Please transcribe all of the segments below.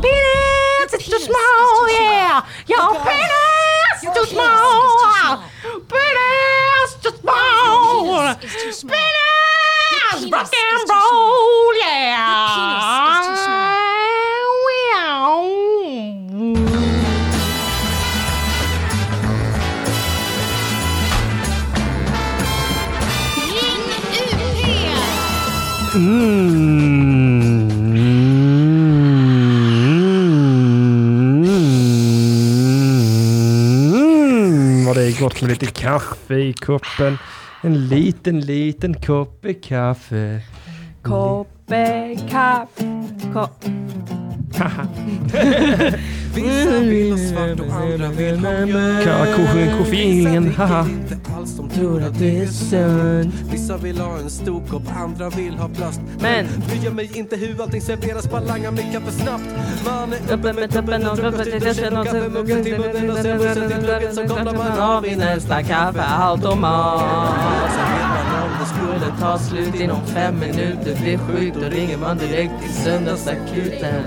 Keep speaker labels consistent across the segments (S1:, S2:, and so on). S1: Penis is too small, yeah. Your penis is too small. Penis is too small. Penis, rock and roll, yeah.
S2: Ring UP!
S3: Mm. Mm, och det är gott med lite kaffe i koppen. En liten, liten kopp kaffe.
S4: Koppe kaffe. Ko-
S5: Vissa vill ha svart och andra vill ha mjölk.
S3: Karakosjen, koffeinlingen,
S5: Vissa
S3: haha.
S5: dricker inte alls, de tror att det är sunt. Vissa vill ha en stor kopp, andra vill ha plast.
S4: Men
S5: Bryr mig inte hur allting serveras, bara langar mig kaffe snabbt. Man är
S4: uppe med tuppen och kroppen till duschen och sen muggen till munnen och sen bussen till plugget så kopplar man av i nästa kaffeautomat.
S5: Sen vet man om det Alltså, skulle
S4: Det tar slut inom fem minuter, blir sjuk då ringer man direkt till söndagsakuten.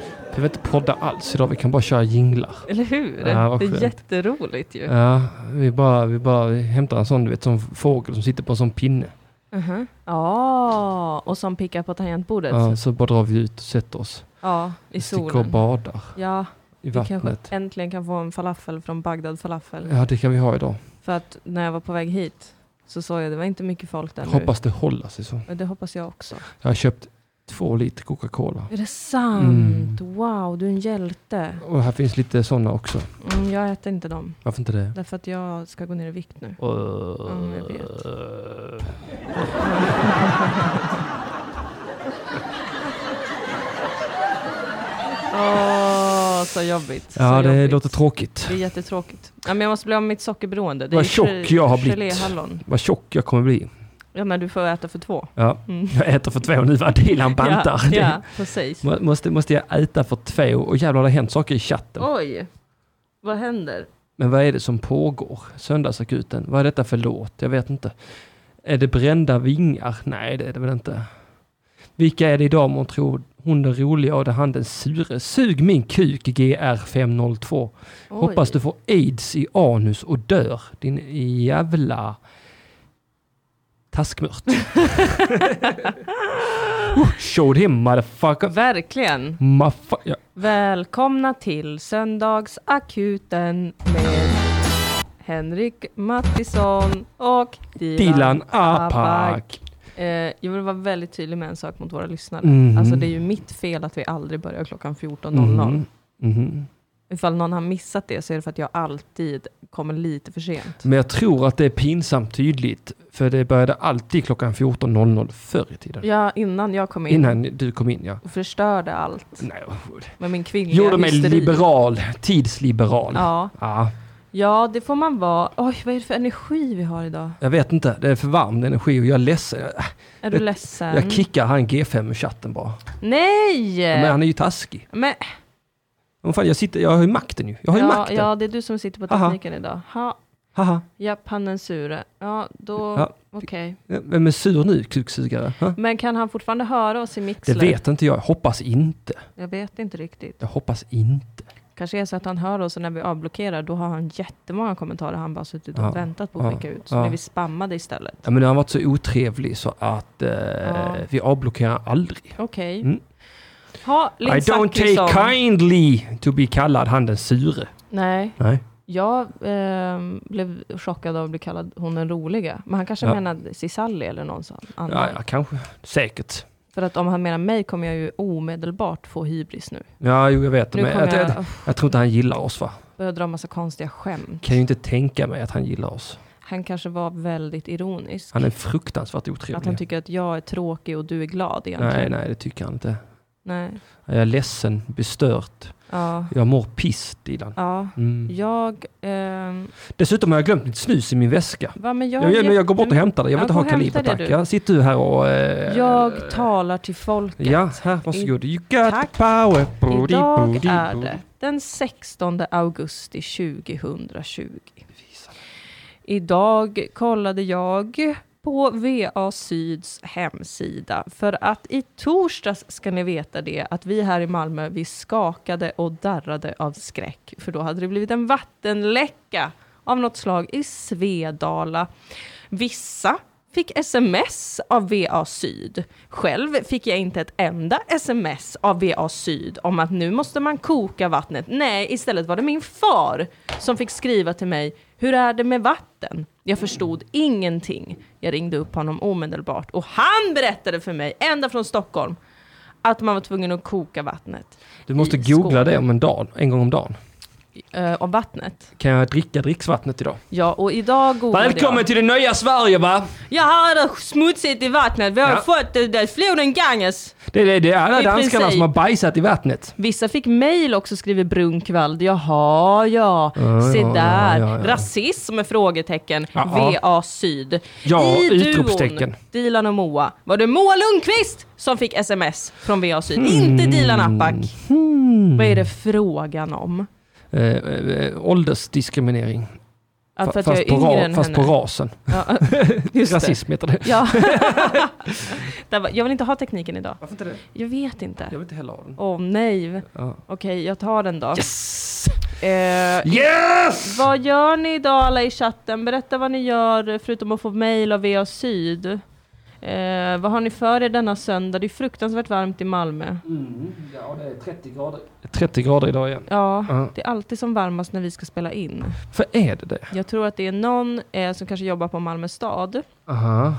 S3: Vi behöver inte podda alls idag, vi kan bara köra jinglar.
S4: Eller hur?
S3: Ja, vad
S4: det är
S3: skönt.
S4: jätteroligt ju.
S3: Ja, vi bara, vi bara hämtar en sån, du vet, som fågel som sitter på en sån pinne.
S4: Mhm. Ja, och som pickar på tangentbordet.
S3: Ja,
S4: Ja,
S3: så bara drar vi ut och sätter oss.
S4: i
S3: Sticker och
S4: solen.
S3: badar
S4: Ja,
S3: i
S4: vi kanske
S3: vattnet.
S4: äntligen kan få en falafel från Bagdad falafel.
S3: Ja, det kan vi ha idag.
S4: För att när jag var på väg hit så såg jag det var inte mycket folk där
S3: Hoppas det håller sig så.
S4: nu. Och Det hoppas jag också.
S3: Jag har köpt två liter Coca-Cola.
S4: Är det sant?
S3: Mm.
S4: Wow, du är en hjälte.
S3: Och här finns lite såna också.
S4: Mm, jag äter inte dem.
S3: Varför inte det?
S4: Därför att jag ska gå ner i vikt nu. Mm, jag vet. Åh, så jobbigt. Så
S3: Ja, det
S4: jobbigt.
S3: låter tråkigt.
S4: Det är jättetråkigt. Ja, men jag måste bli av med mitt sockerberoende. Det
S3: Vad
S4: ju
S3: tjock
S4: ge-
S3: jag har blivit.
S4: Geléhallon.
S3: Vad tjock jag kommer bli.
S4: Ja, men du får äta för två.
S3: Ja.
S4: Mm.
S3: Jag äter för två nu, vad Dilan bantar.
S4: Ja, ja precis.
S3: Det- Må- Måste, måste jag äta för två? Och jävlar, det har hänt saker i chatten.
S4: Oj, vad händer?
S3: Men vad är det som pågår? Söndagsakuten, vad är detta för låt? Jag vet inte. Är det brända vingar? Nej, det är det väl inte. Vilka är det idag man tror hon den roliga och det han den sure? Sug min kuk, GR502.
S4: Oj.
S3: Hoppas du får aids i anus och dör, din jävla taskmört. oh, show him motherfucker.
S4: Verkligen.
S3: Motherfu- ja.
S4: Välkomna till söndagsakuten med Henrik Mattisson och Dilan,
S3: Dilan Apak.
S4: Eh, jag vill vara väldigt tydlig med en sak mot våra lyssnare.
S3: Mhm.
S4: Alltså det är ju mitt fel att vi aldrig börjar klockan 14.00.
S3: Mhm. Mhm.
S4: Ifall någon har missat det så är det för att jag alltid kommer lite för sent.
S3: Men jag tror att det är pinsamt tydligt, för det började alltid klockan 14.00 förr i tiden.
S4: Ja, innan jag kom in
S3: Innan du kom in ja.
S4: och förstörde allt
S3: Nej, oh,
S4: med min kvinnliga
S3: gjorde mig
S4: hysteri.
S3: liberal, tidsliberal.
S4: Ja.
S3: Ja,
S4: ja, det får man vara. Oj, vad är det för energi vi har idag?
S3: jag vet inte, det är för varm energi och jag är ledsen. Jag,
S4: Är du
S3: Jag-
S4: ledsen?
S3: jag kickar han G5 i chatten bara.
S4: Eh. Nej!
S3: Men han är ju taskig.
S4: Men,
S3: Men fan, jag, sitter, jag har ju makten ju. Jag har ju
S4: ja,
S3: makten.
S4: ja, det är du som sitter på
S3: Aha.
S4: tekniken idag. Ha,
S3: Haha.
S4: japp, han är en sure. Ja, då,
S3: Ja.
S4: okej.
S3: Vem är sur nu, kuksugare? Ha?
S4: Men kan han fortfarande höra oss i
S3: Det
S4: Mixler?
S3: vet inte jag. Jag hoppas inte.
S4: Jag vet inte riktigt.
S3: Jag hoppas inte.
S4: Kanske är så att han hör oss och när vi avblockerar då har han jättemånga kommentarer han bara suttit och
S3: Ja.
S4: väntat på att
S3: Ja.
S4: skicka ut. Så
S3: Ja.
S4: blir vi spammade istället.
S3: Ja, men nu har han varit så otrevlig så att eh,
S4: Ja.
S3: vi avblockerar aldrig.
S4: Okej.
S3: Mm.
S4: Ha, Linn
S3: I don't
S4: Zachrisson.
S3: take kindly to be kallad han den sure.
S4: Nej,
S3: Nej.
S4: jag ehm, blev chockad av att bli kallad hon den roliga. Men han kanske
S3: Ja.
S4: menade Cisalli eller någon sån annan.
S3: Ja, ja, kanske. Säkert.
S4: För att om han menar mig kommer jag ju omedelbart få hybris nu.
S3: Ja, jo, jag vet.
S4: Nu
S3: Men
S4: kommer
S3: jag,
S4: jag,
S3: jag,
S4: jag
S3: jag tror inte han gillar oss va?
S4: börja dra massa konstiga skämt.
S3: Kan ju inte tänka mig att han gillar oss.
S4: Han kanske var väldigt ironisk.
S3: Han är fruktansvärt
S4: Att han
S3: otrevlig.
S4: tycker att jag är tråkig och du är glad
S3: Nej,
S4: egentligen.
S3: nej, det tycker han inte.
S4: Nej.
S3: Jag är ledsen, bestört,
S4: Ja.
S3: Jag mår piss, Dilan.
S4: ja.
S3: Mm.
S4: Jag... ehm,
S3: Dessutom har jag glömt mitt snus i min väska.
S4: va, men jag,
S3: Jag, jag,
S4: jag,
S3: jag går bort och hämtar det. Jag vill
S4: Ja,
S3: inte
S4: gå
S3: ha
S4: och hämta
S3: kaliber,
S4: det,
S3: tack.
S4: du.
S3: Ja, sitter du här och... Eh,
S4: jag talar till folket.
S3: Ja, här, varsågod. You got
S4: Tack.
S3: the power. Booty,
S4: Idag
S3: booty,
S4: är
S3: booty.
S4: det den 16 augusti 2020. Idag kollade jag på VA Syds hemsida. För att i torsdags ska ni veta det, att vi här i Malmö, vi skakade och darrade av skräck. För då hade det blivit en vattenläcka av något slag i Svedala. Vissa fick sms av VA Syd. Själv fick jag inte ett enda sms av VA Syd om att nu måste man koka vattnet. Nej, istället var det min far som fick skriva till mig hur är det med vatten? Jag förstod ingenting. Jag ringde upp honom omedelbart och han berättade för mig, ända från Stockholm, att man var tvungen att koka vattnet.
S3: Du måste
S4: i
S3: googla
S4: skålen.
S3: det om en dag, en gång om dagen.
S4: Eh, om vattnet.
S3: Kan jag dricka dricksvattnet idag?
S4: Ja, och idag googlade
S3: Välkommen
S4: jag.
S3: till det nya Sverige va?
S4: Jag har det smutsigt i vattnet. Vi har
S3: Ja.
S4: fått det där floden Ganges.
S3: Det är, det, det är alla
S4: I
S3: danskarna
S4: princip.
S3: som har bajsat i vattnet.
S4: Vissa fick mejl också, skriver Brunkvald. Jaha, ja.
S3: Ja,
S4: Se
S3: ja, ja,
S4: där.
S3: ja, ja.
S4: Rasism med frågetecken.
S3: Ja.
S4: VA Syd.
S3: Ja,
S4: I
S3: utropstecken.
S4: duon, Dilan och Moa, var det Moa Lundqvist som fick sms från VA Syd.
S3: Hmm.
S4: Inte Dilan Apak. Vad är det frågan om?
S3: Eh, eh, eh, åldersdiskriminering.
S4: Att för
S3: Fa-
S4: att jag
S3: fast
S4: är
S3: på,
S4: yngre
S3: ra-
S4: än
S3: fast
S4: henne.
S3: på rasen.
S4: Ja, just det.
S3: Rasism heter det.
S4: Ja. Där var- jag vill inte ha tekniken idag.
S3: Varför inte det?
S4: Jag vet inte.
S3: Jag vill inte heller ha den.
S4: Åh nej.
S3: Ja.
S4: Okej, jag tar den då.
S3: Yes!
S4: Eh,
S3: Yes!
S4: Vad gör ni idag alla i chatten? Berätta vad ni gör förutom att få mejl av VA Syd. Eh, vad har ni för er denna söndag? Det är fruktansvärt varmt i Malmö.
S3: Mm, Ja, det är 30 grader. 30 grader idag igen.
S4: Ja,
S3: Ja.
S4: det är alltid som varmast när vi ska spela in.
S3: För är det det?
S4: Jag tror att det är någon eh, som kanske jobbar på Malmö stad
S3: Aha.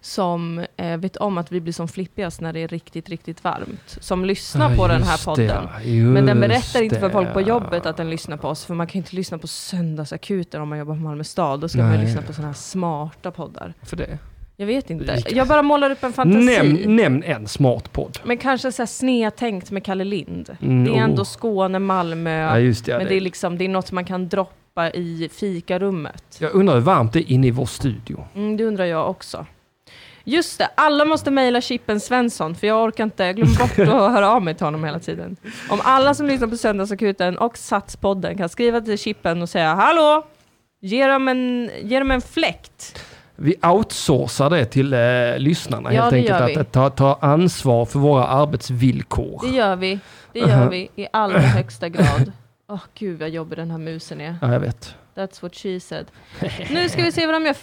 S4: som eh, vet om att vi blir som flippigast när det är riktigt, riktigt varmt. Som lyssnar på
S3: Ja,
S4: den här
S3: just
S4: podden.
S3: det, ja.
S4: Men den
S3: Just
S4: berättar inte för
S3: det,
S4: folk på
S3: ja.
S4: jobbet att den lyssnar på oss, för man kan ju inte lyssna på söndagsakuten om man jobbar på Malmö stad. Då ska man
S3: Nej.
S4: ju lyssna på sådana här smarta poddar.
S3: För det.
S4: Jag vet inte.
S3: Lika.
S4: Jag bara målar upp en fantasi.
S3: Nämn, nämn en smart podd.
S4: Men kanske så här snedtänkt med Kalle Lind.
S3: Mm,
S4: det är ändå
S3: oh.
S4: Skåne, Malmö.
S3: Ja, just det. Ja,
S4: men det är, liksom, det är något man kan droppa i fikarummet.
S3: Jag undrar hur varmt det är inne i vår studio.
S4: Mm, det undrar jag också. Just det, alla måste mejla Chippen Svensson, för jag orkar inte, jag glömmer bort att höra av mig till honom hela tiden. Om alla som lyssnar på Söndagsakuten och Satspodden kan skriva till Chippen och säga hallå, ge dem en, ge dem en fläkt.
S3: Vi outsourcar det till eh, lyssnarna
S4: Ja,
S3: helt
S4: det
S3: enkelt.
S4: gör
S3: Att,
S4: vi.
S3: att ta, ta ansvar för våra arbetsvillkor.
S4: Det gör vi, det gör
S3: Uh-huh.
S4: vi i allra högsta grad. Åh gud vad jobbig den här musen är.
S3: Ja, jag vet.
S4: That's what she said. Nu ska vi se vad de gör.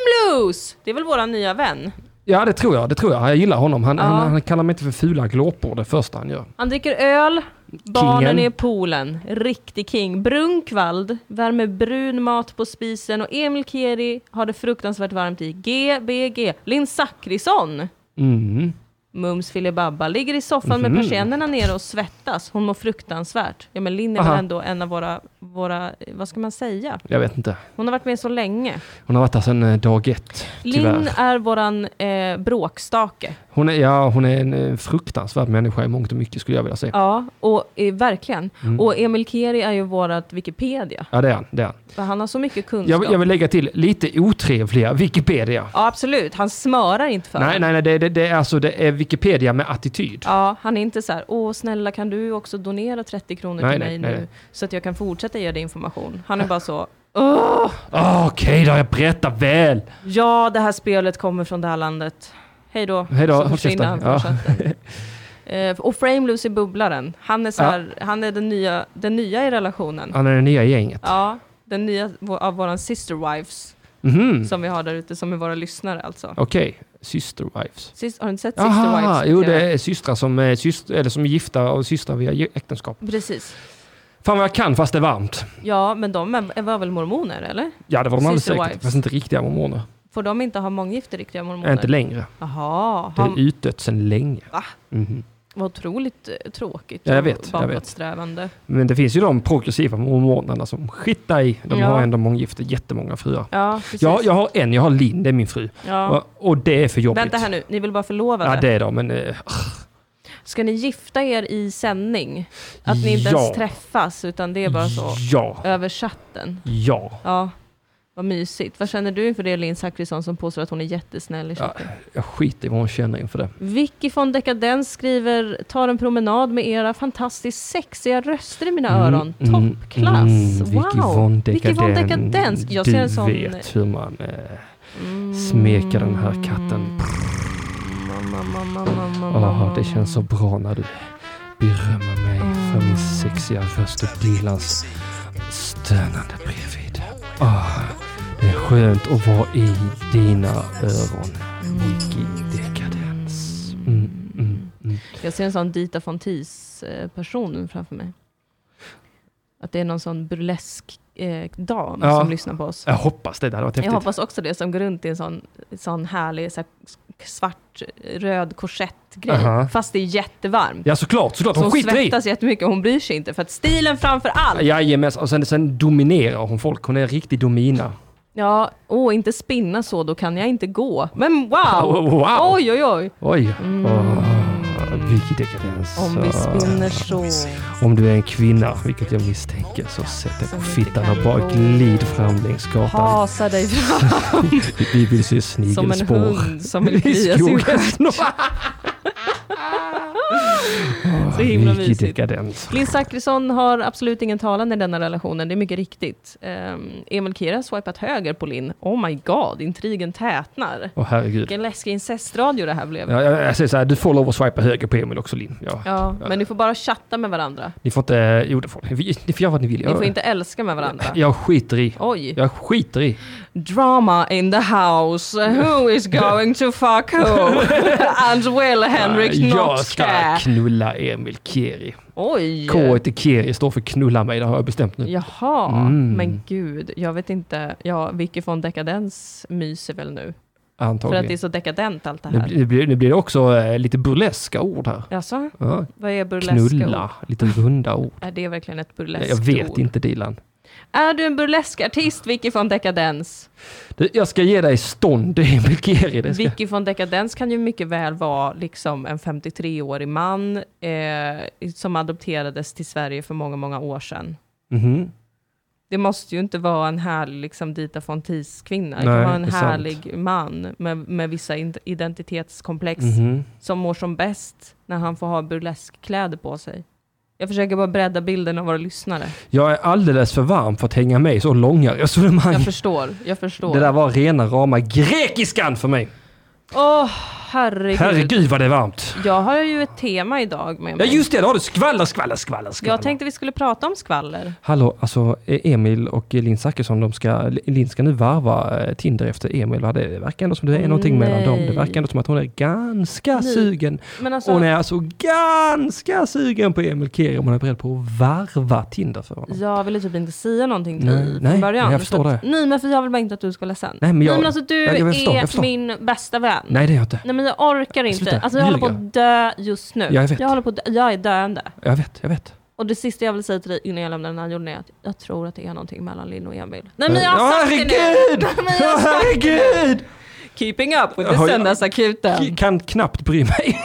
S4: Frameloose! Det är väl våran nya vän?
S3: Ja, det tror jag. Det tror jag. Jag gillar honom. Han,
S4: Ja.
S3: han, han kallar mig inte för fula glåpor det första han gör.
S4: Han dricker öl, barnen
S3: Kingen.
S4: är i poolen. Riktig king. Brunkvald värmer brun mat på spisen och Emil Kieri har det fruktansvärt varmt i GBG. Linn Zachrisson,
S3: Mm.
S4: Mums filibabba, ligger i soffan
S3: Mhm.
S4: med persiennerna nere och svettas. Hon mår fruktansvärt. Ja men Linn är
S3: Aha.
S4: väl ändå en av våra, våra, vad ska man säga?
S3: Jag vet inte.
S4: Hon har varit med så länge.
S3: Hon har varit där sedan eh, dag ett, tyvärr.
S4: Linn är våran eh, bråkstake.
S3: Hon är, ja, hon är en eh, fruktansvärd människa i mångt och mycket skulle jag vilja säga.
S4: Ja, och, eh, verkligen.
S3: Mm.
S4: Och Emil Kieri är ju vårat Wikipedia.
S3: Ja, det är han. Det är han.
S4: För han har så mycket kunskap.
S3: Jag, jag vill lägga till lite otrevliga Wikipedia.
S4: Ja, absolut. Han smörar inte för
S3: Nej,
S4: det.
S3: nej, nej. Det, det, det, är alltså, det är Wikipedia med attityd.
S4: Ja, han är inte så här, åh snälla kan du också donera 30 kronor
S3: Nej,
S4: till
S3: nej,
S4: mig
S3: nej,
S4: nu
S3: nej.
S4: så att jag kan fortsätta ge dig information. Han är bara så,
S3: Ah, Okej då, jag berättar väl.
S4: ja det här spelet kommer från det här landet. Hej då.
S3: Hej då,
S4: Så
S3: håll
S4: försvinner
S3: käften.
S4: han från
S3: Ja.
S4: chatten. Eh, och Frameloose är bubblaren. Han är, så
S3: Ja.
S4: här, han är den, nya, den nya i relationen.
S3: Han är det nya gänget.
S4: Ja, den nya vå- av våran sister wives
S3: Mhm.
S4: som vi har där ute som är våra lyssnare alltså.
S3: Okej, Sister Wives.
S4: Sis- har du inte sett Sister
S3: Aha,
S4: Wives?
S3: jo
S4: på TV?
S3: det är systrar som är, syst- eller som är gifta och systrar via ge- äktenskap.
S4: Precis.
S3: Fan vad jag kan fast det är varmt.
S4: Ja, men de är- var väl mormoner, eller?
S3: Ja det var de alldeles
S4: Sister
S3: säkert,
S4: wives.
S3: fast inte riktiga mormoner.
S4: Får de inte ha månggifte, riktiga mormoner?
S3: Inte längre.
S4: Jaha,
S3: Det
S4: han,
S3: är utdött sedan länge.
S4: Va?
S3: Mhm.
S4: vad otroligt eh, tråkigt
S3: Ja, jag
S4: och
S3: vet, jag vet.
S4: bakåtsträvande.
S3: Men det finns ju de progressiva mormonerna som skita i. De
S4: Ja.
S3: har ändå månggifte, jättemånga fruar.
S4: Ja, precis.
S3: Jag, jag har en, jag har Linn, det är min fru.
S4: Ja.
S3: Och, och det är för jobbigt.
S4: Vänta här nu, ni vill bara förlova
S3: Ja
S4: det.
S3: det är de, men eh,
S4: Ska ni gifta er i sändning? Att ni inte
S3: Ja.
S4: ens träffas, utan det är bara så
S3: Ja,
S4: över chatten?
S3: ja.
S4: Ja, vad mysigt. Vad känner du inför det Linn Zachrisson som påstår att hon är jättesnäll i chatten?
S3: Jag skiter i vad hon känner inför det.
S4: Vicky von Dekadens skriver “Tar en promenad med era fantastiskt sexiga röster i mina öron.
S3: mm,
S4: Toppklass!
S3: mm, Vicky
S4: wow!
S3: von
S4: Vicky von
S3: Dekadens.
S4: Dekadens. Jag
S3: du
S4: ser en sån- Mm.
S3: vet hur man eh, smeker den här katten.
S4: Mm.
S3: Åh, det känns så bra när du berömmer mig för
S4: Mm.
S3: min sexiga röst och dinglans stönande bredvid. Åh, det är skönt att vara i dina öron,
S4: Mm.
S3: Vicky Dekadens. Mm, mm, mm.
S4: Jag ser en sån Dita von Teese, eh, person framför mig. Att det är någon sån burlesk eh, dam
S3: Ja.
S4: som lyssnar på oss.
S3: Jag hoppas det, det hade varit häftigt.
S4: Jag hoppas också det, som går runt i en sån, sån härlig så här, svart, röd korsettgrej.
S3: Aha.
S4: Fast det är jättevarmt.
S3: Ja såklart, såklart.
S4: Så
S3: Hon
S4: hon
S3: skiter i.
S4: svettas jättemycket, hon bryr sig inte. För att stilen framför allt!
S3: Jajamensan, och sen, sen dominerar hon folk. Hon är en riktig domina.
S4: Ja, åh, inte spinna så, då kan jag inte gå. Men wow!
S3: Oh, wow!
S4: Oj, oj, oj!
S3: Oj! Åh, vilket dekadens. ah.
S4: Om vi spinner så.
S3: Om du är en kvinna, vilket jag misstänker, så sätt dig på fittan och bara glid fram längs gatan.
S4: Hasa dig fram
S3: Vi vill se
S4: som en
S3: snigelspår.
S4: hund som vill
S3: I
S4: klia sin
S3: skogen.
S4: stjärt.
S3: Åh,
S4: Så himla
S3: vilket
S4: mysigt.
S3: dekadens.
S4: Linn Zachrisson har absolut ingen talan i denna relationen, det är mycket riktigt. Ehm, Emil Kira har swipat höger på Linn. Oh my god, intrigen tätnar.
S3: Åh herregud.
S4: Vilken läskig incestradio det här blev.
S3: Ja, jag, jag säger så här, du får lov att swipa höger på Emil också Linn. Ja.
S4: Ja, men ni får bara chatta med varandra.
S3: Ni får inte, eh, jo det får ni. Vi- Ni får göra vad ni vill.
S4: Ni får
S3: Jag-
S4: inte älska med varandra.
S3: Jag skiter i.
S4: Oj.
S3: Jag skiter i.
S4: Drama in the house. Who is going to fuck who? And will Henrik
S3: Nej,
S4: not
S3: Äh, Jag ska
S4: ska?
S3: knulla Emil Kieri.
S4: Oj!
S3: K till Kieri står för knulla mig, det har jag bestämt nu.
S4: Jaha,
S3: Mm.
S4: men gud, jag vet inte. Ja, Vicky von Dekadens myser väl nu? För att det är
S3: Antagligen.
S4: så dekadent allt det
S3: Nu
S4: här.
S3: blir- nu blir, nu blir det också eh, lite burleska ord här.
S4: Jaså?
S3: Ja,
S4: Vad är burleska
S3: knulla,
S4: ord?
S3: lite runda ord.
S4: Är det verkligen ett burleskt
S3: Jag vet
S4: ord?
S3: inte Dilan.
S4: Är du en burlesk artist, Vicky von Dekadens?
S3: Du, Jag ska ge dig stånd Emil Kieri. Det ska.
S4: Vicky von Dekadens kan ju mycket väl vara liksom en 53-årig man eh, som adopterades till Sverige för många, många år sedan.
S3: Mhm.
S4: Det måste ju inte vara en härlig liksom, Dita von Teese-kvinna. Det
S3: Nej,
S4: kan vara en
S3: det är sant.
S4: härlig man med, med vissa in- identitetskomplex
S3: Mhm.
S4: som mår som bäst när han får ha burleskkläder på sig. Jag försöker bara bredda bilden av våra lyssnare.
S3: Jag är alldeles för varm för att hänga med i så långa resonemang.
S4: Jag förstår, jag förstår.
S3: Mm. Det där var rena rama grekiskan för mig.
S4: Åh, herregud.
S3: Herregud vad det är varmt.
S4: Jag har ju ett tema idag med
S3: Ja
S4: mig.
S3: just det, då har du skvaller, skvaller, skvaller. skvaller.
S4: jag tänkte vi skulle prata om skvaller.
S3: Hallå, alltså eh, Emil och Linn Zachrisson, de ska, Linn ska nu varva eh, Tinder efter Emil. va? Det verkar ändå som det är någonting mellan dem. Det
S4: Nej.
S3: verkar ändå som att hon är ganska
S4: Nej.
S3: sugen.
S4: Men alltså,
S3: Hon är alltså ganska sugen på Emil Keri om hon är beredd på att varva Tinder för honom.
S4: jag ville typ inte säga någonting till
S3: Nej,
S4: dig
S3: nej,
S4: från början.
S3: jag förstår
S4: så att, Nej, men för jag vill bara inte att du ska vara ledsen.
S3: Nej, men jag-
S4: nej, men alltså du
S3: jag- jag förstår,
S4: är
S3: jag förstår.
S4: min bästa vän.
S3: Nej, det är jag inte.
S4: Nej, men jag orkar inte.
S3: Sluta,
S4: alltså jag håller på
S3: ljuga.
S4: att dö just nu.
S3: Jag vet.
S4: håller på att dö. jag är döende.
S3: Jag vet, jag vet.
S4: Och det sista jag vill säga till dig innan jag lämnar den här jorden är att jag tror att det är någonting mellan Linn och Emil. Nej men jag har
S3: Ja,
S4: sagt det nu!
S3: herregud!
S4: Men jag har sagt
S3: Herregud!
S4: Keeping up with
S3: Jag
S4: the
S3: har-
S4: söndagsakuten.
S3: Jag Kan knappt bry mig.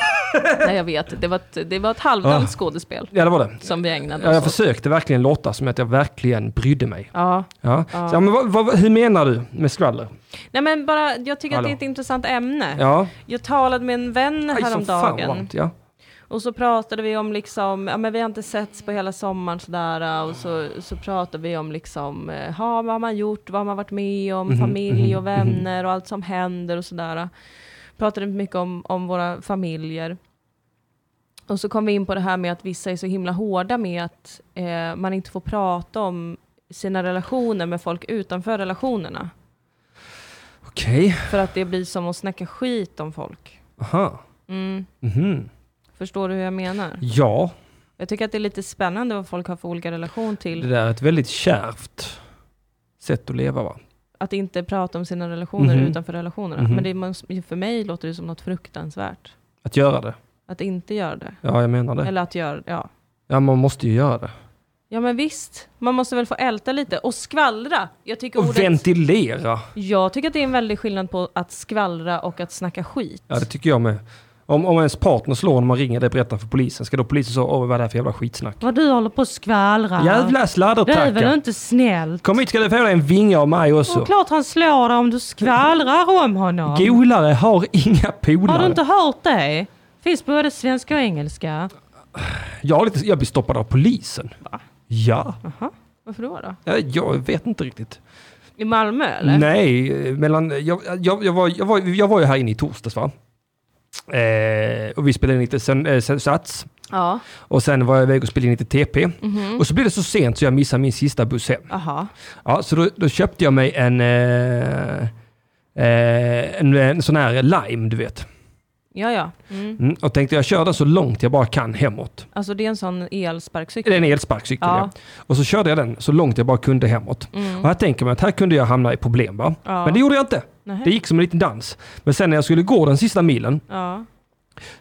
S4: Nej jag vet, det var ett, det var ett halvdant skådespel
S3: Ja, det var det.
S4: som vi ägnade
S3: Ah. Ja,
S4: oss
S3: jag
S4: åt.
S3: försökte verkligen låta som att jag verkligen brydde mig.
S4: Ja.
S3: Ja. Så, ja, men vad, vad, hur menar du med skvaller?
S4: Nej men bara, jag tycker att
S3: Hallå.
S4: det är ett intressant ämne.
S3: Ja.
S4: Jag talade med en vän
S3: Aj, som fan vad
S4: häromdagen.
S3: varmt, ja.
S4: Och så pratade vi om liksom, ja men vi har inte setts på hela sommaren sådär och så, så pratade vi om liksom, eh, ha, vad har man gjort, vad har man varit med om,
S3: Mhm,
S4: familj och vänner och allt som händer och sådär. Pratade mycket om, om våra familjer. Och så kom vi in på det här med att vissa är så himla hårda med att eh, man inte får prata om sina relationer med folk utanför relationerna.
S3: Okej,
S4: För att det blir som att snacka skit om folk.
S3: aha.
S4: Mm.
S3: Mhm.
S4: Förstår du hur jag menar?
S3: Ja,
S4: Jag tycker att det är lite spännande vad folk har för olika relation
S3: det
S4: till
S3: där är ett väldigt kärvt sätt att leva va?
S4: att inte prata om sina relationer
S3: Mhm.
S4: utanför relationerna.
S3: Mhm.
S4: Men det, är många- för mig låter det som något fruktansvärt.
S3: Att göra det.
S4: Att inte göra det.
S3: Ja, jag menar det.
S4: Eller att göra ja.
S3: Ja, man måste ju göra det.
S4: Ja men visst, man måste väl få älta lite och skvallra. Jag tycker,
S3: Och
S4: ordet,
S3: ventilera.
S4: jag tycker att det är en väldig skillnad på att skvallra och att snacka skit.
S3: Ja, det tycker jag med. Om, om ens partner slår när man ringer det och berättar för polisen, ska då polisen säga åh vad är det här för jävla skitsnack?
S4: Vad du håller på och skvallrar.
S3: Jävla
S4: Det är väl
S3: sladdertacka!
S4: Ah. inte snällt?
S3: Kom hit ska du få dig en vinge av mig
S4: Och
S3: också.
S4: klart han slår dig om du skvallrar om honom.
S3: Golare har inga
S4: Har du
S3: polare.
S4: inte hört det? Finns både svenska och engelska.
S3: Jag, har lite, jag blir stoppad av polisen.
S4: Va?
S3: Ja,
S4: Aha. Varför då? då?
S3: jag, jag vet inte riktigt.
S4: I Malmö eller?
S3: Nej, eh, mellan, jag, jag, jag, var, jag, var, jag var ju här inne i torsdags va? Eh, och vi spelade in lite sen, eh, sen, Sats.
S4: Ja.
S3: Och sen var jag iväg och spelade in lite TP. Och så blev det så sent så jag missade min sista buss hem.
S4: Aha.
S3: Ja, så då, då köpte jag mig en, eh, eh, en, en sån här lime, du vet.
S4: Ja, ja. Mm.
S3: Mm, och tänkte jag kör den så långt jag bara kan hemåt.
S4: Alltså det är en sån elsparkcykel.
S3: Det är en elsparkcykel.
S4: Ja. Mm.
S3: Ja. Och så körde jag den så långt jag bara kunde hemåt. Och här tänker man att här kunde jag hamna i problem va?
S4: Ja.
S3: Men det gjorde jag inte.
S4: Nähä.
S3: Det gick som en liten dans. Men sen när jag skulle gå den sista milen
S4: Ja.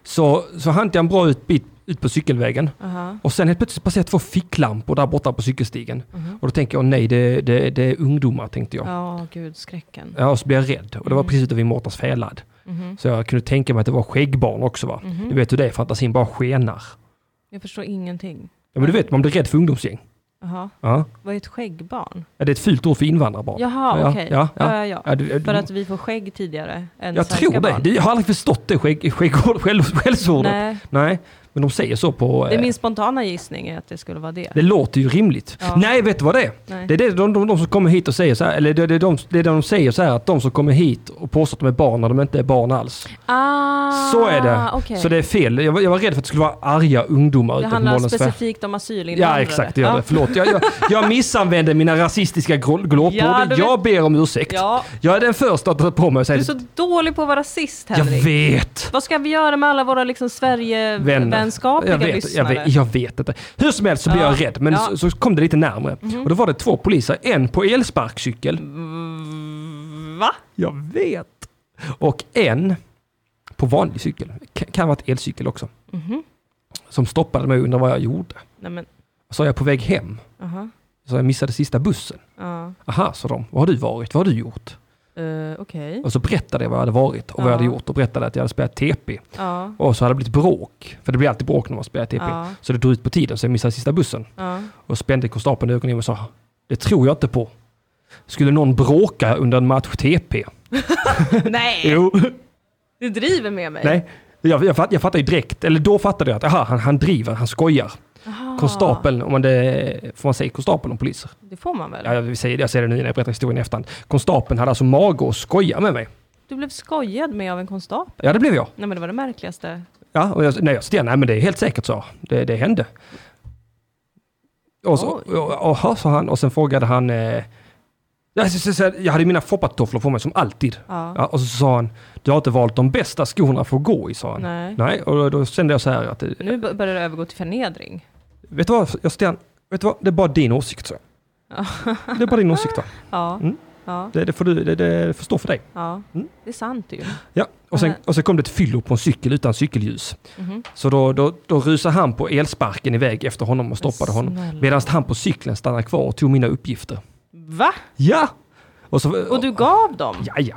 S3: så, så hann jag en bra ut, bit ut på cykelvägen.
S4: Aha.
S3: Och sen helt plötsligt passerade jag två ficklampor där borta på cykelstigen. Och då tänker jag, nej det, det, det är ungdomar tänkte jag. Ja.
S4: Mhm. Ja, gud skräcken.
S3: och så blev jag rädd. Och det var precis ute vid Mårtens Fälad.
S4: Mhm.
S3: Så jag kunde tänka mig att det var skäggbarn också va? Du vet hur det är, fantasin bara skenar.
S4: Jag förstår ingenting.
S3: Ja men du vet, man blir rädd för ungdomsgäng.
S4: Aha.
S3: Ja.
S4: Vad är ett skäggbarn?
S3: Ja, det är ett fult ord för invandrarbarn.
S4: Jaha,
S3: ja,
S4: okej.
S3: Ja, ja.
S4: ja, ja.
S3: Ja, du,
S4: För
S3: du,
S4: att vi får skägg tidigare än
S3: jag
S4: svenska
S3: tror det.
S4: barn.
S3: Jag har aldrig förstått det skägg, skägg, skäll, skällsordet. Nej.
S4: Nej,
S3: men de säger så på...
S4: det är
S3: eh,
S4: min spontana gissning är att det skulle vara det.
S3: det låter ju rimligt.
S4: Ja.
S3: Nej, vet du vad det är?
S4: Nej.
S3: Det är det, de, de, de som kommer hit och säger så här, eller det, det, är de, det är de säger så här, att de som kommer hit och påstår att de är barn när de inte är barn alls.
S4: Ah,
S3: så är det.
S4: okej.
S3: Så det är fel. Jag var, jag var rädd för att det skulle vara arga ungdomar
S4: Det
S3: ute på
S4: handlar
S3: Målens Fär-
S4: specifikt om
S3: Ja
S4: asylinvandrare.
S3: exakt, det gör det. Förlåt. Jag, jag, jag missanvände mina rasistiska gl- glåpord.
S4: Ja, du
S3: jag ber om ursäkt.
S4: Ja,
S3: Jag är den första att ta på mig och
S4: du
S3: säga
S4: är så dålig på att vara rasist
S3: Jag
S4: Henrik.
S3: vet!
S4: Vad ska vi göra med alla våra liksom, Sverigevänskapliga
S3: jag vet, jag,
S4: lyssnare?
S3: vet, jag vet inte. Hur som helst så blev
S4: Ja.
S3: jag rädd, men
S4: Ja. Mhm.
S3: så, så kom det lite närmare. Och då var det två poliser, en på elsparkcykel.
S4: Va?
S3: Jag vet. Och en på vanlig cykel. Kan, kan ha varit elcykel också.
S4: Mhm.
S3: Som stoppade mig och undrade vad jag gjorde.
S4: Nej men,
S3: Så jag på väg hem.
S4: aha.
S3: Så jag missade sista bussen.
S4: Ja.
S3: Aha, sa de. Vad har du varit? Vad har du gjort?
S4: Eh, Okej.
S3: Och så berättade jag vad jag hade varit och vad jag hade
S4: Ja.
S3: gjort och berättade att jag hade spelat TP.
S4: Ja.
S3: Och så hade det blivit bråk. För det blir alltid bråk när man spelar TP.
S4: Ja.
S3: Så det drog ut på tiden så jag missade sista bussen.
S4: Ja.
S3: Och spände konstapeln i ögonen och sa Det tror jag inte på. Skulle någon bråka under en match TP?
S4: Nej,
S3: Jo,
S4: du driver med mig.
S3: nej. Jag, jag, fatt, jag fattade ju direkt, eller då fattade jag att aha, han, han driver, han skojar.
S4: Aha.
S3: Konstapeln, om man det, får man säga konstapeln om poliser?
S4: Det får man väl?
S3: Ja, jag, säger, det- jag säger det nu när jag berättar historien i efterhand. Konstapeln hade alltså mage att skoja med mig.
S4: Du blev skojad med av en konstapel.
S3: Ja, det blev jag.
S4: Nej men det var det märkligaste.
S3: Ja, och jag, nej, jag stirrade, nej men det är helt säkert så. Det, det hände. Och så,
S4: Oj.
S3: och- aha, sa han och sen frågade han... Eh, jag, så- så- så- jag hade mina foppatofflor på mig som alltid.
S4: Ja.
S3: Ja, och så sa han, du har inte valt de bästa skorna för att gå i, sa han.
S4: Nej.
S3: och då, då kände jag så här att, eh,
S4: Nu bör- börjar det övergå till förnedring.
S3: vet du vad, jag Sten, vet du vad, det är bara din åsikt så. Det är bara din åsikt va?
S4: Ja.
S3: Mm.
S4: Ja.
S3: Det, det, får du, det, det får stå för dig.
S4: Ja.
S3: Mm.
S4: Det är sant ju.
S3: Ja, och sen,
S4: Nej.
S3: och sen kom det ett fyllo på en cykel utan cykelljus.
S4: Mhm.
S3: Så då, då, då rusade han på elsparken iväg efter honom och stoppade honom.
S4: Snälla.
S3: Medan han på cykeln stannade kvar och tog mina uppgifter.
S4: Va?
S3: Ja! Och, så,
S4: Och du gav dem?
S3: Ja, ja.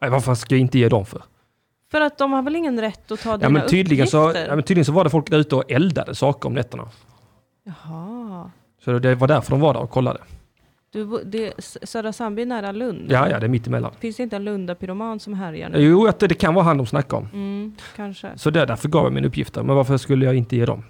S3: Nej, Vad fan ska jag inte ge dem för?
S4: För att de har väl ingen rätt att ta
S3: Ja,
S4: dina
S3: men tydligen, så,
S4: uppgifter?
S3: ja, men tydligen så var det folk där ute och eldade saker om nätterna.
S4: Jaha.
S3: Så det var därför de var där och kollade.
S4: Du, bo- det, S- Södra Sandby är nära Lund?
S3: Ja, ja, det är mitt emellan.
S4: Finns det inte en Lundapyroman som härjar nu?
S3: Jo, att det, det kan vara han de snackar om.
S4: Mm, kanske.
S3: Så det, därför gav jag mina uppgifter. Men varför skulle jag inte ge dem?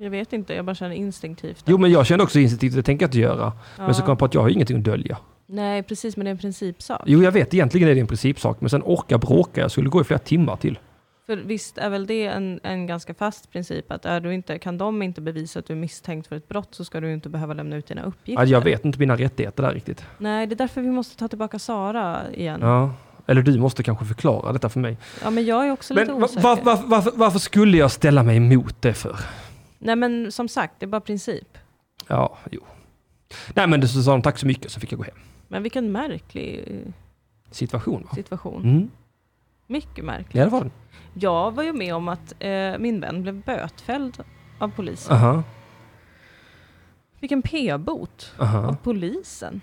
S4: Jag vet inte, jag bara känner instinktivt.
S3: Jo, men jag kände också instinktivt, det tänker jag inte göra. Men så
S4: Ja.
S3: kom jag på att jag har ju ingenting att dölja.
S4: Nej, precis, men det är en principsak.
S3: Jo, jag vet, egentligen är det en principsak. Men sen orka bråka, jag skulle gå i flera timmar till.
S4: För visst är väl det en, en ganska fast princip att är du inte, kan de inte bevisa att du är misstänkt för ett brott så ska du ju inte behöva lämna ut dina uppgifter.
S3: Ja, Alltså, jag vet inte mina rättigheter där riktigt.
S4: Nej, det är därför vi måste ta tillbaka Sara igen. Ja,
S3: Ja. Eller du måste kanske förklara detta för mig.
S4: men jag är också
S3: Men
S4: lite
S3: va-
S4: osäker.
S3: va- va- varför, varför skulle jag ställa mig emot det för?
S4: Nej, men som sagt, det är bara princip.
S3: Ja, jo. Nej men så sa de tack så mycket så fick jag gå hem.
S4: Men vilken märklig eh,
S3: Situation va?
S4: situation.
S3: Mm.
S4: Mycket märklig.
S3: Ja det var den.
S4: Jag var ju med om att eh, min vän blev bötfälld av polisen.
S3: Aha,
S4: Fick en p-bot av
S3: aha.
S4: polisen.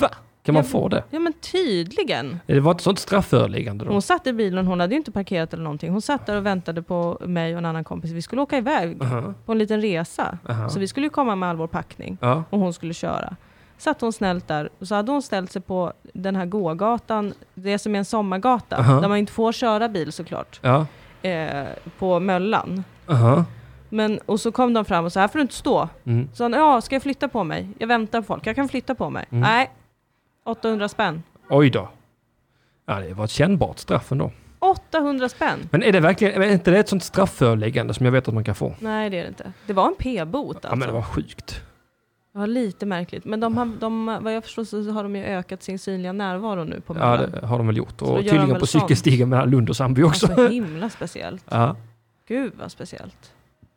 S3: Va? Kan man
S4: Ja.
S3: få det?
S4: Ja men tydligen.
S3: Det var ett sånt straffföreläggande då?
S4: Hon satt i bilen, hon hade ju inte parkerat eller någonting. Hon satt där och väntade på mig och en annan kompis. Vi skulle åka iväg
S3: Aha,
S4: på en liten resa.
S3: aha.
S4: Så vi skulle ju komma med all vår packning
S3: Ja,
S4: och hon skulle köra. Satt hon snällt där och så hade hon ställt sig på den här gågatan, det som är en sommargata,
S3: Aha.
S4: där man inte får köra bil såklart,
S3: ja,
S4: eh, på Möllan.
S3: aha.
S4: Men, och så kom de fram och sa, här får du inte stå.
S3: Mm.
S4: Så han, ja, ska jag flytta på mig? Jag väntar på folk, jag kan flytta på mig.
S3: Mm.
S4: Nej, 800 spänn.
S3: Oj då. Ja, det var ett kännbart straff ändå.
S4: 800 spänn?
S3: Men är det verkligen, är inte det ett sånt straffföreläggande som jag vet att man kan få?
S4: Nej, det är det inte. Det var en p-bot alltså.
S3: Ja, men det var sjukt.
S4: Ja, lite märkligt. Men de har, de, vad jag förstår så har de ju ökat sin synliga närvaro nu på
S3: Ja,
S4: Möllan.
S3: det har de väl gjort.
S4: då
S3: Och
S4: gör de
S3: tydligen
S4: väl
S3: på
S4: sånt. Alltså,
S3: cykelstigen mellan Lund och Sandby också.
S4: Så himla speciellt.
S3: Ja,
S4: Gud vad speciellt.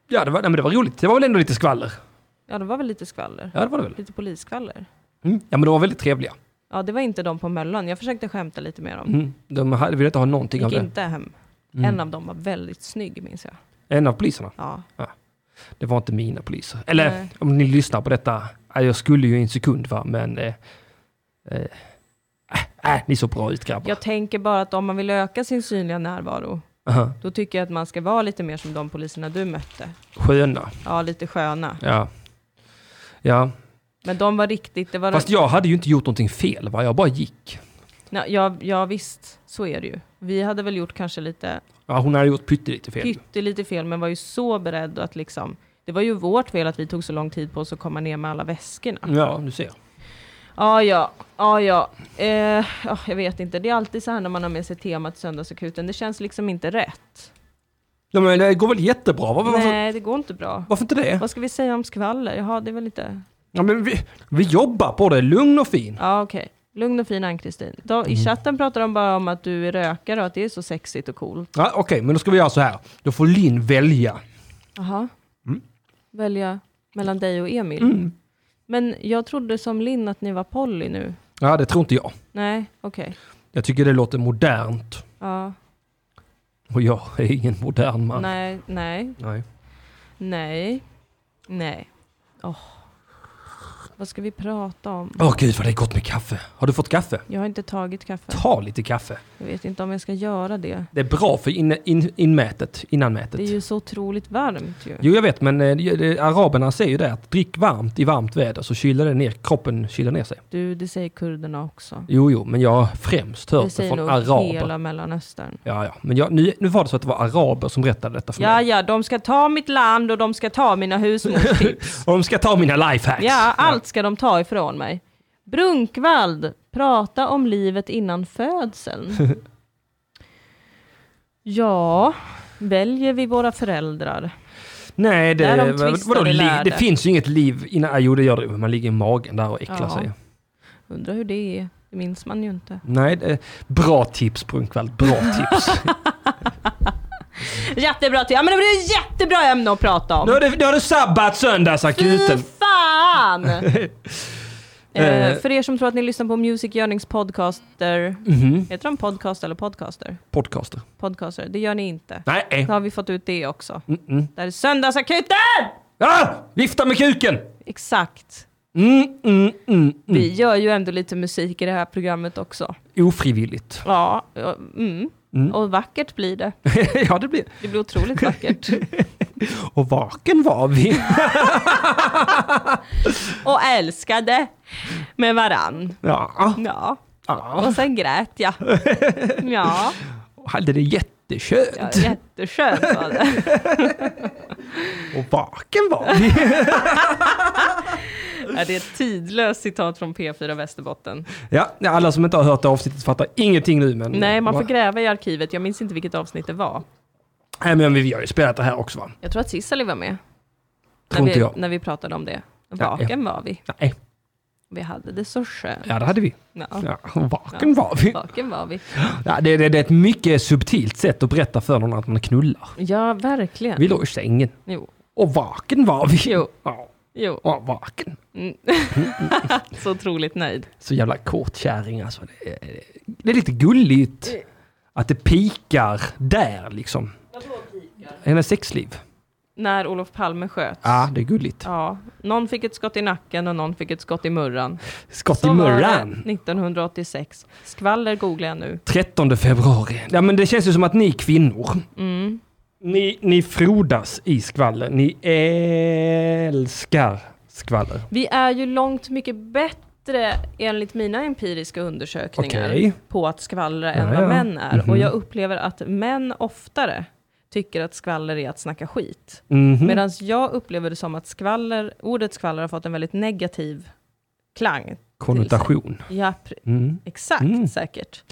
S3: ja det, var, nej, men det var roligt. Det var väl ändå lite skvaller?
S4: Ja, det var väl lite skvaller.
S3: Ja, det var det väl.
S4: Lite polisskvaller.
S3: Mm. Ja, men de var väldigt trevliga.
S4: Ja, det var inte de på Möllan. Jag försökte skämta lite med dem.
S3: Mm. De hade, ville inte ha någonting av
S4: Gick
S3: det.
S4: inte hem.
S3: Mm.
S4: En av dem var väldigt snygg minns jag.
S3: En av poliserna.
S4: Ja.
S3: Det var inte mina poliser. Eller
S4: Nej.
S3: om ni lyssnar på detta. ja, Jag skulle ju i en sekund va, men... Eh, eh, äh, äh, ni såg bra ut grabbar.
S4: Jag tänker bara att om man vill öka sin synliga närvaro,
S3: Aha.
S4: då tycker jag att man ska vara lite mer som de poliserna du mötte.
S3: Sköna.
S4: Ja, lite sköna.
S3: Ja. Ja,
S4: Men de var riktigt, det var...
S3: fast jag hade ju inte gjort någonting fel va, jag bara gick.
S4: Nej, ja, ja, visst, så är det ju. Vi hade väl gjort kanske lite,
S3: Ja, hon hade gjort pyttelite fel.
S4: pyttelite fel, men var ju så beredd att liksom... Det var ju vårt fel att vi tog så lång tid på oss att komma ner med alla väskorna.
S3: Ja, du ser.
S4: Ja, ja, ja, ja. Eh, ja, jag vet inte. Det är alltid så här när man har med sig temat Söndagsakuten. Det känns liksom inte rätt.
S3: Ja, men det går väl jättebra? Varför, varför,
S4: Nej, det går inte bra.
S3: varför inte det?
S4: Vad ska vi säga om skvaller? Jaha, det är väl inte...
S3: Ja, men vi, vi jobbar på det, lugn och fin.
S4: Ja, okej. Lugn och fin Ann-Kristin. Då-
S3: Mm.
S4: I chatten pratar de bara om att du är rökare och att det är så sexigt och coolt.
S3: Ja, Okej, men då ska vi göra så här. Då får Linn välja.
S4: Jaha.
S3: Mm.
S4: Välja mellan dig och Emil.
S3: Mm.
S4: Men jag trodde som Linn att ni var Polly nu.
S3: Ja, det tror inte jag.
S4: Nej, okej.
S3: Jag tycker det låter modernt.
S4: Ja,
S3: Och jag är ingen modern man.
S4: nej, nej,
S3: Nej.
S4: nej, nej. Åh. Vad ska vi prata om?
S3: Åh gud vad det är gott med kaffe. Har du fått kaffe?
S4: Jag har inte tagit kaffe.
S3: Ta lite kaffe.
S4: Jag vet inte om jag ska göra det.
S3: Det är bra för in, in, inmätet, innanmätet.
S4: Det är ju så otroligt varmt ju.
S3: Jo jag vet men eh, det- det- araberna säger ju det att drick varmt i varmt väder så kyler det ner, kroppen kyler ner sig.
S4: Du, det säger kurderna också.
S3: Jo jo men jag har främst
S4: Det
S3: hört det
S4: säger
S3: från
S4: nog
S3: araber.
S4: hela Mellanöstern.
S3: Ja ja men jag, nu, nu var det så att det var araber som berättade detta för
S4: Ja,
S3: mig.
S4: ja, de ska ta mitt land och de ska ta mina husmorstips.
S3: Och de ska ta mina lifehacks.
S4: Ja, allt ska de ta ifrån mig. Brunkvald, prata om livet innan födseln. Ja, väljer vi våra föräldrar?
S3: Nej det,
S4: Där de
S3: vad-
S4: tvistar
S3: vadå,
S4: och
S3: li,
S4: lärde.
S3: det finns ju inget liv innan, jo det gör det ju. man ligger i magen där och äcklar
S4: Ja.
S3: sig.
S4: Undrar hur det är, det minns man ju inte.
S3: Nej, det, bra tips Brunkvall, bra tips.
S4: Jättebra, till- ja, men det är ett jättebra ämne att prata om.
S3: nu, har du, nu har du sabbat söndagsakuten.
S4: Fy fan! eh,
S3: Eh.
S4: för er som tror att ni lyssnar på Music Yearnings podcaster,
S3: Mhm.
S4: heter de podcast eller podcaster?
S3: Podcaster.
S4: Podcaster, det gör ni inte.
S3: Nej. eh.
S4: Då har vi fått ut det också.
S3: Mm-mm.
S4: Där är Söndagsakuten!
S3: Ah! Vifta med kuken!
S4: Exakt.
S3: Mm, mm, mm, mm.
S4: Vi gör ju ändå lite musik i det här programmet också.
S3: Ofrivilligt.
S4: Ja, ja, mm.
S3: Mm.
S4: och vackert blir det.
S3: ja, det blir...
S4: Det blir otroligt vackert.
S3: Och vaken var vi.
S4: och älskade med varann.
S3: ja. Ah.
S4: Ja,
S3: ja.
S4: och sen grät jag. Ja,
S3: Och hade det jättekönt.
S4: ja jätteskönt var det.
S3: Och vaken var vi.
S4: Ja, det är ett tidlöst citat från P4 Västerbotten.
S3: ja, alla som inte har hört det avsnittet fattar ingenting nu. Men, eh,
S4: Nej, man får gräva i arkivet. Jag minns inte vilket avsnitt det var.
S3: Nej, men vi, vi har ju spelat det här också va?
S4: Jag tror att Sissali var med.
S3: Tror
S4: när,
S3: inte
S4: vi,
S3: jag.
S4: när vi pratade om det.
S3: ja.
S4: Vaken var vi.
S3: Nej.
S4: Vi hade det så skönt.
S3: Ja, det hade vi.
S4: Ja.
S3: Ja, och vaken var vi.
S4: Vaken var vi.
S3: Ja, det, det, det är ett mycket subtilt sätt att berätta för någon att man knullar.
S4: Ja, verkligen.
S3: Vi låg i sängen.
S4: Jo,
S3: Och vaken var vi.
S4: Jo.
S3: Ja,
S4: jo.
S3: och vaken.
S4: Mm. så otroligt nöjd.
S3: Så jävla kortkärring alltså. Det är, det är lite gulligt att det pikar där liksom. Hennes sexliv.
S4: när Olof Palme sköts.
S3: Ja, det är gulligt.
S4: Ja, någon fick ett skott i nacken och någon fick ett skott i murran.
S3: Skott i
S4: Så var det
S3: murran!
S4: 1986. Skvaller googlar jag nu.
S3: 13 februari. Ja, men det känns ju som att ni kvinnor,
S4: Mm.
S3: ni, ni frodas i skvaller. Ni älskar skvaller.
S4: Vi är ju långt mycket bättre enligt mina empiriska undersökningar
S3: Okej.
S4: på att skvallra
S3: Ja,
S4: än vad
S3: ja.
S4: män är.
S3: Mhm.
S4: Och jag upplever att män oftare tycker att skvaller är att snacka skit.
S3: Mhm.
S4: Medan jag upplever det som att skvaller, ordet skvaller har fått en väldigt negativ klang.
S3: Konnotation.
S4: Ja, pr-
S3: Mm.
S4: exakt
S3: Mm.
S4: säkert.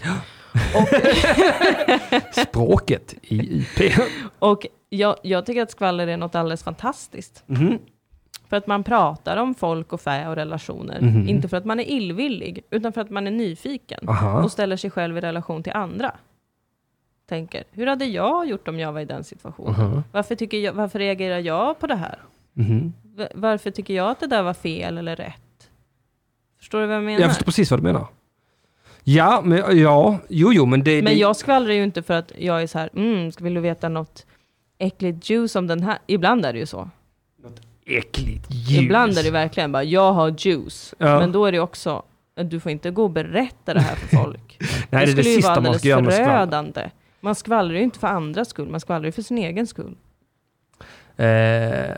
S3: Språket i IP.
S4: Och jag, jag tycker att skvaller är något alldeles fantastiskt.
S3: Mhm.
S4: För att man pratar om folk och fä och relationer.
S3: Mhm.
S4: Inte för att man är illvillig, utan för att man är nyfiken.
S3: Aha.
S4: Och ställer sig själv i relation till andra. Tänker, hur hade jag gjort om jag var i den situationen?
S3: Aha.
S4: Varför, tycker jag, varför reagerar jag på det här?
S3: Mhm.
S4: V- Varför tycker jag att det där var fel eller rätt? Förstår du vad jag menar?
S3: Jag förstår precis vad du menar. Ja, men ja, jo, jo, men det...
S4: Men
S3: det,
S4: jag skvallrar ju inte för att jag är så här, mm, ska- vill du veta något äckligt juice om den här? Ibland är det ju så.
S3: Äckligt ljus.
S4: Ibland är det verkligen bara, jag har juice.
S3: Ja.
S4: Men då är det också, du får inte gå och berätta det här för folk.
S3: Nej, det är det
S4: skulle ju vara
S3: sista man
S4: alldeles
S3: ska göra med skvaller.
S4: förödande. Man skvallrar ju inte för andras skull, man skvallrar ju för sin egen skull.
S3: Eh, eh,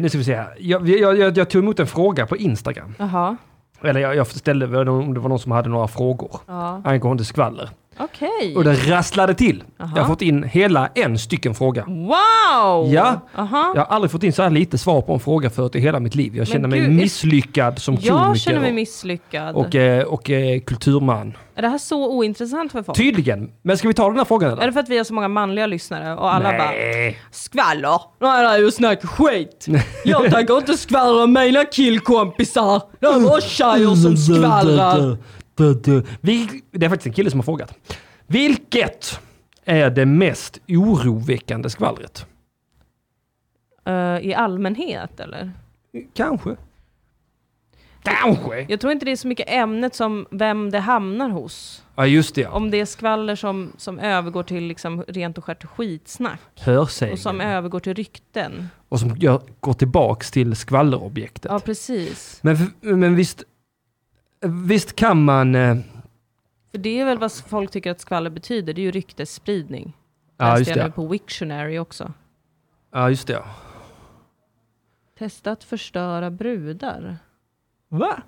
S3: nu ska vi se här. Jag, jag, jag, jag tog emot en fråga på Instagram.
S4: Jaha,
S3: Eller jag, jag ställde väl om det var någon som hade några frågor
S4: ja.
S3: angående skvaller.
S4: okej.
S3: Och det rasslade till. Jag har
S4: Jaha.
S3: fått in hela en stycken fråga.
S4: Wow!
S3: Ja.
S4: Aha.
S3: Jag har aldrig fått in så här lite svar på en fråga förut i hela mitt liv. Jag
S4: Men
S3: känner mig
S4: gud, är-
S3: misslyckad som
S4: Jag känner mig
S3: komiker
S4: misslyckad.
S3: och, eh, och eh, kulturman.
S4: Är det här så ointressant för folk?
S3: Tydligen. Men ska vi ta den här frågan
S4: Är
S3: eller?
S4: det för att vi har så många manliga lyssnare och alla bara
S3: Nej.
S4: Skvaller? Nej, det är ju snack skit. Jag tänker inte skvallra om mina killkompisar. Det är bara tjejer som skvallrar.
S3: Vil- Det är faktiskt en kille som har frågat. Vilket är det mest oroväckande skvallret?
S4: Eh, I allmänhet eller?
S3: Kanske. Kanske!
S4: Jag tror inte det är så mycket ämnet som vem det hamnar hos.
S3: Ja, just det. ja.
S4: Om det är skvaller som, som övergår till liksom rent och skärt skitsnack.
S3: Hörsägen.
S4: Och som övergår till rykten.
S3: Och som gör, går tillbaks till skvallerobjektet.
S4: Ja, precis.
S3: Men, f- men visst, visst kan man... eh,
S4: För det är väl vad folk tycker att skvaller betyder. Det är ju ryktesspridning.
S3: Ja,
S4: Läste
S3: just
S4: jag nu
S3: det.
S4: på Wiktionary också.
S3: Ja, just det.
S4: Testa att förstöra brudar.
S3: Va?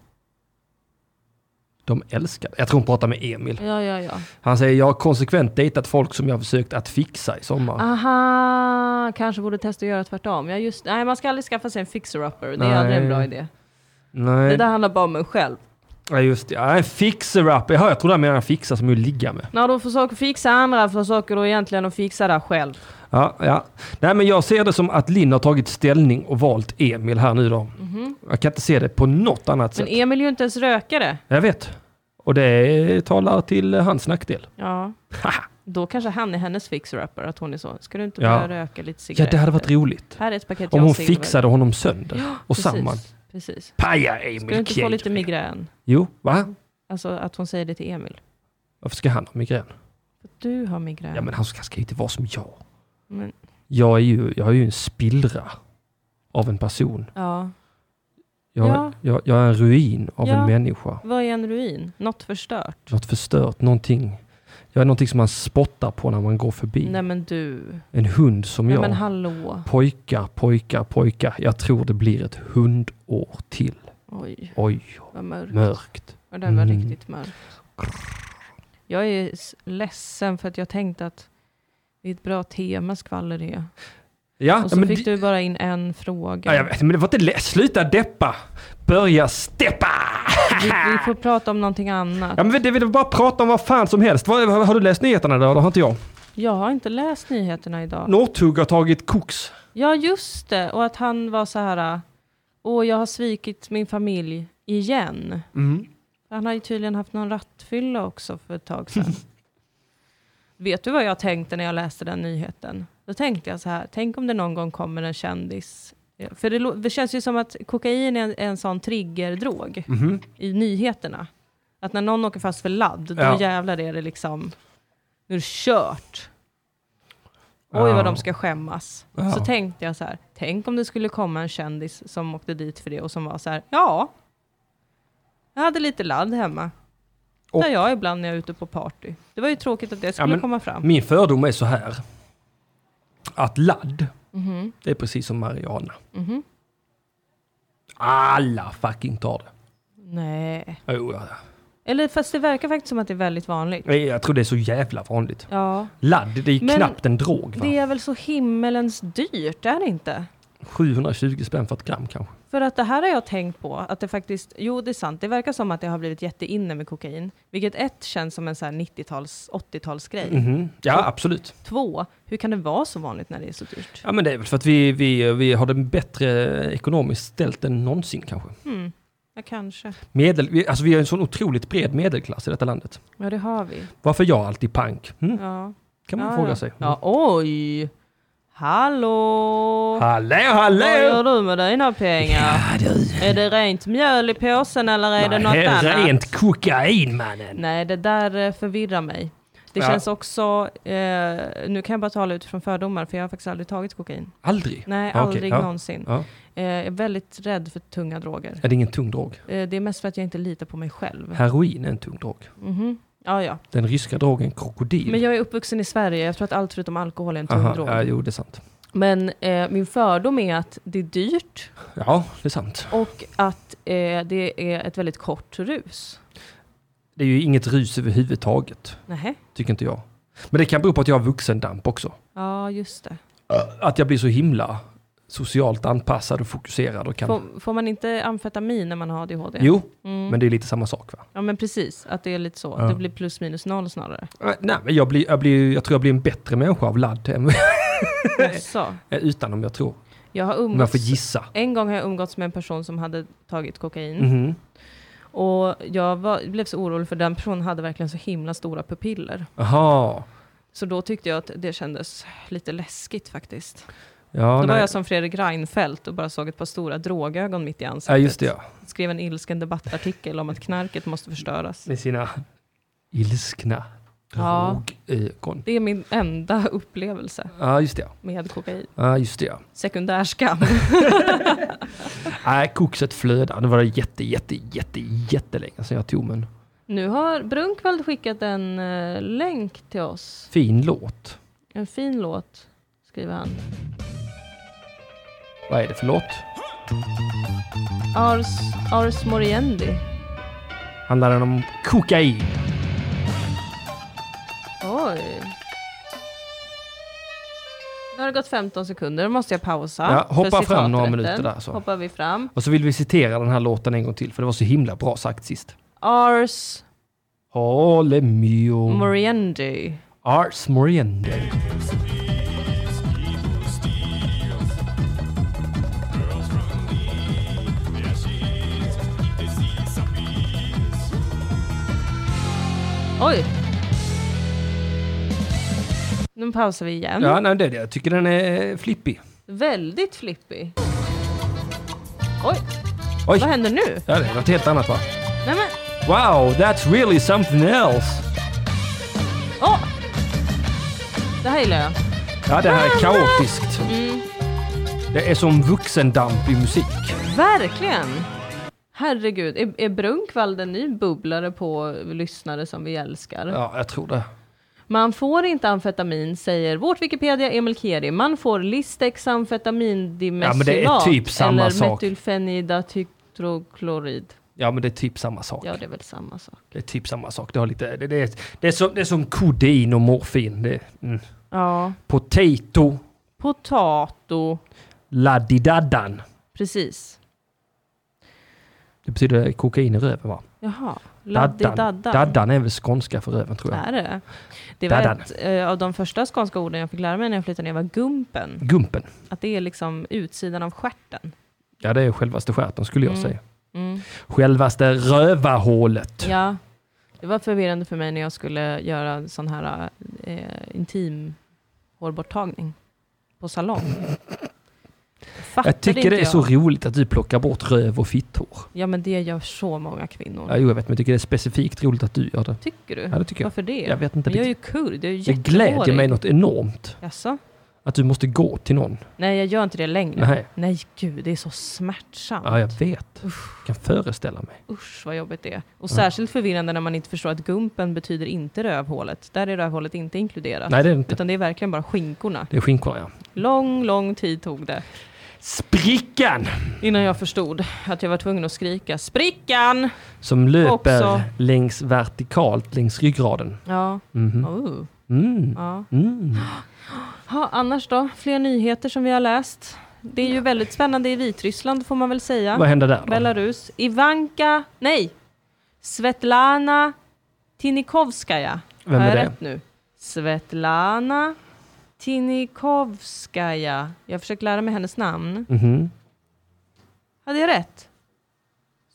S3: De älskar Jag tror hon pratar med Emil.
S4: Ja, ja, ja.
S3: Han säger jag har konsekvent dejtat folk som jag har försökt att fixa i sommar.
S4: Ah, Aha, kanske borde testa att göra tvärtom. Ja, just, nej, man ska aldrig skaffa sig en fixer-upper. Det är
S3: Nej.
S4: aldrig en bra idé. Det
S3: Nej,
S4: där handlar bara om en själv.
S3: ja, just det. Ja, en fixer-up. Jaha, jag trodde han menade fixa som att ligga med.
S4: När du försöker fixa andra försöker du egentligen att fixa det själv.
S3: Ja, ja. Nej, men jag ser det som att Linn har tagit ställning och valt Emil här nu då. Jag kan inte se det på något annat
S4: Mhm. Men
S3: sätt.
S4: Emil är ju inte ens rökare.
S3: Jag vet. Och det talar till hans nackdel.
S4: Ja. Då kanske han är hennes fixer-upper, att hon är så. Ska du inte
S3: Ja.
S4: börja röka lite
S3: Ja,
S4: cigaretter?
S3: det hade varit roligt.
S4: Här är ett paket
S3: Om hon
S4: Jarlsberg.
S3: fixade honom sönder och
S4: Precis,
S3: samman.
S4: Precis.
S3: Paja
S4: Ska du
S3: Emil
S4: inte få lite
S3: Kjellgren.
S4: migrän?
S3: Jo, va?
S4: Alltså att hon säger det till Emil.
S3: Varför ska han ha migrän?
S4: Du har migrän.
S3: Ja, men han ska ska inte vara som jag.
S4: Men-
S3: Jag är ju, jag är ju en spillra av en person.
S4: ja.
S3: Jag,
S4: Ja.
S3: jag, jag är en ruin av
S4: Ja.
S3: en människa.
S4: Vad är en ruin? Något förstört?
S3: Något förstört, någonting. Jag är någonting som man spottar på när man går förbi.
S4: Nej men du.
S3: En hund som
S4: Nej
S3: jag.
S4: men hallå.
S3: Pojkar, pojkar, pojkar. Jag tror det blir ett hundår till.
S4: Oj,
S3: Oj,
S4: vad mörkt.
S3: mörkt.
S4: Och den var
S3: Mm.
S4: riktigt mörk. Jag är s- ledsen för att jag tänkte att det är ett bra tema skvaller är.
S3: Ja,
S4: Och
S3: ja,
S4: så
S3: men,
S4: fick
S3: det-
S4: du bara in en fråga.
S3: ja, jag vet, men det var inte lätt. Sluta deppa! Börja steppa!
S4: vi, vi får prata om någonting annat.
S3: Ja, men det vill jag bara prata om vad fan som helst. Vad, har, har du läst nyheterna eller Det har inte jag.
S4: Jag har inte läst nyheterna idag.
S3: Northug har tagit koks.
S4: Ja just det, och att han var så här. Åh jag har svikit min familj igen. Han har ju tydligen haft någon rattfylla också för ett tag sedan. Vet du vad jag tänkte när jag läste den nyheten? Då tänkte jag så här, tänk om det någon gång kommer en kändis. Ja, För det, lo- det känns ju som att kokain är en, en sån triggerdrog i nyheterna. Att när någon åker fast för ladd, då
S3: Ja.
S4: jävlar är det liksom, nu är det kört. Oj
S3: Ja.
S4: vad de ska skämmas.
S3: Ja.
S4: Så tänkte jag så här, tänk om det skulle komma en kändis som åkte dit för det och som var så här, ja. Jag hade lite ladd hemma.
S3: Och-
S4: Där jag ibland när jag är ute på party. Det var ju tråkigt att det skulle
S3: men-
S4: komma fram.
S3: Min fördom är så här. Att ladd,
S4: Mhm.
S3: det är precis som Mariana. Alla fucking tar det.
S4: Nej.
S3: Jo, ja,
S4: Eller fast det verkar faktiskt som att det är väldigt vanligt.
S3: ja. Jag tror det är så jävla vanligt.
S4: Ja.
S3: Ladd, det är ju
S4: Men
S3: knappt en drog. Va?
S4: Det är väl så himmelens dyrt, är det inte?
S3: 720 spänn för ett gram kanske.
S4: För att det här har jag tänkt på, att det faktiskt, jo det är sant, det verkar som att det har blivit jätteinne med kokain. Vilket ett känns som en så här 90-tals, 80-talsgrej.
S3: Mhm. Ja, absolut.
S4: Två, hur kan det vara så vanligt när det är så dyrt?
S3: Ja, men det är väl för att vi, vi, vi har det bättre ekonomiskt ställt än någonsin kanske.
S4: Ja, kanske.
S3: Medel, vi, alltså vi har en sån otroligt bred medelklass i detta landet.
S4: Ja, det har vi.
S3: Varför är jag alltid pank? Mm,
S4: Ja.
S3: kan man
S4: ja,
S3: fråga
S4: ja.
S3: sig. Mm.
S4: Ja, oj! Hallå!
S3: Hallå,
S4: Vad
S3: hallå!
S4: gör du med dina pengar?
S3: Ja, du.
S4: Är det rent mjöl i påsen eller är det något
S3: Nej,
S4: annat?
S3: Rent kokain mannen.
S4: Nej, det där eh, förvirrar mig. Det
S3: Ja.
S4: känns också, eh, nu kan jag bara tala utifrån fördomar för jag har faktiskt aldrig tagit kokain.
S3: Aldrig?
S4: Nej,
S3: Ja, okej,
S4: aldrig
S3: ja.
S4: någonsin.
S3: Ja.
S4: Eh, jag är väldigt rädd för tunga droger.
S3: Är det ingen tung drog?
S4: Eh, det är mest för att jag inte litar på mig själv.
S3: Heroin är en tung drog.
S4: Mhm. Ja, ja.
S3: Den ryska drogen krokodil.
S4: Men jag är uppvuxen i Sverige, jag tror att allt förutom alkohol är en tung
S3: Aha,
S4: drog.
S3: Ja, jo, det är sant.
S4: Men eh, min fördom är att det är dyrt
S3: Ja, det är sant.
S4: och att eh, det är ett väldigt kort rus.
S3: Det är ju inget rus överhuvudtaget,
S4: Nähä.
S3: tycker inte jag. Men det kan bero på att jag har vuxendamp också.
S4: Ja, just det.
S3: Att jag blir så himla socialt anpassad och fokuserad och kan...
S4: Får, får man inte amfetamin när man har ADHD?
S3: Jo,
S4: Mm.
S3: men det är lite samma sak va?
S4: Ja, men precis. Att det är lite så.
S3: Ja.
S4: Det blir plus minus noll snarare.
S3: Äh, Nej, men jag, blir, jag, blir, jag tror jag blir en bättre människa av ladd än
S4: Så.
S3: utan om jag tror.
S4: Jag har
S3: Om jag
S4: umgåtts...
S3: får gissa.
S4: En gång har jag umgåtts med en person som hade tagit kokain.
S3: Mhm.
S4: Och jag var, blev så orolig för den personen hade verkligen så himla stora pupiller.
S3: Aha.
S4: Så då tyckte jag att det kändes lite läskigt faktiskt.
S3: Ja,
S4: då var
S3: nej.
S4: jag som Fredrik Reinfeldt och bara såg ett par stora drogögon mitt i
S3: ja,
S4: ansiktet.
S3: just det ja.
S4: Skrev en ilsken debattartikel om att knarket måste förstöras.
S3: med sina ilskna
S4: Ja.
S3: drogögon.
S4: Det är min enda upplevelse
S3: Ja, just det.
S4: med kokain.
S3: Ja, just det.
S4: Sekundärskam.
S3: Nej, kokset flödar. Det var jätte, jätte, jätte, jättelänge sedan jag tog men
S4: Nu har Brunkvald skickat en eh, länk till oss.
S3: fin låt.
S4: En fin låt, skriver han.
S3: Vad är det för låt?
S4: Ars, Ars Moriendi.
S3: Handlar den om kokain?
S4: Oj. Nu har det gått 15 sekunder, då måste jag pausa.
S3: Ja,
S4: för
S3: hoppa fram
S4: citaträtten.
S3: några minuter där, så.
S4: Hoppar vi fram.
S3: Och så vill vi citera den här låten en gång till för det var så himla bra sagt sist.
S4: Ars
S3: Håle mio.
S4: Moriendi.
S3: Ars moriende.
S4: Oj! Nu pausar vi igen.
S3: Ja, nej, det är det. Jag tycker den är flippig.
S4: Väldigt flippig. Oj,
S3: Oj!
S4: vad händer nu?
S3: Ja, det är något helt annat va?
S4: Nej men,
S3: Wow, that's really something else!
S4: åh! Det här gillar jag.
S3: Ja, det
S4: Ah.
S3: här är kaotiskt.
S4: Mm.
S3: Det är som vuxendamp i musik.
S4: Verkligen! Herregud, är, är Brunkvald en ny bubblare på lyssnare som vi älskar?
S3: Ja, jag tror det.
S4: Man får inte amfetamin, säger vårt Wikipedia Emil Keri. Man får Listex amfetamindimesylat.
S3: Ja, men det är typ samma
S4: eller
S3: sak.
S4: metylfenidatytroklorid.
S3: Ja, men det är typ samma sak.
S4: Ja, det är väl samma sak.
S3: Det är typ samma sak. Det, har lite, det, det, är, det, är, som, det är som kodein och morfin. Det, mm.
S4: Ja.
S3: Potato,
S4: Potato.
S3: ladidaddan.
S4: Precis.
S3: Det betyder kokain i röven va?
S4: Jaha.
S3: Daddan.
S4: Laddidaddan.
S3: Daddan är väl skånska för röven tror jag.
S4: Är det? Det var
S3: Daddan.
S4: ett eh, av de första skånska orden jag fick lära mig när jag flyttade ner var gumpen.
S3: Gumpen.
S4: Att det är liksom utsidan av stjärten.
S3: Ja, det är självaste stjärten skulle jag
S4: Mm.
S3: säga.
S4: Mm.
S3: Självaste rövahålet.
S4: Ja. Det var förvirrande för mig när jag skulle göra en sån här eh, intim hårborttagning på salong. Fattade
S3: jag tycker
S4: inte
S3: det är
S4: jag. Mm.
S3: så roligt att du plockar bort röv och fitthår.
S4: Ja men det gör så många kvinnor.
S3: Ja, jo, jag vet, men jag tycker det är specifikt roligt att du gör det.
S4: Tycker du?
S3: Ja, det tycker jag.
S4: Varför det?
S3: Jag vet inte
S4: men jag är
S3: riktigt.
S4: ju kurd, jag är
S3: Det
S4: ju
S3: gläder mig något enormt.
S4: Jaså?
S3: Att du måste gå till någon.
S4: Nej, jag gör inte det längre.
S3: Nej.
S4: Nej, gud, det är så smärtsamt.
S3: Ja, jag vet. Jag kan föreställa mig.
S4: Usch vad jobbigt det är. Och särskilt förvirrande när man inte förstår att gumpen betyder inte rövhålet. Där är rövhålet inte inkluderat.
S3: Nej, det är det inte.
S4: Utan det är verkligen bara skinkorna.
S3: Det är skinkorna, ja.
S4: Lång, lång tid tog det
S3: Sprickan!
S4: innan jag förstod att jag var tvungen att skrika sprickan!
S3: Som löper
S4: Också.
S3: längs vertikalt längs ryggraden.
S4: Ja.
S3: Mhm.
S4: Oh.
S3: Mm.
S4: ja.
S3: Mm.
S4: Ha, annars då? Fler nyheter som vi har läst? Det är ju väldigt spännande i Vitryssland får man väl säga.
S3: Vad händer där då?
S4: Belarus. Ivanka, nej! Svetlana Tinikovskaja.
S3: Vem
S4: Har
S3: är
S4: jag
S3: det?
S4: rätt nu? Svetlana Tinikovskaja. Jag har försökt lära mig hennes namn.
S3: Mhm.
S4: Hade jag rätt?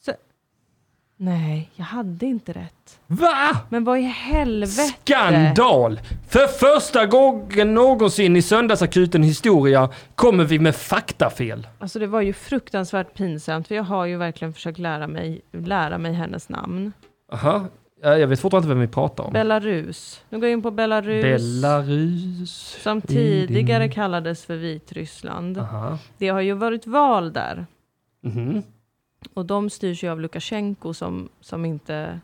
S4: Så... Nej, jag hade inte rätt.
S3: Va?
S4: Men vad i helvete?
S3: Skandal! För första gången någonsin i Söndagsakuten historia kommer vi med faktafel.
S4: Alltså det var ju fruktansvärt pinsamt för jag har ju verkligen försökt lära mig, lära mig hennes namn.
S3: Aha. Ja, Jag vet fortfarande inte vem vi pratar om.
S4: Belarus. Nu går jag in på Belarus.
S3: Belarus.
S4: Som
S3: i
S4: tidigare
S3: din- Ah.
S4: kallades för Vitryssland.
S3: Aha.
S4: Det har ju varit val där.
S3: Mhm.
S4: Och de styrs ju av Lukasjenko som, som inte...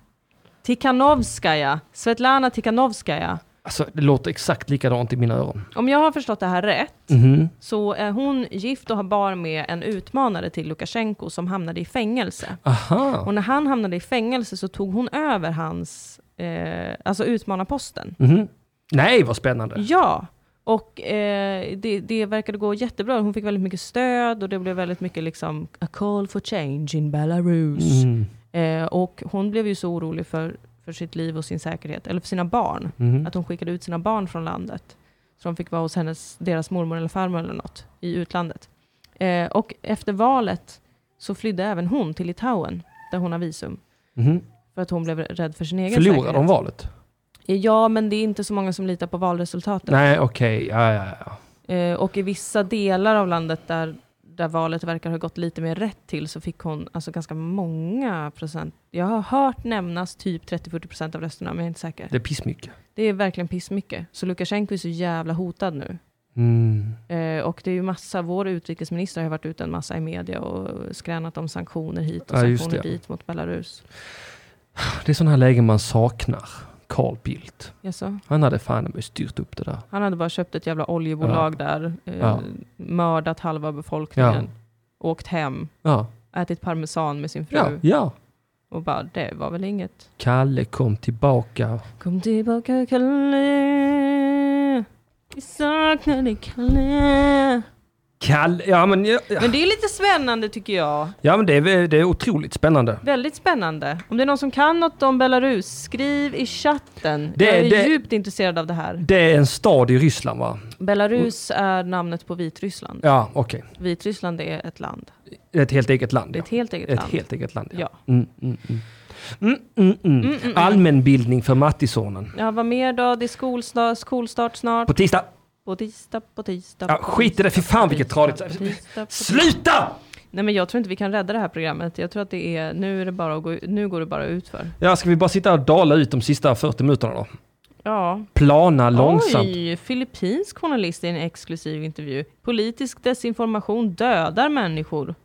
S4: Tikhanovskaja, Svetlana Tikhanovskaja.
S3: Alltså, det låter exakt likadant i mina öron.
S4: Om jag har förstått det här rätt
S3: Mhm.
S4: så är hon gift och har barn med en utmanare till Lukasjenko som hamnade i fängelse.
S3: Aha.
S4: Och när han hamnade i fängelse så tog hon över hans, eh, alltså utmanarposten.
S3: Mhm. Nej, vad spännande.
S4: Ja, och eh, det, det verkade gå jättebra. Hon fick väldigt mycket stöd och det blev väldigt mycket liksom a call for change in Belarus.
S3: Mm.
S4: Eh, och hon blev ju så orolig för, för sitt liv och sin säkerhet, eller för sina barn,
S3: Mhm.
S4: att hon skickade ut sina barn från landet. Så de fick vara hos hennes, deras mormor eller farmor eller något i utlandet. Eh, och efter valet så flydde även hon till Litauen, där hon har visum.
S3: Mhm.
S4: För att hon blev rädd för sin egen
S3: Förlorar
S4: säkerhet.
S3: de valet?
S4: Ja, men det är inte så många som litar på valresultatet.
S3: Nej, okej. Ja, ja, ja.
S4: Eh, och i vissa delar av landet där, där valet verkar ha gått lite mer rätt till så fick hon alltså ganska många procent. Jag har hört nämnas typ 30-40 procent av rösterna, men jag är inte säker.
S3: Det är pissmycket.
S4: Det är verkligen pissmycket. Så Lukasjenko är så jävla hotad nu.
S3: Mm.
S4: Eh, och det är ju massa, vår utrikesminister har ju varit ute en massa i media och skränat om sanktioner hit och
S3: Ja, just
S4: sanktioner
S3: det.
S4: dit mot Belarus.
S3: Det är sådana här lägen man saknar. Carl Bildt.
S4: Jaså?
S3: Han hade fan i mig styrt upp det där.
S4: Han hade bara köpt ett jävla oljebolag där, eh,
S3: Ja.
S4: mördat halva befolkningen, åkt hem,
S3: Ja,
S4: ätit parmesan med sin fru.
S3: ja, ja.
S4: Och bara, det var väl inget.
S3: Kalle kom tillbaka.
S4: Kom tillbaka Kalle. Vi saknar dig Kalle.
S3: Kalle, ja men, ja,
S4: Men det är lite spännande tycker jag.
S3: ja, men det, är, det är otroligt spännande.
S4: Väldigt spännande. Om det är någon som kan något om Belarus, skriv i chatten.
S3: Det-
S4: jag är
S3: det-
S4: djupt intresserad av det här.
S3: Det är en stad i Ryssland va?
S4: Belarus är namnet på Vitryssland.
S3: Ja, okej.
S4: Vitryssland är ett land.
S3: Det är Ett helt eget land.
S4: Det är
S3: Ja.
S4: ett helt eget
S3: Ett
S4: land.
S3: helt eget land.
S4: Ja.
S3: Mm, mm, mm. Mm, mm, mm. Allmänbildning för Mattisonen.
S4: Ja, vad mer då? Det är skolstart, skolstart snart.
S3: På tisdag.
S4: På tisdag, på tisdag.
S3: Ja,
S4: på
S3: skit i det. Fy
S4: tisdag,
S3: fan
S4: på
S3: vilket
S4: tisdag,
S3: tradigt.
S4: på tisdag, på
S3: Sluta!
S4: Nej men jag tror inte vi kan rädda det här programmet. Jag tror att det är, nu är det bara att gå, nu går det bara ut för.
S3: Ja, ska vi bara sitta och dala ut de sista 40 minuterna då?
S4: Ja.
S3: Plana långsamt.
S4: Oj, filippinsk journalist i en exklusiv intervju. Politisk desinformation dödar människor,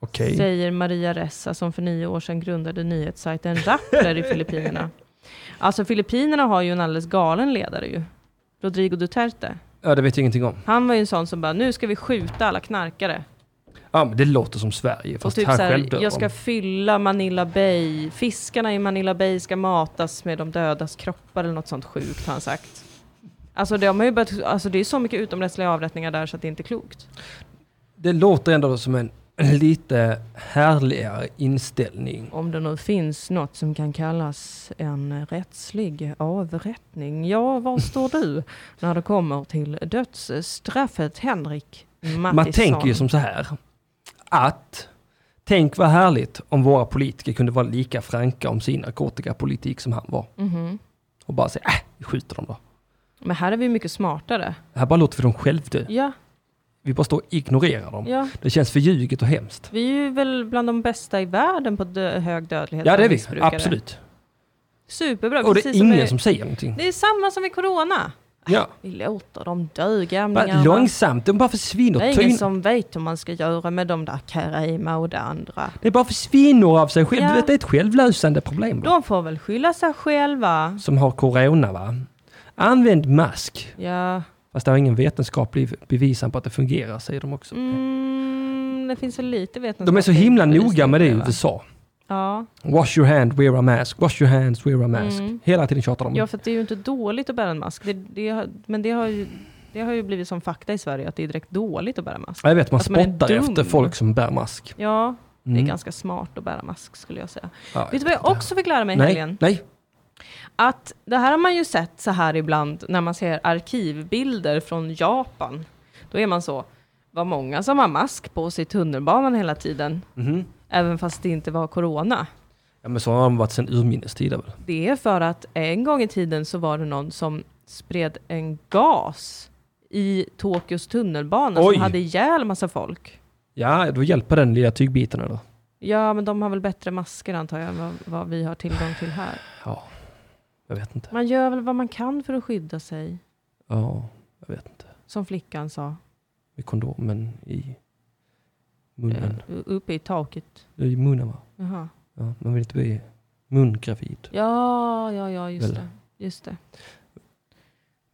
S3: Okej.
S4: säger Maria Ressa som för nio år sedan grundade nyhetssajten Rappler i Filippinerna. Alltså Filippinerna har ju en alldeles galen ledare ju. Rodrigo Duterte.
S3: Ja, det vet jag ingenting om.
S4: Han var ju en sån som bara, nu ska vi skjuta alla knarkare.
S3: Ja, men det låter som Sverige,
S4: Och
S3: fast
S4: typ
S3: han
S4: så
S3: själv
S4: här,
S3: dör
S4: jag ska
S3: om.
S4: fylla Manila Bay. Fiskarna i Manila Bay ska matas med de dödas kroppar eller något sånt sjukt har han sagt. Alltså de har ju börjat, alltså det är så mycket utomrättsliga avrättningar där så att det inte är klokt.
S3: Det låter ändå som en lite härligare inställning.
S4: Om det nu finns något som kan kallas en rättslig avrättning. Ja, var står du när det kommer till dödsstraffet Henrik Mattisson?
S3: Man tänker ju som så här, att tänk vad härligt om våra politiker kunde vara lika franka om sin narkotikapolitik som han var.
S4: Mhm.
S3: Och bara säga, äh, vi skjuter dem då.
S4: Men här är vi mycket smartare.
S3: Här bara låter vi dem självdö.
S4: Ja,
S3: Vi bara står och ignorerar dem.
S4: ja.
S3: Det känns förljuget och hemskt.
S4: Vi är ju väl bland de bästa i världen på dö- hög dödlighet
S3: Ja, det är
S4: bland
S3: vi.
S4: missbrukare.
S3: Absolut.
S4: Superbra.
S3: Och det
S4: precis
S3: är ingen
S4: vi-
S3: som säger någonting.
S4: Det är samma som i corona. Äh,
S3: Ja.
S4: Vi låter dem dö,
S3: Bara
S4: gamlingarna.
S3: långsamt, de bara försvinner.
S4: det är
S3: Tyn-
S4: ingen som vet hur man ska göra med de där Karima och det andra.
S3: Det bara försvinner av sig själv.
S4: Ja.
S3: Du vet, det är ett självlösande problem. va?
S4: De får väl skylla sig själva.
S3: Som har corona va? Använd mask.
S4: Ja,
S3: Fast det har ingen vetenskaplig bevisan på att det fungerar, säger de också.
S4: mm, det finns så lite vetenskap.
S3: De är så himla
S4: bevisning
S3: noga med det i
S4: va?
S3: USA.
S4: Ja,
S3: Wash your hand, wear a mask. Wash your hands, wear a mask.
S4: Mm.
S3: Hela tiden tjatar de.
S4: ja, för att det är ju inte dåligt att bära en mask. Det, det, har- men det har, ju, det har ju blivit som fakta i Sverige att det är direkt dåligt att bära mask.
S3: Ja, Jag vet, man
S4: Att man är
S3: spottar
S4: dum.
S3: efter folk som bär mask.
S4: Ja, det är
S3: Mm.
S4: ganska smart att bära mask skulle jag säga.
S3: Ja,
S4: Vet du vad jag också fick lära mig i
S3: Nej,
S4: helgen?
S3: nej.
S4: Att det här har man ju sett så här ibland när man ser arkivbilder från Japan. Då är man så, vad många som har mask på sig i tunnelbanan hela tiden.
S3: Mhm.
S4: Även fast det inte var corona.
S3: Ja, men så har de varit sedan urminnes tider väl?
S4: Det är för att en gång i tiden så var det någon som spred en gas i Tokyos tunnelbana
S3: Oj.
S4: som hade ihjäl massa folk.
S3: Ja, då hjälper den lilla tygbiten eller?
S4: Ja, men de har väl bättre masker antar jag än vad, vad vi har tillgång till här.
S3: Ja, jag vet inte.
S4: Man gör väl vad man kan för att skydda sig,
S3: Ja, jag vet inte.
S4: som flickan sa.
S3: Med kondomen i munnen.
S4: Eh, Uppe i taket.
S3: I munnen va?
S4: Jaha.
S3: Ja, man vill inte bli mungravid.
S4: Ja, ja, ja, just
S3: Väl.
S4: det. Just det.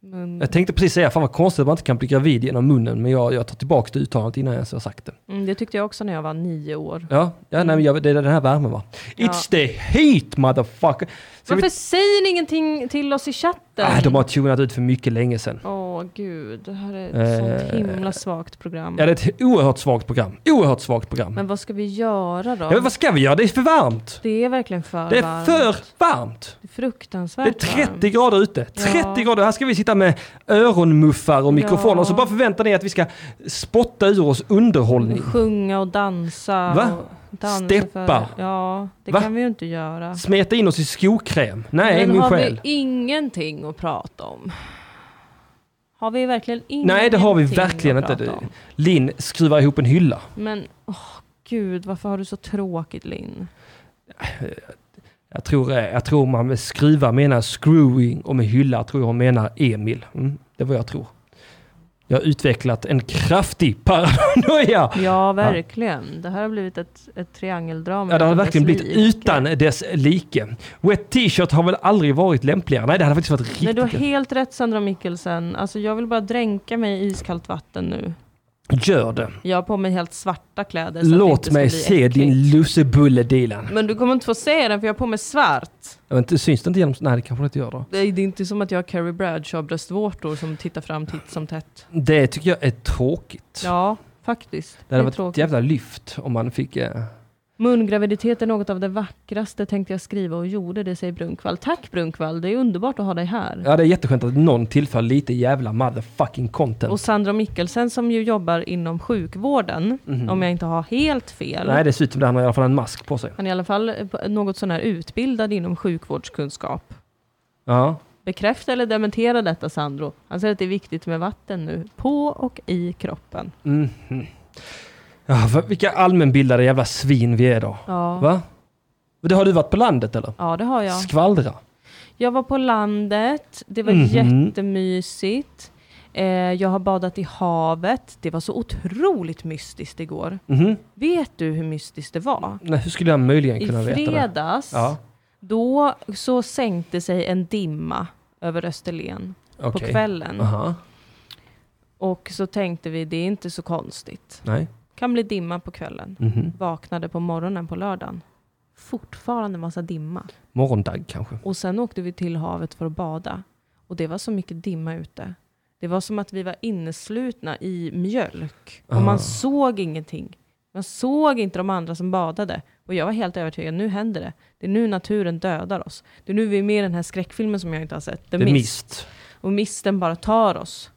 S4: Men,
S3: Jag tänkte precis säga, fan vad konstigt att man inte kan bli gravid genom munnen, men jag, jag tar tillbaka det uttalandet innan jag ens har sagt det.
S4: mm, det tyckte jag också när jag var nio år.
S3: Ja, ja nej, men jag, det är den här värmen va?
S4: Ja.
S3: It's the heat motherfucker! Ska
S4: Varför
S3: vi...
S4: säger ni ingenting till oss i chatten?
S3: ah, de har tunat ut för mycket länge sedan.
S4: Åh gud, det här är ett sånt
S3: Eh,
S4: himla svagt program.
S3: Ja, det är ett oerhört svagt program. Oerhört svagt program.
S4: Men vad ska vi göra då?
S3: ja, men vad ska vi göra? Det är för varmt!
S4: Det är verkligen för
S3: Det är
S4: varmt.
S3: för varmt!
S4: Det är
S3: Det är
S4: fruktansvärt
S3: 30
S4: varmt.
S3: grader ute. 30 grader. Här ska vi sitta med öronmuffar och mikrofoner
S4: Ja.
S3: och så bara förväntar ni att vi ska spotta ur oss underhållning.
S4: Sjunga och dansa.
S3: Va?
S4: Och dansa
S3: Steppa?
S4: För... Ja, det
S3: Va?
S4: kan vi ju inte göra.
S3: Smeta in oss i skokräm. Nej,
S4: Men
S3: min
S4: har
S3: själ.
S4: vi ingenting att prata om? Har vi verkligen ingenting
S3: Nej, det har vi verkligen
S4: att
S3: inte.
S4: prata
S3: Du.
S4: om?
S3: Linn, skruva ihop en hylla.
S4: Men åh gud, varför har du så tråkigt Linn?
S3: Jag tror, eh, jag tror man med skruva menar screwing och med hylla tror jag hon menar Emil. Mm, det var jag tror. Jag har utvecklat en kraftig paranoia.
S4: Ja, verkligen. Det här har blivit ett, ett triangeldrama.
S3: Ja, det har
S4: utan Mm, dess
S3: verkligen blivit
S4: like.
S3: utan dess like. Wet t-shirt har väl aldrig varit lämpligare? Nej, det hade faktiskt varit riktigt...
S4: Nej, du har helt rätt Sandra Mikkelsen. Alltså, jag vill bara dränka mig i iskallt vatten nu.
S3: Gör det.
S4: Jag har på mig helt svarta kläder. så att det
S3: Låt
S4: inte
S3: mig
S4: ska bli
S3: se
S4: äckligt.
S3: din lussebulle Dilan.
S4: Men du kommer inte få se den för jag har på mig svart.
S3: Ja, men det Syns det inte genom... Nej, det kanske det inte gör då.
S4: Det är det är inte som att jag har Carrie Bradshaw-bröstvårtor som tittar fram titt som tätt.
S3: Det tycker jag är tråkigt.
S4: Ja, faktiskt.
S3: det
S4: Det,
S3: hade
S4: är
S3: varit ett
S4: tråkigt.
S3: jävla lyft om man fick... Eh,
S4: Mungraviditet är något av det vackraste tänkte jag skriva och gjorde det, säger Brunkvall. Tack Brunkvall, det är underbart att ha dig här.
S3: Ja, det är jätteskönt att någon tillför lite jävla motherfucking content.
S4: Och Sandra Mikkelsen som ju jobbar inom sjukvården, om jag inte har helt fel.
S3: Mhm. Nej, dessutom, där han har i alla fall en mask på sig.
S4: Han är i alla fall eh, på- något sån här utbildad inom sjukvårdskunskap.
S3: Ja.
S4: Bekräfta eller dementera detta Sandro. Han säger att det är viktigt med vatten nu, på och i kroppen.
S3: Mhm. ja för vilka allmänbildade jävla svin vi är då.
S4: Ja,
S3: Va? Det har du varit på landet eller?
S4: ja det har jag.
S3: Skvallra.
S4: Jag var på landet, det var
S3: Mhm.
S4: jättemysigt. Eh, jag har badat i havet, det var så otroligt mystiskt igår.
S3: Mhm.
S4: Vet du hur mystiskt det var?
S3: Nej, hur skulle jag möjligen
S4: I
S3: kunna veta det?
S4: fredags,
S3: Ja,
S4: då så sänkte sig en dimma över Österlen
S3: okej.
S4: på kvällen.
S3: Aha.
S4: Och så tänkte vi, det är inte så konstigt.
S3: Nej.
S4: Kan bli dimma på kvällen.
S3: Mhm.
S4: Vaknade på morgonen på lördagen. Fortfarande massa dimma.
S3: Morgondag kanske.
S4: Och sen åkte vi till havet för att bada. Och det var så mycket dimma ute. Det var som att vi var inneslutna i mjölk. Och
S3: Ah.
S4: man såg ingenting. Man såg inte de andra som badade. Och jag var helt övertygad, nu händer det. Det är nu naturen dödar oss. Det är nu vi är med i den här skräckfilmen som jag inte har sett. The,
S3: Det är
S4: Mist.
S3: mist.
S4: Och misten bara tar oss.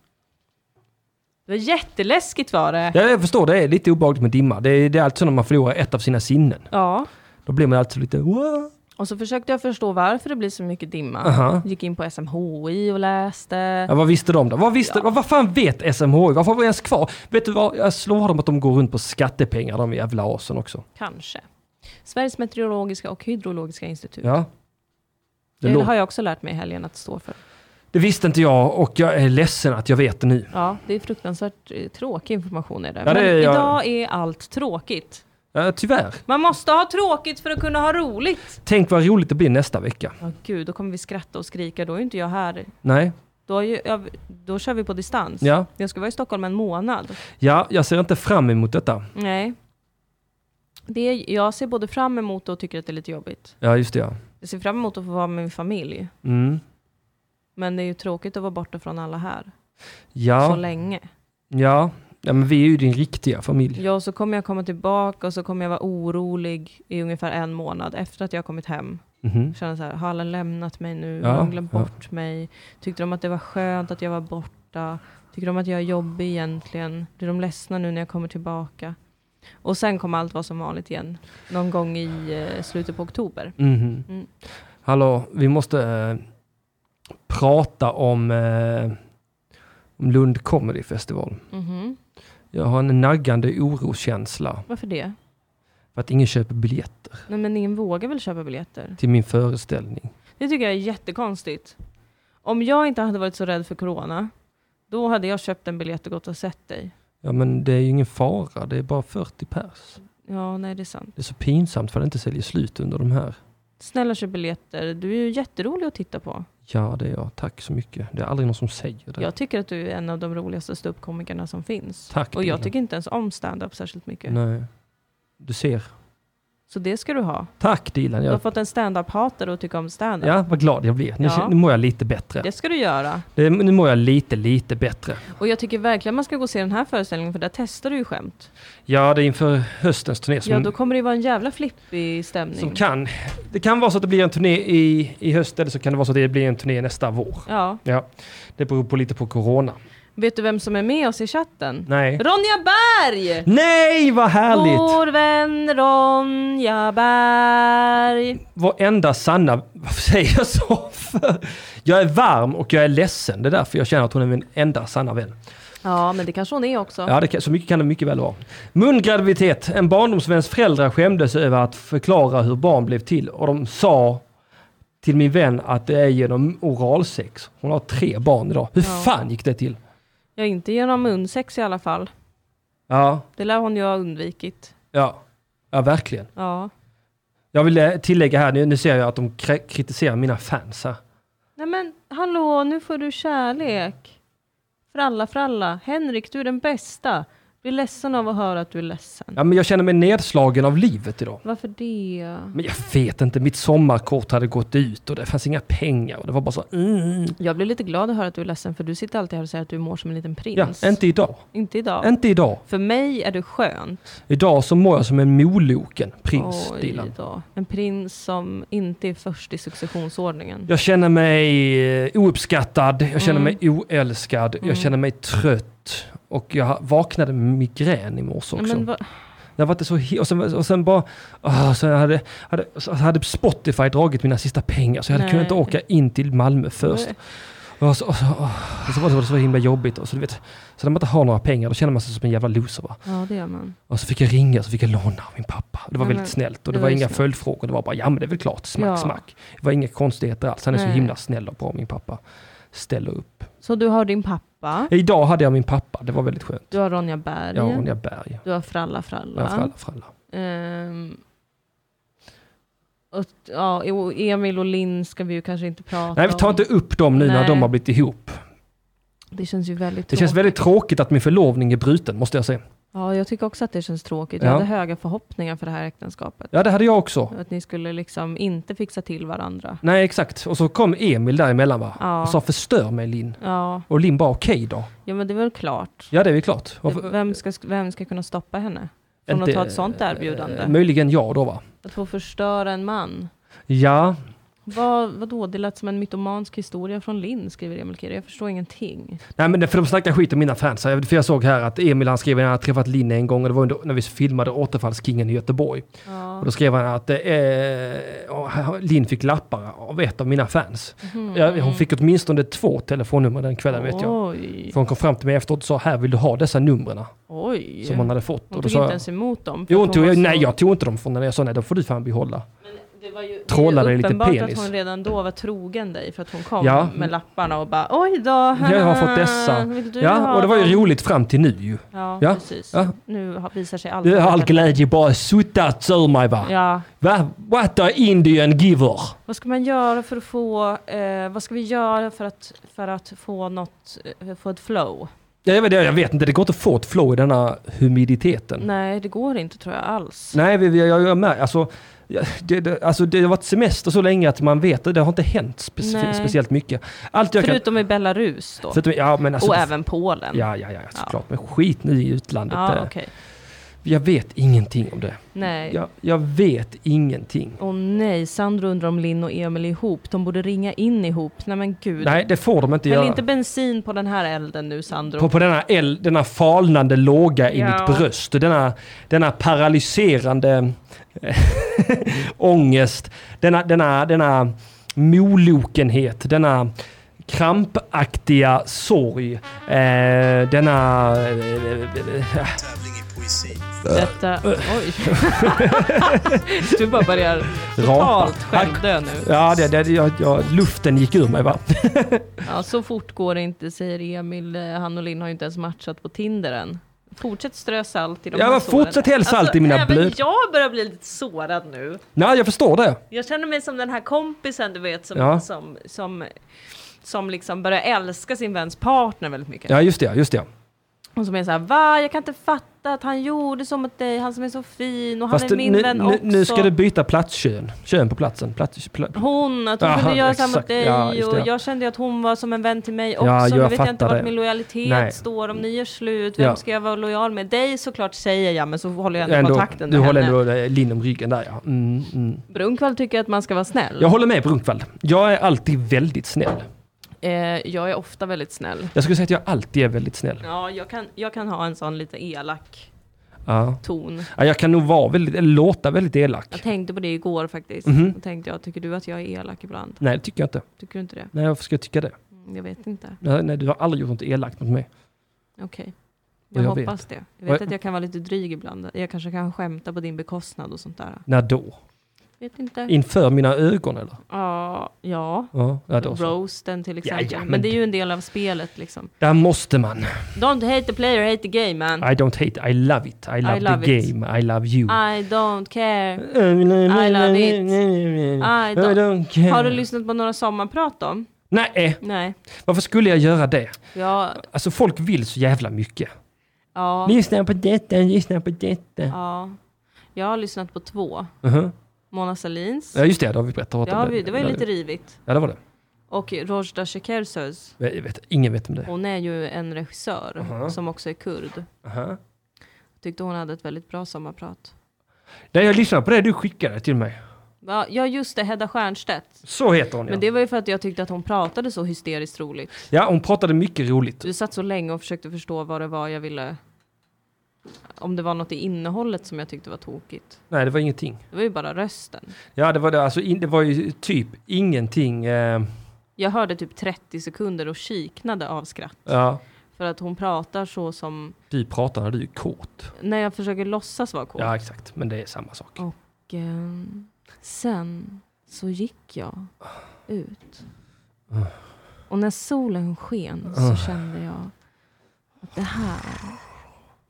S4: Det var jätteläskigt var det.
S3: Ja, jag förstår, det är lite obehagligt med dimma. Det är, det är alltid så när man förlorar ett av sina sinnen.
S4: Ja.
S3: Då blir man alltid lite... "Wow."
S4: Och så försökte jag förstå varför det blir så mycket dimma.
S3: Aha.
S4: Gick in på SMHI och läste.
S3: Ja, vad visste de då? Vad, visste, vad, vad fan vet SMHI? Varför var vi ens kvar? Vet du vad? Jag slår dem att de går runt på skattepengar, de jävla asen också.
S4: Kanske. Sveriges meteorologiska och hydrologiska institut.
S3: Ja. Det,
S4: det,
S3: lå-
S4: har jag också lärt mig i helgen att stå för.
S3: Det visste inte jag och jag är ledsen att jag vet det nu.
S4: Ja, det är fruktansvärt eh, tråkig information är det.
S3: Ja, det
S4: Men
S3: är jag-
S4: idag är allt tråkigt.
S3: Ja, tyvärr.
S4: Man måste ha tråkigt för att kunna ha roligt.
S3: Tänk vad roligt det blir nästa vecka.
S4: Ja, gud, då kommer vi skratta och skrika. Då är ju inte jag här.
S3: Nej,
S4: Då, är ju, jag, då kör vi på distans.
S3: ja.
S4: Jag ska vara i Stockholm en månad.
S3: Ja, jag ser inte fram emot detta.
S4: Nej. Det är, jag ser både fram emot och tycker att det är lite jobbigt.
S3: Ja, just det ja.
S4: Jag ser fram emot att få vara med min familj.
S3: Mm.
S4: Men det är ju tråkigt att vara borta från alla här så
S3: Ja,
S4: länge.
S3: ja. ja, men vi är ju din riktiga familj.
S4: Ja, och så kommer jag komma tillbaka och så kommer jag vara orolig i ungefär en månad efter att jag har kommit hem.
S3: Mhm.
S4: Känna så här, har alla lämnat mig nu?
S3: Ja,
S4: har de glömt
S3: ja.
S4: bort mig? Tyckte de att det var skönt att jag var borta? Tycker de att jag är jobbig egentligen? Blir de ledsna nu när jag kommer tillbaka? Och sen kommer allt vara som vanligt igen. Någon gång i eh, slutet på oktober.
S3: Mhm.
S4: Mm.
S3: Hallå, vi måste eh, prata om, eh, om Lund Comedy Festival.
S4: Mhm.
S3: Jag har en naggande oroskänsla
S4: Varför det?
S3: för att ingen köper biljetter
S4: Nej, men ingen vågar väl köpa biljetter?
S3: till min föreställning.
S4: Det tycker jag är jättekonstigt. Om jag inte hade varit så rädd för corona, då hade jag köpt en biljett och gått och sett dig.
S3: Ja, men det är ju ingen fara, det är bara 40 pers.
S4: Ja, nej det är sant.
S3: Det är så pinsamt för att det inte säljer slut under de här.
S4: Snälla köp biljetter, du är ju jätterolig att titta på.
S3: Ja, det är jag. Tack så mycket. Det är aldrig någon som säger det.
S4: Jag tycker att du är en av de roligaste ståuppkomikerna som finns.
S3: Tack,
S4: och jag
S3: Dilan.
S4: tycker inte ens om stand-up särskilt mycket.
S3: Nej. Du ser.
S4: Så det ska du ha.
S3: Tack Dilan.
S4: Du har
S3: Jag,
S4: fått en stand-up-hatare att tycka om stand-up.
S3: ja, vad glad jag blir. Nu,
S4: Ja.
S3: nu mår jag lite bättre.
S4: Det ska du göra.
S3: Det, nu mår jag lite, lite bättre.
S4: Och jag tycker verkligen man ska gå och se den här föreställningen för där testar du ju skämt.
S3: Ja, det är inför höstens turné som,
S4: Ja, då kommer det ju vara en jävla flippig stämning.
S3: som kan. Det kan vara så att det blir en turné i, i höst eller så kan det vara så att det blir en turné nästa vår.
S4: Ja.
S3: Ja, det beror på lite på corona.
S4: Vet du vem som är med oss i chatten?
S3: Nej.
S4: Ronja Berg!
S3: Nej, vad härligt!
S4: Vår vän Ronja Berg.
S3: Vår enda sanna... Varför säger jag så för? Jag är varm och jag är ledsen. Det är därför jag känner att hon är min enda sanna vän.
S4: Ja, men det kanske hon är också.
S3: Ja, det kan, så mycket kan det mycket väl vara. Mungraviditet. En barndomsväns föräldrar skämdes över att förklara hur barn blev till och de sa till min vän att det är genom oralsex. Hon har tre barn idag. Hur
S4: Ja.
S3: fan gick det till?
S4: Ja, inte genom munsex i alla fall.
S3: Ja,
S4: Det lär hon ju ha undvikit.
S3: ja, ja verkligen.
S4: Ja.
S3: Jag vill eh, tillägga här, nu, nu ser jag att de kri- kritiserar mina fans här.
S4: Nej men hallå, nu får du kärlek. För alla, för alla. Henrik, du är den bästa. Blir ledsen av att höra att du är ledsen.
S3: Ja, men jag känner mig nedslagen av livet idag.
S4: Varför det?
S3: Men jag vet inte, mitt sommarkort hade gått ut och det fanns inga pengar och det var bara så... Mm.
S4: Jag blir lite glad att höra att du är ledsen, för du sitter alltid här och säger att du mår som en liten
S3: Ja,
S4: prins.
S3: inte idag.
S4: Inte idag.
S3: Inte idag.
S4: För mig är du skönt.
S3: Idag så mår jag som en moloken prins,
S4: Oj
S3: Dilan.
S4: då. En prins som inte är först i successionsordningen.
S3: Jag känner mig eh, ouppskattad, jag känner
S4: Mm.
S3: mig oälskad, jag känner mig trött och jag vaknade med migrän i morse också.
S4: men vad-
S3: Jag var inte så he- och, sen, och sen bara, ah, så jag hade, hade, så hade Spotify dragit mina sista pengar så jag hade
S4: Nej.
S3: kunnat inte åka in till Malmö först. Och så, och så, och så var det så himla jobbigt. Och så, du vet, så när man inte har några pengar då känner man sig som en jävla loser. Va?
S4: ja, det gör man.
S3: Och så fick jag ringa, så fick jag låna av min pappa. Det var
S4: Ja, men
S3: väldigt snällt och det,
S4: det
S3: var,
S4: var ju
S3: inga
S4: snällt.
S3: följdfrågor. Det var bara, ja men det är väl klart, smack,
S4: Ja.
S3: smack. Det var inga konstigheter alls. Han är så
S4: Nej.
S3: himla snäll och bra, min pappa. Ställer upp.
S4: Så du har din pappa,
S3: Idag hade jag min pappa, det var väldigt skönt.
S4: du har Ronja Berg,
S3: Ja, Ronja Berg.
S4: du har Fralla Fralla.
S3: Ja, fralla, fralla.
S4: Ehm, och, ja, och Emil och Linn ska vi ju kanske inte prata
S3: Nej, vi tar
S4: om.
S3: inte upp dem nu när
S4: Nej.
S3: de har blivit ihop.
S4: Det känns ju väldigt
S3: Det
S4: tråkigt.
S3: känns väldigt tråkigt att min förlovning är bruten, måste jag säga.
S4: Ja, jag tycker också att det känns tråkigt. Jag
S3: Ja.
S4: hade höga förhoppningar för det här äktenskapet.
S3: Ja, det hade jag också.
S4: Att ni skulle liksom inte fixa till varandra.
S3: Nej, exakt. Och så kom Emil däremellan va?
S4: Ja.
S3: Och sa förstör mig Linn.
S4: Ja,
S3: Och Linn bara okej då.
S4: ja men det är väl klart.
S3: Ja, det är väl klart. Varför-
S4: Vem ska, vem ska kunna stoppa henne? Från
S3: Inte-
S4: att ta ett sånt
S3: eh,
S4: erbjudande?
S3: Möjligen jag då va?
S4: Att få förstöra en man?
S3: Ja,
S4: Vad, vadå, det lät som en mytomansk historia från Linn, skriver Emil Kirre. Jag förstår ingenting.
S3: Nej men det- för de snackar skit om mina fans. här. För jag såg här att Emil han skrev att han hade träffat Linne en gång och det var under, när vi filmade Återfallskingen i Göteborg. Och då skrev han att eh, och Linn fick lappar av ett av mina fans.
S4: Mhm.
S3: Ja, hon fick åtminstone två telefonnummer den kvällen vet jag.
S4: Oj,
S3: För hon kom fram till mig efteråt och sa här vill du ha dessa numren
S4: oj.
S3: som hon hade fått.
S4: Hon
S3: och då
S4: tog
S3: sa
S4: inte
S3: jag,
S4: ens emot dem. för
S3: Jo,
S4: att
S3: hon tog,
S4: var så-
S3: nej jag tog inte dem från henne. Jag sa nej, de får du fan behålla.
S4: det var ju
S3: Trolla dig lite
S4: uppenbart
S3: penis.
S4: att hon redan då var trogen dig för att hon kom
S3: Ja.
S4: med lapparna och bara oj då.
S3: Jag har fått dessa.
S4: Vill du
S3: Ja,
S4: ha
S3: och det var ju
S4: dem?
S3: roligt fram till nu ju.
S4: Ja,
S3: Ja,
S4: precis.
S3: ja.
S4: Nu har- visar sig allt.
S3: Du har all glädje bara suttats ur mig va?
S4: Ja.
S3: va? What a Indian giver!
S4: Vad ska man göra för att få, eh, vad ska vi göra för att, för att få något, eh, få ett flow?
S3: Ja, Jag vet, jag vet inte, det går inte att få ett flow i denna humiditeten.
S4: Nej, det går inte tror jag alls.
S3: Nej, vi, vi, jag, jag märker, alltså, jag- det, det, alltså det har varit semester så länge att man vet det, det har inte hänt speci-
S4: Nej.
S3: speciellt mycket. Allt jag
S4: Förutom i Belarus då.
S3: kan... Förutom, ja, men alltså,
S4: och även Polen.
S3: Ja, ja, ja, såklart. Men skit nu i utlandet.
S4: Ja,
S3: eh.
S4: okej.
S3: Jag vet ingenting om det.
S4: Nej.
S3: Jag, jag vet ingenting.
S4: Åh nej, Sandro undrar om Linn och Emil är ihop. De borde ringa in ihop. Nej men gud.
S3: Nej, det får de inte
S4: Häll
S3: göra.
S4: inte bensin på den här elden nu Sandro.
S3: på, på denna, el, denna falnande låga i
S4: Ja.
S3: mitt bröst. Denna, denna paralyserande eh, ångest. Denna, denna, denna molokenhet. Denna krampaktiga sorg. Eh, denna... eh,
S6: Tävling i poesi.
S3: Äh.
S4: Detta... Oj. du bara börjar totalt självdö nu.
S3: Ja, det, det, jag, jag, luften gick ur mig va?
S4: Ja, så fort går det inte säger Emil. Eh, Han och Linn har ju inte ens matchat på Tinder än. Fortsätt strö salt i de
S3: Ja,
S4: här
S3: men
S4: såren. Alltså,
S3: fortsätt häll salt i mina
S4: även
S3: blöd-
S4: jag börjar bli lite sårad nu.
S3: Nej, jag förstår det.
S4: Jag känner mig som den här kompisen du vet som,
S3: Ja.
S4: som, som, som liksom börjar älska sin väns partner väldigt mycket.
S3: Ja, just det. Just det.
S4: Och som är såhär, va? Jag kan inte fatta att han gjorde så mot dig, han som är så fin och
S3: Fast
S4: han är
S3: nu,
S4: min vän
S3: nu,
S4: också.
S3: nu ska du byta platskön. Kön på platsen. Plats, pla-
S4: Hon, att hon
S3: Aha,
S4: kunde göra så här mot
S3: exakt.
S4: dig
S3: Ja, just det, ja.
S4: och jag kände ju att hon var som en vän till mig också.
S3: Ja,
S4: nu
S3: jag
S4: vet jag inte
S3: fattar
S4: vart
S3: det.
S4: min lojalitet
S3: Nej.
S4: står, om ni gör slut, vem
S3: Ja.
S4: ska jag vara lojal med? Dig såklart säger jag, men så håller jag ändå,
S3: ändå,
S4: kontakten
S3: du
S4: med
S3: håller
S4: henne.
S3: ändå eh, Linn om ryggen där ja. Mm, mm.
S4: Brunkvall tycker att man ska vara snäll.
S3: Jag håller med Brunkvall. Jag är alltid väldigt snäll.
S4: Eh, jag är ofta väldigt snäll.
S3: Jag skulle säga att jag alltid är väldigt snäll.
S4: Ja, jag kan, jag kan ha en sån lite elak
S3: Ja.
S4: ton.
S3: Ja, jag kan nog vara väldigt, eller låta väldigt elak.
S4: Jag tänkte på det igår faktiskt.
S3: Mhm.
S4: Då tänkte jag, tycker du att jag är elak ibland?
S3: Nej, det tycker jag inte.
S4: Tycker du inte det?
S3: Nej, varför ska jag tycka det?
S4: Mm, Jag vet inte.
S3: Nej, nej, du har aldrig gjort något elakt mot mig.
S4: Okej.
S3: Vad
S4: Jag,
S3: jag
S4: hoppas det. Jag
S3: Vad-
S4: vet att jag kan vara lite dryg ibland. Jag kanske kan skämta på din bekostnad och sånt där.
S3: När då?
S4: Vet inte.
S3: Inför mina ögon eller?
S4: Ja, ja.
S3: Ja, ja då så.
S4: Roasten till
S3: ja,
S4: exempel. men,
S3: men
S4: det är ju en del av spelet liksom.
S3: Där måste man.
S4: Don't hate the player, hate the game man. I,
S3: I don't hate, I love it. I love,
S4: love
S3: the
S4: it.
S3: game. I love you.
S4: don't care.
S3: I
S4: love it. I don't-
S3: care.
S4: Har du lyssnat på några sommarprat då?
S3: Nej,
S4: Nej.
S3: varför skulle jag göra det?
S4: Ja,
S3: Alltså folk vill så jävla mycket.
S4: ja,
S3: Lyssna på detta, lyssna på detta.
S4: ja. Jag har lyssnat på två.
S3: Mhm.
S4: Mona Sahlins.
S3: Ja just det, det har vi berättat
S4: Det, har vi, det var ju lite rivigt.
S3: Ja det var det.
S4: Och Rojda Shekersöz.
S3: Jag Vet, ingen vet om det.
S4: Hon är ju en regissör
S3: Aha.
S4: som också är kurd.
S3: Aha.
S4: Tyckte hon hade ett väldigt bra sommarprat.
S3: Nej, jag lyssnade på det du skickade till mig.
S4: Va- Ja just det, Hedda Stiernstedt.
S3: Så heter hon ja.
S4: Men det var ju för att jag tyckte att hon pratade så hysteriskt roligt.
S3: Ja, hon pratade mycket roligt.
S4: Du satt så länge och försökte förstå vad det var jag ville... Om det var något i innehållet som jag tyckte var tokigt.
S3: Nej, det var ingenting.
S4: Det var ju bara rösten.
S3: Ja, det var det. Alltså, in, det var ju typ ingenting. Eh,
S4: Jag hörde typ 30 sekunder och kiknade av skratt.
S3: ja,
S4: För att hon pratar så som...
S3: du pratar när du är kåt.
S4: När jag försöker låtsas vara kåt.
S3: Ja, exakt. Men det är samma sak.
S4: Ja. Och eh, sen så gick jag ut. Och när solen sken så kände jag att det här,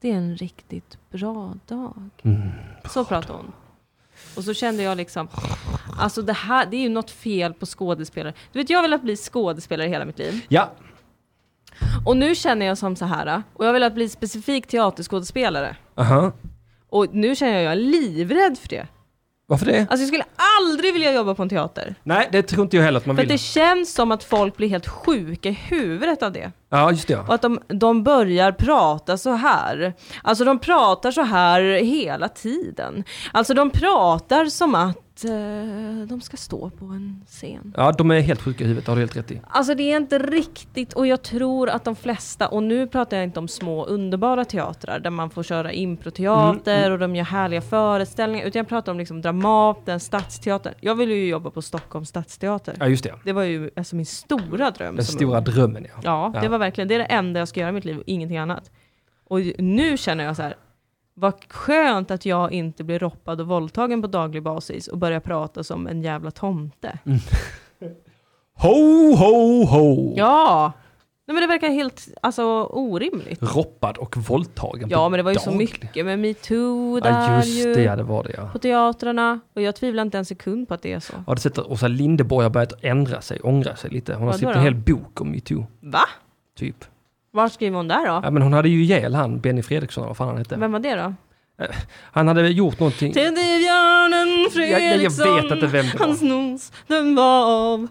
S4: det är en riktigt bra dag. så pratade hon. Och så kände jag liksom, alltså det här, det är ju något fel på skådespelare. Du vet jag har velat bli skådespelare hela mitt liv.
S3: Ja,
S4: Och nu känner jag som så här, och jag har velat bli specifikt teaterskådespelare.
S3: aha.
S4: Och nu känner jag, jag är livrädd för det.
S3: Varför det?
S4: Alltså jag skulle aldrig vilja jobba på en teater.
S3: Nej, det tror inte jag heller att man
S4: För att det
S3: vill.
S4: känns som att folk blir helt sjuka i huvudet av det.
S3: Ja, just det.
S4: Och
S3: Ja.
S4: att de, de börjar prata så här. Alltså de pratar så här hela tiden. Alltså de pratar som att eh, de ska stå på en scen.
S3: ja, de är helt sjuka i huvudet. har du helt rätt i.
S4: Alltså det är inte riktigt och jag tror att de flesta, och nu pratar jag inte om små underbara teatrar där man får köra improteater
S3: Mm,
S4: och de gör härliga föreställningar. Utan jag pratar om liksom Dramaten, Stadsteatern. Jag ville ju jobba på Stockholms Stadsteater.
S3: Ja, just det.
S4: Det var ju alltså min stora dröm.
S3: Den
S4: som
S3: stora
S4: ung.
S3: drömmen, ja.
S4: Ja,
S3: Ja.
S4: det var verkligen det, är det enda jag ska göra i mitt liv och ingenting annat. Och ju- nu känner jag så här, Vad skönt att jag inte blir roppad och våldtagen på daglig basis och börjar prata som en jävla tomte.
S3: Mm. Ho, ho, ho!
S4: Ja! Nej men det verkar helt alltså, orimligt.
S3: Roppad och våldtagen på
S4: Ja men det var ju så
S3: daglig.
S4: mycket med metoo där
S3: Ja just
S4: ju.
S3: det, ja, det var det ja.
S4: På teatrarna. Och jag tvivlar inte en sekund på att det är så.
S3: Ja, det sätter Åsa Linderborg har börjat ändra sig, ångra sig lite. Hon har
S4: Vadå
S3: skrivit
S4: då?
S3: en hel bok om metoo,
S4: Va?
S3: typ.
S4: Var skriver hon där då?
S3: Ja, men hon hade ju ihjäl han, Benny Fredriksson, vad fan han hette.
S4: Vem var det då?
S3: Han hade väl gjort någonting...
S4: Teddy björnen
S3: jag vet
S4: Fredriksson.
S3: inte vem det var.
S4: Hans nos, den var av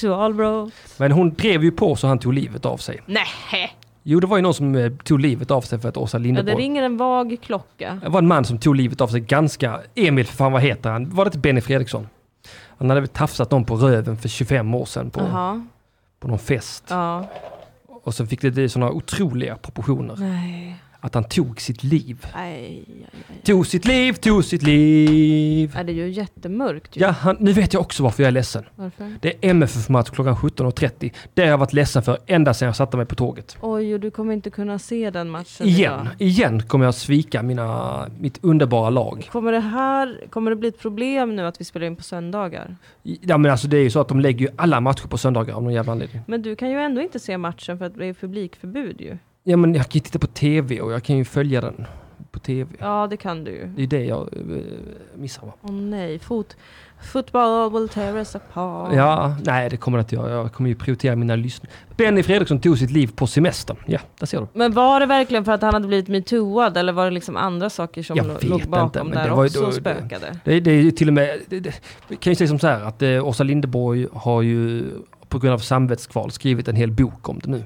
S4: sexualbrott.
S3: Men hon drev ju på så han tog livet av sig.
S4: Nähä!
S3: Jo, det var ju någon som eh, tog livet av sig för att Åsa
S4: Ja, det
S3: Linderborg...
S4: ringer en vag klocka.
S3: Det var en man som tog livet av sig ganska... Emil, för fan vad heter han? Var det inte Benny Fredriksson? Han hade väl tafsat någon på röven för 25 år sedan på,
S4: Jaha.
S3: på någon fest.
S4: Ja.
S3: Och så fick det- det sådana otroliga proportioner.
S4: Nej.
S3: Att han tog sitt liv.
S4: Aj, aj, aj.
S3: Tog sitt liv, tog sitt liv.
S4: Ja, det är ju jättemörkt ju.
S3: Ja, han, nu vet jag också varför jag är ledsen.
S4: Varför?
S3: Det är MFF-match klockan 17.30. Det har jag varit ledsen för ända sedan jag satte mig på tåget.
S4: Oj, och du kommer inte kunna se den matchen
S3: Igen,
S4: idag.
S3: igen kommer jag svika mina, mitt underbara lag.
S4: Kommer det här, kommer det bli ett problem nu att vi spelar in på söndagar?
S3: Ja, men alltså det är ju så att de lägger ju alla matcher på söndagar av någon jävla anledning.
S4: Men du kan ju ändå inte se matchen för att det är publikförbud ju.
S3: Ja, men jag kan ju titta på TV och jag kan ju följa den på TV.
S4: Ja, det kan du ju.
S3: Det är det jag eh, missar va?
S4: Åh nej, fot... Football will tear us apart.
S3: Ja, nej det kommer jag inte göra. Jag kommer ju prioritera mina lyssnare. Benny Fredriksson tog sitt liv på semestern. Ja, där ser du.
S4: Men var det verkligen för att han hade blivit metooad eller var det liksom andra saker som
S3: Jag
S4: lo-
S3: vet
S4: låg bakom
S3: inte, men
S4: där
S3: det var ju
S4: också
S3: då-
S4: och spökade?
S3: Det, det är ju till och med, det, det, vi kan ju säga som så här att eh, Åsa Linderborg har ju på grund av samvetskval skrivit en hel bok om det nu.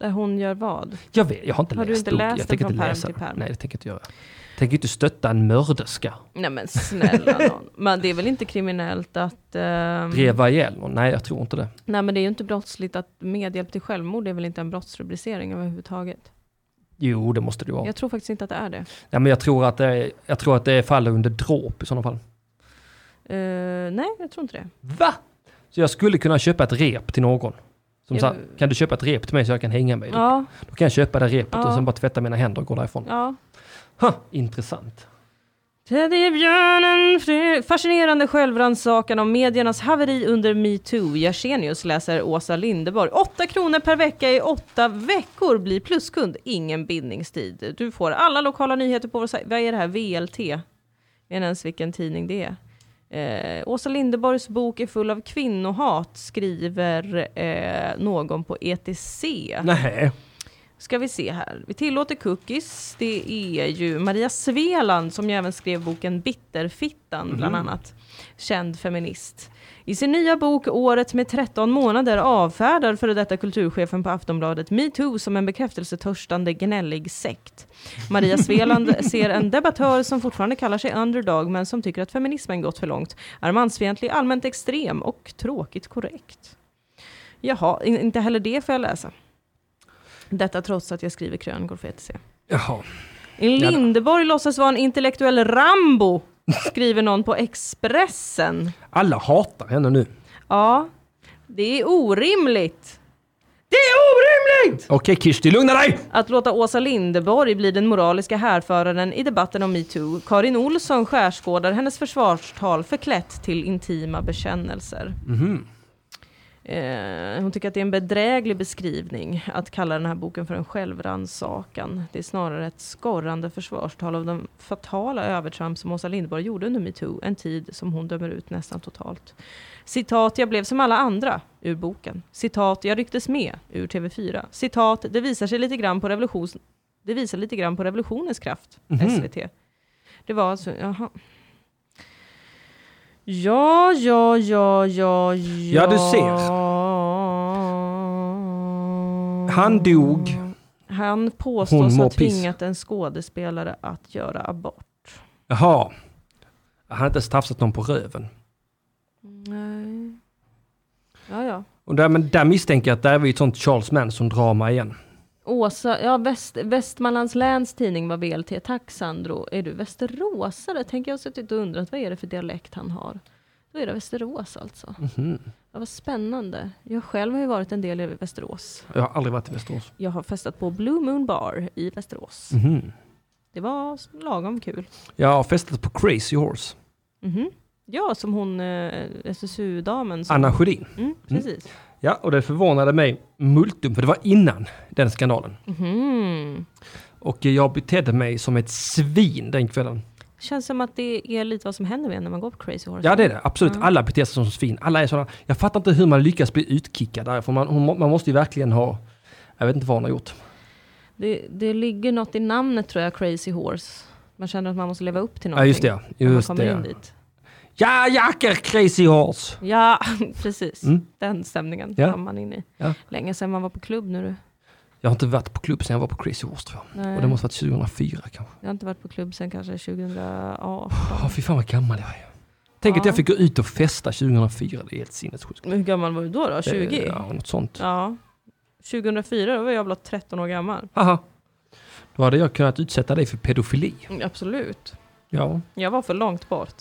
S4: Där hon gör vad?
S3: Jag vet, jag har inte
S4: Har du
S3: läst
S4: inte
S3: boken. jag
S4: läst den
S3: tänker
S4: från
S3: inte
S4: pärm
S3: läsa
S4: till
S3: den.
S4: pärm?
S3: Nej, det tänker jag inte göra. Jag tänker inte stötta en mörderska.
S4: Nej men snälla nån. Men det är väl inte kriminellt att... ehm,
S3: Dreva ihjäl någon? Nej, jag tror inte det.
S4: Nej men det är ju inte brottsligt att medhjälp till självmord är väl inte en brottsrubricering överhuvudtaget.
S3: Jo, det måste det ju vara.
S4: Jag tror faktiskt inte att det är det.
S3: Nej, men jag tror att det, är- jag tror att det faller under dråp i sådana fall.
S4: Eh, nej, jag tror inte det.
S3: Va? Så jag skulle kunna köpa ett rep till någon. Som
S4: Ja,
S3: sa,
S4: men-
S3: kan du köpa ett rep till mig så jag kan hänga mig?
S4: Ja,
S3: Då kan jag köpa det repet och
S4: Ja.
S3: sen bara tvätta mina händer och gå därifrån.
S4: ja.
S3: Ha, intressant.
S4: Teddybjörnen Fre- Fascinerande självrannsakan om mediernas haveri under metoo. Jersenius läser Åsa Linderborg. 8 kronor per vecka i åtta veckor. Bli pluskund. Ingen bindningstid. Du får alla lokala nyheter på vår sajt. Vad är det här? VLT? Jag vet inte ens vilken tidning det är. Eh, Åsa Linderborgs bok är full av kvinnohat, skriver eh, någon på ETC.
S3: Nej.
S4: Ska vi se här. Vi tillåter cookies. Det är ju Maria Sveland som ju även skrev boken Bitterfittan bland annat. Känd feminist. I sin nya bok Året med 13 månader avfärdar före detta kulturchefen på Aftonbladet metoo som en bekräftelsetörstande gnällig sekt. Maria Sveland ser en debattör som fortfarande kallar sig underdog men som tycker att feminismen gått för långt, är mansfientlig, allmänt extrem och tråkigt korrekt. Jaha, in- inte heller det får jag läsa. Detta trots att jag skriver krönikor för ETC.
S3: Jaha.
S4: Lindeborg låtsas vara en intellektuell Rambo, skriver någon på Expressen.
S3: Alla hatar henne nu.
S4: Ja, det är orimligt
S3: Det är orimligt! Okej Kirsti, lugna dig!
S4: att låta Åsa Lindeborg bli den moraliska härföraren i debatten om metoo. Karin Olsson skärskådar hennes försvarstal förklätt till intima bekännelser. Eh, hon tycker att det är en bedräglig beskrivning att kalla den här boken för en självrannsakan. Det är snarare ett skorrande försvarstal av de fatala övertramp som Åsa Lindborg gjorde under metoo, en tid som hon dömer ut nästan totalt. Citat, jag blev som alla andra, ur boken. Citat, jag rycktes med, ur TV4. Citat, det visar sig lite grann på revolution, det visar lite grann på revolutionens kraft,
S3: Mhm.
S4: SVT. Det var alltså, jaha. Ja, ja, ja, ja, ja.
S3: Ja, du ser. Han dog.
S4: Han
S3: Hon
S4: påstås
S3: mår
S4: ha
S3: piss.
S4: tvingat en skådespelare att göra abort.
S3: Jaha. Han har inte ens tafsat någon på röven.
S4: Nej. Ja, ja.
S3: Och där, men där misstänker jag att där är vi ett sånt Charles Manson-drama igen.
S4: Åsa, ja, Väst, Västmanlands läns tidning var VLT. Tack Sandro. Är du västeråsare? Tänker jag har suttit och undrat vad är det för dialekt han har. Då är det Västerås alltså.
S3: Mhm.
S4: Ja, vad spännande. Jag själv har ju varit en del i Västerås.
S3: Jag har aldrig varit i Västerås. Mhm.
S4: Jag har festat på Blue Moon Bar i Västerås. Det var lagom kul.
S3: Jag har festat på Crazy Horse.
S4: Mhm. Ja, som hon eh, SSU-damen. Som,
S3: Anna Sjödin.
S4: Mm, precis.
S3: Ja, och det förvånade mig multum, för det var innan den skandalen.
S4: Mhm.
S3: Och jag betedde mig som ett svin den kvällen.
S4: Känns som att det är lite vad som händer med en när man går på Crazy Horse.
S3: Ja, det är det. Absolut. Alla beter sig som svin. Alla är sådana. Jag fattar inte hur man lyckas bli utkickad därifrån. Man, hon, man måste ju verkligen ha... Jag vet inte vad hon har gjort.
S4: Det, det ligger något i namnet tror jag, Crazy Horse. Man känner att man måste leva upp till
S3: Ja,
S4: någonting.
S3: just det.
S4: när man
S3: Just
S4: kommer in
S3: det.
S4: dit.
S3: Ja, jackor, crazy horse!
S4: Ja, precis.
S3: Mm.
S4: Den stämningen
S3: Ja.
S4: kom man in i.
S3: Ja.
S4: Länge sedan man var på klubb nu du.
S3: Jag har inte varit på klubb sedan jag var på Crazy Horse tror jag.
S4: Nej,
S3: Och det måste varit 2004 kanske.
S4: Jag har inte varit på klubb sedan kanske 2018.
S3: Ja, fy fan vad gammal jag är. Tänk att
S4: Ja.
S3: jag fick gå ut och festa 2004. Det är helt sinnessjukt.
S4: Hur gammal var du då? då? 20?
S3: Det- Ja, något sånt.
S4: Ja. 2004, då var jag blott 13 år gammal.
S3: Haha. Då hade jag kunnat utsätta dig för pedofili.
S4: Mm, Absolut.
S3: Ja,
S4: Jag var för långt bort.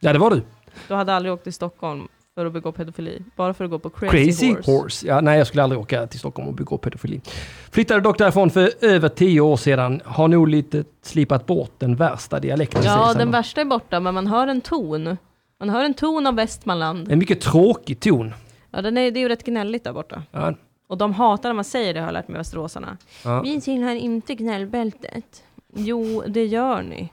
S3: ja det var du.
S4: Du hade aldrig åkt till Stockholm för att begå pedofili. Bara för att gå på Crazy,
S3: Crazy
S4: Horse.
S3: horse. Ja, nej, jag skulle aldrig åka till Stockholm och begå pedofili. Flyttade dock därifrån för över tio år sedan. Har nog lite slipat bort den värsta dialekten.
S4: Ja,
S3: sägs
S4: den
S3: ändå.
S4: värsta är borta, men man hör en ton. Man hör en ton av Västmanland.
S3: En mycket tråkig ton.
S4: Ja, den är, det är ju rätt gnälligt där borta.
S3: Ja.
S4: Och de hatar när man säger det, har jag lärt mig, västeråsarna.
S3: Ja.
S4: Vi tillhör inte gnällbältet. Jo, det gör ni.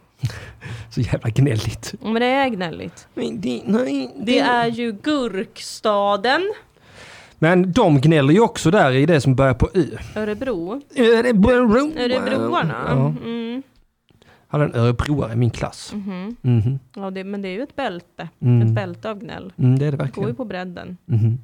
S3: Så jävla gnälligt.
S4: Men det är gnälligt.
S3: Men det- nej,
S4: Det är ju Gurkstaden,
S3: Men de gnäller ju också där i det som börjar på Ö.
S4: Örebro,
S3: Örebro.
S4: Örebroarna.
S3: Ja,
S4: Mm.
S3: hade en örebroare i min klass.
S4: Mhm.
S3: Mhm.
S4: Ja, det, men det är ju ett bälte.
S3: Mm.
S4: Ett bälte av gnäll.
S3: Mm, det är det
S4: Det går ju
S3: verkligen.
S4: på bredden.
S3: Mhm.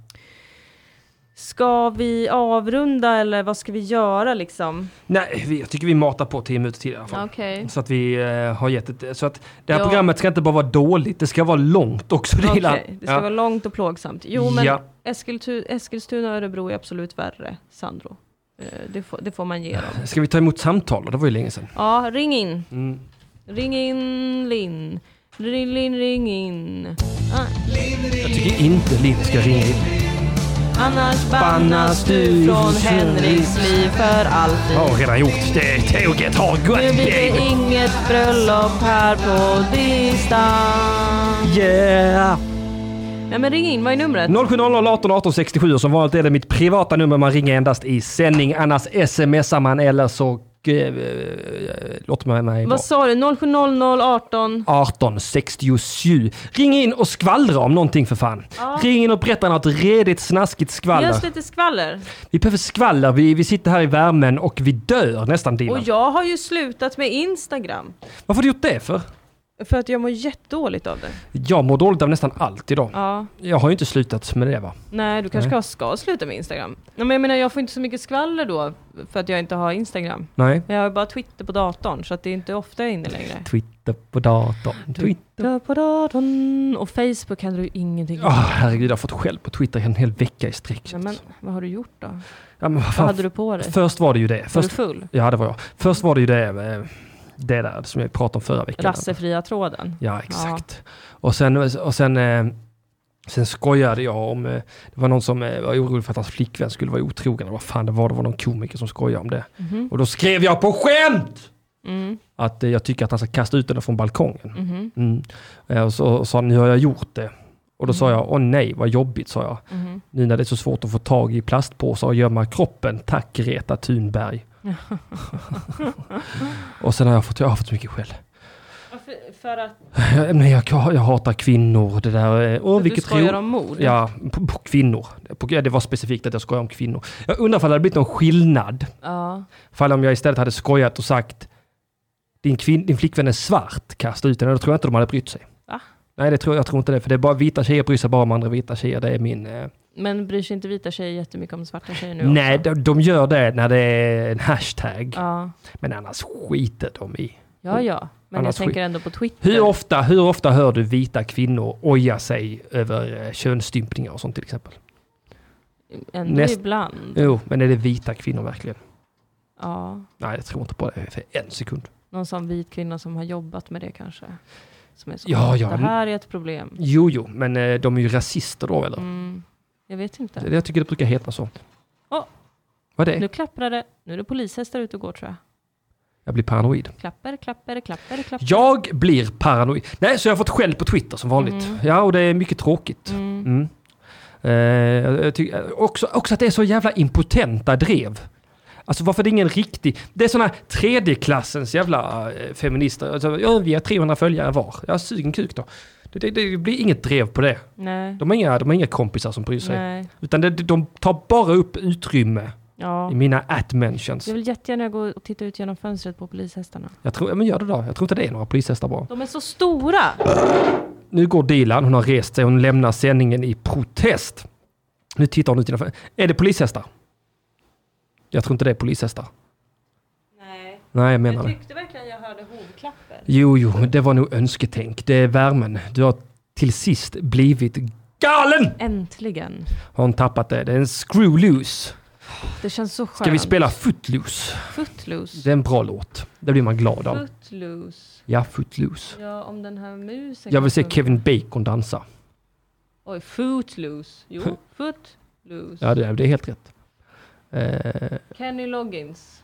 S4: Ska vi avrunda eller vad ska vi göra liksom?
S3: Nej, vi- jag tycker vi matar på tio minuter till i alla fall.
S4: Okej.
S3: Så att vi eh, har gett ett, så att det här
S4: Ja.
S3: programmet ska inte bara vara dåligt, det ska vara långt också. Det
S4: Okej,
S3: gillar-
S4: det ska
S3: ja.
S4: vara långt och plågsamt. Jo, men
S3: Ja.
S4: Eskiltu- Eskilstuna och Örebro är absolut värre, Sandro. Eh, Det får, det får man ge dem.
S3: Ska vi ta emot samtal? Det var ju länge sedan.
S4: Ja, ring in.
S3: Mm.
S4: Ring in Linn. Ring, ring, ring in. Ah,
S3: Jag tycker inte Linn ska ringa in.
S4: annars bannas du från Henriks liv för alltid.
S3: Har redan gjort det. Tåget har
S4: Nu
S3: gått.
S4: blir det
S3: baby.
S4: inget bröllop här på distans.
S3: Yeah!
S4: Nej men ring in, vad är numret?
S3: 0700 18 18 67 och som vanligt är det mitt privata nummer man ringer endast i sändning. Annars smsar man eller så eh, eh, låter man mig vara.
S4: Vad sa du? 070018?
S3: 1867. Ring in och skvallra om någonting för fan. Ring in och berätta något redigt snaskigt
S4: Ge
S3: skvaller.
S4: oss lite skvaller.
S3: Vi behöver skvaller, vi, vi sitter här i värmen och vi dör nästan
S4: Och
S3: Dilan.
S4: jag har ju slutat med Instagram.
S3: Varför har du gjort det för?
S4: För att jag mår jättedåligt av det.
S3: Jag mår dåligt av nästan allt idag.
S4: Ja.
S3: Jag har ju inte slutat med det va?
S4: Nej, du kanske
S3: Nej.
S4: ska sluta med Instagram. Nej, men jag menar, jag får inte så mycket skvaller då för att jag inte har Instagram.
S3: Nej.
S4: Jag har ju bara Twitter på datorn, så att det är inte ofta jag är inne längre.
S3: Twitter på datorn. Twitter.
S4: Twitter på datorn. Ah. Och Facebook hade du ingenting
S3: Åh herregud, jag har fått skäll på Twitter en hel vecka i sträck.
S4: Nej, men vad har du gjort då?
S3: Ja, men vad
S4: Vad
S3: fan.
S4: hade du på dig?
S3: Först var det ju det.
S4: Var du
S3: Först,
S4: full?
S3: ja, det var jag. Först var det ju det, eh, det där som jag pratade om förra veckan.
S4: Rassefria tråden?
S3: Ja, exakt. Och, sen, och sen, eh, sen skojade jag om, eh, det var någon som eh, var orolig för att hans flickvän skulle vara otrogen. eller Vad fan det var, det var någon komiker som skojade om det.
S4: Mhm.
S3: Och då skrev jag på skämt!
S4: Mm.
S3: Att eh, jag tycker att han ska kasta ut henne från balkongen.
S4: Mhm.
S3: Mm. Eh, och så och sa han, nu har jag gjort det. Och då sa jag, åh nej vad jobbigt, sa jag.
S4: Mhm.
S3: Nu när det är så svårt att få tag i plastpåsar och gömma kroppen. Tack Greta Thunberg. och sen har jag fått, jag har fått så mycket skäll.
S4: Varför, för att
S3: Jag, nej, jag, jag hatar kvinnor. Det där, eh, åh,
S4: du
S3: vilket
S4: skojar
S3: ro-
S4: om mord?
S3: Ja, på, på kvinnor. På, ja, det var specifikt att jag skojade om kvinnor. Jag undrar ifall det hade blivit någon skillnad.
S4: Ja.
S3: Ifall om jag istället hade skojat och sagt din, kvin- din flickvän är svart, kasta ut henne. Då tror jag inte de hade brytt sig.
S4: Va?
S3: Nej, det tror, jag tror inte det. För det är bara vita tjejer bryr sig bara om andra vita tjejer. Det är min... Eh,
S4: Men bryr sig inte vita tjejer jättemycket om svarta tjejer nu
S3: nej,
S4: också?
S3: de, de gör det när det är en hashtag.
S4: Ja,
S3: Men annars skiter de i.
S4: ja. ja. Men
S3: Annars
S4: jag tänker ändå på Twitter.
S3: Hur ofta, hur ofta hör du vita kvinnor oja sig över eh, könsstympningar och sånt till exempel?
S4: Ändå
S3: Näst-
S4: ibland.
S3: Jo, men är det vita kvinnor verkligen?
S4: Ja.
S3: Nej, jag tror inte på det för en sekund.
S4: Någon sån vit kvinna som har jobbat med det kanske. Som är så,
S3: Ja, ja.
S4: Det här är ett problem.
S3: Jo, jo, men eh, de är ju rasister då, eller?
S4: Mm, jag vet inte.
S3: Det, jag tycker det brukar heta så.
S4: Åh.
S3: Vad är det?
S4: Nu klapprar det. Nu är det polishästar ute och går tror jag.
S3: Jag blir paranoid.
S4: Klapper, klapper, klapper, klapper.
S3: Jag blir paranoid. Nej, så jag har fått skäll på Twitter som vanligt. Ja, och det är mycket tråkigt.
S4: Mm.
S3: Mm. Eh, jag tycker eh, också, också att det är så jävla impotenta drev. Alltså varför det är ingen riktig... Det är såna tredjeklassens jävla eh, feminister. Alltså, ja, vi har 300 följare var. Ja, sug en kuk då. Det, det, det blir inget drev på det.
S4: Nej.
S3: De har inga, de har inga kompisar som bryr sig.
S4: Nej.
S3: Utan det, de tar bara upp utrymme
S4: Ja.
S3: i mina at-mentions.
S4: Jag vill jättegärna gå och titta ut genom fönstret på polishästarna.
S3: Jag tror, ja, men gör det då. Jag tror inte det är några polishästar bara.
S4: De är så stora!
S3: Nu går Dilan, hon har rest sig, hon lämnar sändningen i protest. Nu tittar hon ut genom fönstret. Är det polishästar? Jag tror inte det är polishästar.
S4: Nej.
S3: Nej, jag menar det.
S4: verkligen jag hörde hovklapper.
S3: Jo, jo, men det var nog önsketänk. Det är värmen. Du har till sist blivit galen!
S4: Äntligen.
S3: Har hon tappat det? Det är en screw loose.
S4: Det känns så skönt.
S3: Ska vi spela footloose? Det
S4: Footloose?
S3: är en bra låt. Det blir man glad av.
S4: Footloose.
S3: Ja, footloose.
S4: Ja, om den här musen...
S3: Jag vill se
S4: kanske-
S3: Kevin Bacon dansa.
S4: Oj, footloose. Jo, footloose.
S3: Ja, det är det är helt rätt. Eh,
S4: Kenny Loggins.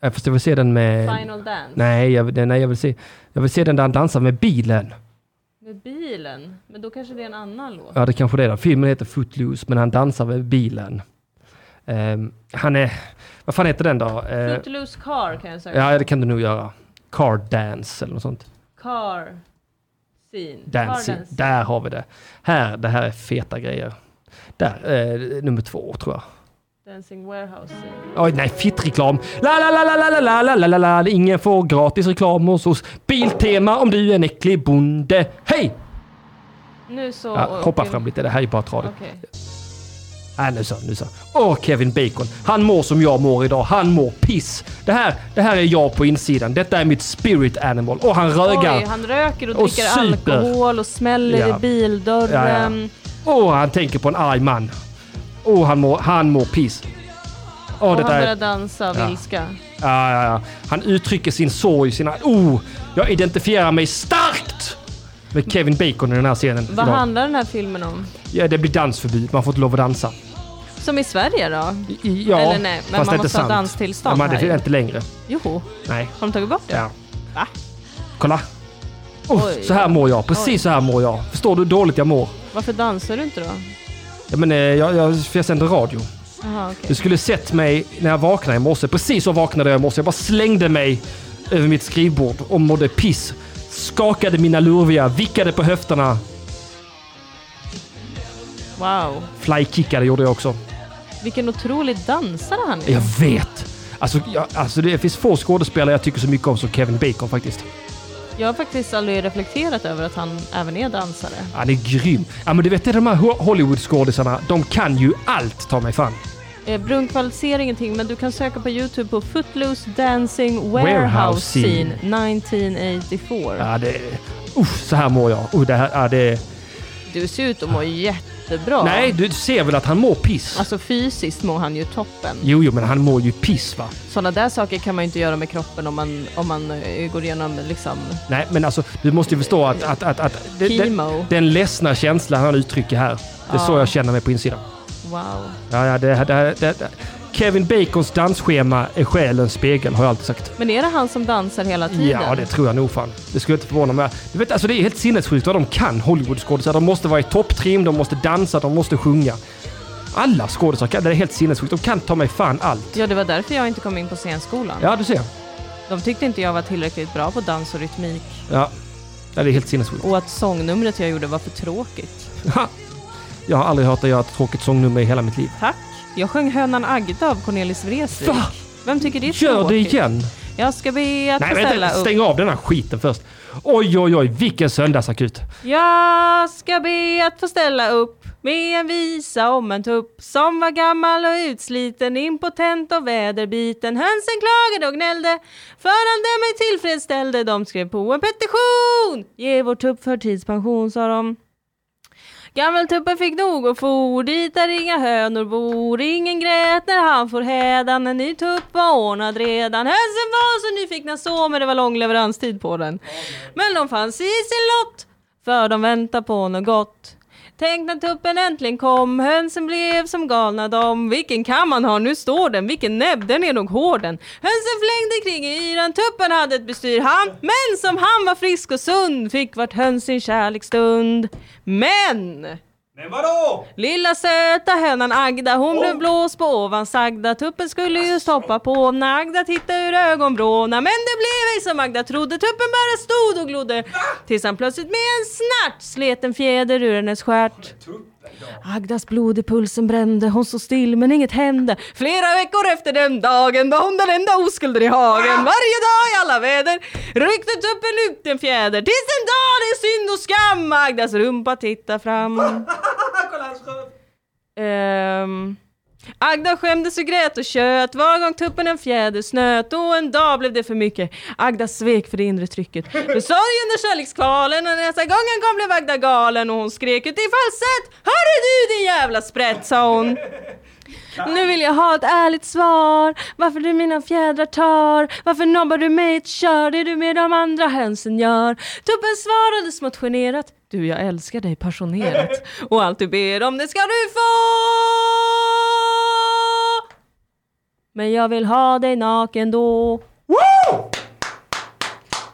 S3: jag förstår, jag vill se den med...
S4: Final Dance.
S3: Eh, Nej, jag, vill- nej jag, vill se, jag vill se den där han dansar med bilen.
S4: Med bilen. Men då kanske det är en annan låt.
S3: Ja, det kanske det är. det. Filmen heter Footloose, men han dansar med bilen. Ehm, han är... Vad fan heter den då? Eh,
S4: Footloose Car kan jag säga.
S3: ja, det kan du nog göra. Car Dance eller något sånt.
S4: Car Scene.
S3: Dancing.
S4: Car dance.
S3: Där har vi det. Här, det här är feta grejer. Där, eh, nummer två tror jag.
S4: Dancing Warehouse Scene.
S3: Oj, nej, fittreklam. La, la, la, la, la, la, la, la, la, la, la. Ingen får gratis reklam hos oss. Biltema om du är en äcklig bonde. Hej!
S4: Nu så...
S3: Ja, hoppa fram lite, det här är bara tradigt.
S4: Okej.
S3: Nej, nu så, nu så. Åh, Kevin Bacon. Han mår som jag mår idag. Han mår piss. Det här, det här är jag på insidan. Detta är mitt spirit animal. Och han rögar.
S4: Oj, han röker och,
S3: Och
S4: dricker
S3: super.
S4: alkohol och smäller
S3: Ja.
S4: i bildörren.
S3: Ja, Åh, han tänker på en arg man. Åh, han mår, han mår piss. Åh,
S4: Och han
S3: detta
S4: börjar
S3: är...
S4: dansa av
S3: Ja.
S4: ilska.
S3: Ja, ja, ja. Han uttrycker sin sorg, sina... Oh, jag identifierar mig starkt! Med Kevin Bacon i den här scenen.
S4: Vad
S3: idag.
S4: handlar den här filmen om?
S3: Ja, det blir dansförbud. Man får inte lov att dansa.
S4: Som i Sverige då?
S3: I- i- Ja,
S4: Eller nej, men
S3: fast
S4: man
S3: det är inte
S4: måste ha
S3: sant.
S4: danstillstånd
S3: ja, men
S4: här
S3: det är
S4: ju.
S3: inte längre.
S4: Joho,
S3: Nej.
S4: har de tagit bort det?
S3: Ja. Kolla! Oh,
S4: Oj.
S3: så här mår jag, precis
S4: Oj.
S3: så här mår jag. Förstår du hur dåligt jag mår?
S4: Varför dansar du inte då?
S3: Ja, men, eh, jag, jag, för jag sänder radio.
S4: Jaha, okej.
S3: Du skulle sett mig när jag vaknade i morse. Precis så vaknade jag i morse. Jag bara slängde mig över mitt skrivbord och mådde piss. Skakade mina lurviga, vickade på höfterna.
S4: Wow.
S3: Flykickade gjorde jag också.
S4: Vilken otrolig dansare han är.
S3: Jag vet! Alltså, jag, alltså det finns få skådespelare jag tycker så mycket om som Kevin Bacon faktiskt.
S4: Jag har faktiskt aldrig reflekterat över att han även är dansare.
S3: Han är grym. Ja men du vet det är de här Ho- Hollywood-skådisarna, de kan ju allt ta mig fan.
S4: Eh, Brunkvalificering ingenting, men du kan söka på Youtube på Footloose Dancing
S3: Warehouse
S4: Warehouse
S3: Scene.
S4: Scene 1984.
S3: Ja, det... Usch, så här mår jag. Uh, det här, ja, det...
S4: Du ser ut att må jättebra.
S3: Nej, du ser väl att han mår piss?
S4: Alltså fysiskt mår han ju toppen.
S3: Jo, jo, men han mår ju piss va?
S4: Sådana där saker kan man ju inte göra med kroppen om man, om man eh, går igenom liksom
S3: Nej, men alltså du måste ju förstå att... att, att, att det, det,
S4: chemo.
S3: den ledsna känslan han uttrycker här, det är så
S4: Ja.
S3: jag känner mig på insidan.
S4: Wow.
S3: Ja, ja, det, det, det, det. Kevin Bacons dansschema är själens spegel, har jag alltid sagt.
S4: Men är det han som dansar hela tiden?
S3: Ja, det tror jag nog fan. Det skulle inte förvåna mig. Du vet, alltså det är helt sinnessjukt vad de kan, Hollywoodskådisar. De måste vara i topptrim, de måste dansa, de måste sjunga. Alla skådisar kan, det är helt sinnessjukt. De kan ta mig fan allt.
S4: Ja, det var därför jag inte kom in på scenskolan.
S3: Ja, du ser.
S4: De tyckte inte jag var tillräckligt bra på dans och rytmik
S3: Ja. ja det är helt sinnessjukt.
S4: och att sångnumret jag gjorde var för tråkigt.
S3: Ha! Jag har aldrig hört dig göra ett tråkigt sångnummer i hela mitt liv.
S4: Tack! Jag sjöng Hönan Agda av Cornelis Vreeswijk.
S3: Va?
S4: Vem tycker det är
S3: Gör det
S4: tråkigt?
S3: igen!
S4: Jag ska be att
S3: Nej,
S4: få ställa
S3: vänta,
S4: upp.
S3: stäng av den här skiten först. Oj, oj, oj, vilken söndagsakut.
S4: Jag ska be att få ställa upp med en visa om en tupp som var gammal och utsliten, impotent och väderbiten. Hönsen klagade och gnällde, förande mig tillfredsställde. De skrev på en petition. Ge vår tupp förtidspension, sa de. Gammeltuppen fick nog och for dit där inga hönor bor. Ingen grät när han for hädan, en ny tupp var ordnad redan. Hönsen var så nyfikna så, men det var lång leveranstid på den. Men de fanns i sin lott, för de väntade på något gott. Tänk när tuppen äntligen kom, hönsen blev som galna dom. Vilken kam man har, nu står den, vilken näbb, den är nog hård den. Hönsen flängde kring i yran, tuppen hade ett bestyr han. Men som han var frisk och sund fick vart höns sin kärleksstund. Men!
S6: Men vadå?
S4: Lilla söta hönan Agda, hon blev blåst på ovan sagda. Tuppen skulle just hoppa på när Agda tittade ur ögonvråna. Men det blev ej som Agda trodde, tuppen bara stod och glodde. Tills han plötsligt med en snärt slet en fjäder ur hennes stjärt. Agdas blod i pulsen brände, hon stod still men inget hände. Flera veckor efter den dagen var hon den enda oskulden i hagen. Varje dag i alla väder ryckte tuppen ut en fjäder. Tills en dag det är synd och skam Agdas rumpa tittar fram. Ehm, Agda skämdes och grät och tjöt, var gång tuppen en fjäder snöt och en dag blev det för mycket. Agda svek för det inre trycket. För sorgen och kärlekskvalen och nästa gång han kom blev Agda galen och hon skrek ut i falsett. Hörru du din jävla sprätt sa hon. Nu vill jag ha ett ärligt svar Varför du mina fjädrar tar Varför nobbar du mig i ett kör Det du med de andra hönsen gör Tuppen svarade smått generat Du jag älskar dig passionerat Och allt du ber om det ska du få Men jag vill ha dig naken då
S6: Woo!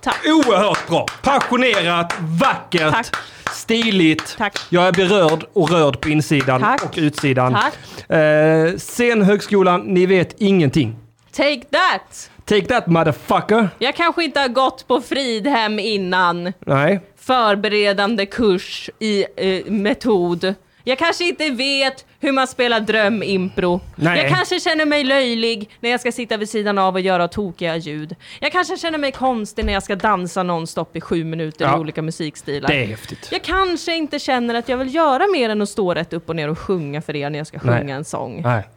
S4: Tack.
S6: Oerhört bra. Passionerat, vackert,
S4: Tack.
S3: Stiligt.
S4: Tack.
S3: Jag är berörd och rörd på insidan
S4: Tack.
S3: och utsidan.
S4: Tack
S3: Eh, sen högskolan, ni vet ingenting.
S4: Take that
S3: Take that motherfucker.
S4: Jag kanske inte har gått på Fridhem innan
S3: Nej,
S4: förberedande kurs i eh, metod. Jag kanske inte vet hur man spelar drömimpro.
S3: Nej.
S4: Jag kanske känner mig löjlig när jag ska sitta vid sidan av och göra tokiga ljud. Jag kanske känner mig konstig när jag ska dansa nonstop i sju minuter
S3: Ja.
S4: i olika musikstilar.
S3: det är häftigt.
S4: Jag kanske inte känner att jag vill göra mer än att stå rätt upp och ner och sjunga för er när jag ska sjunga
S3: Nej.
S4: en sång.
S3: Nej,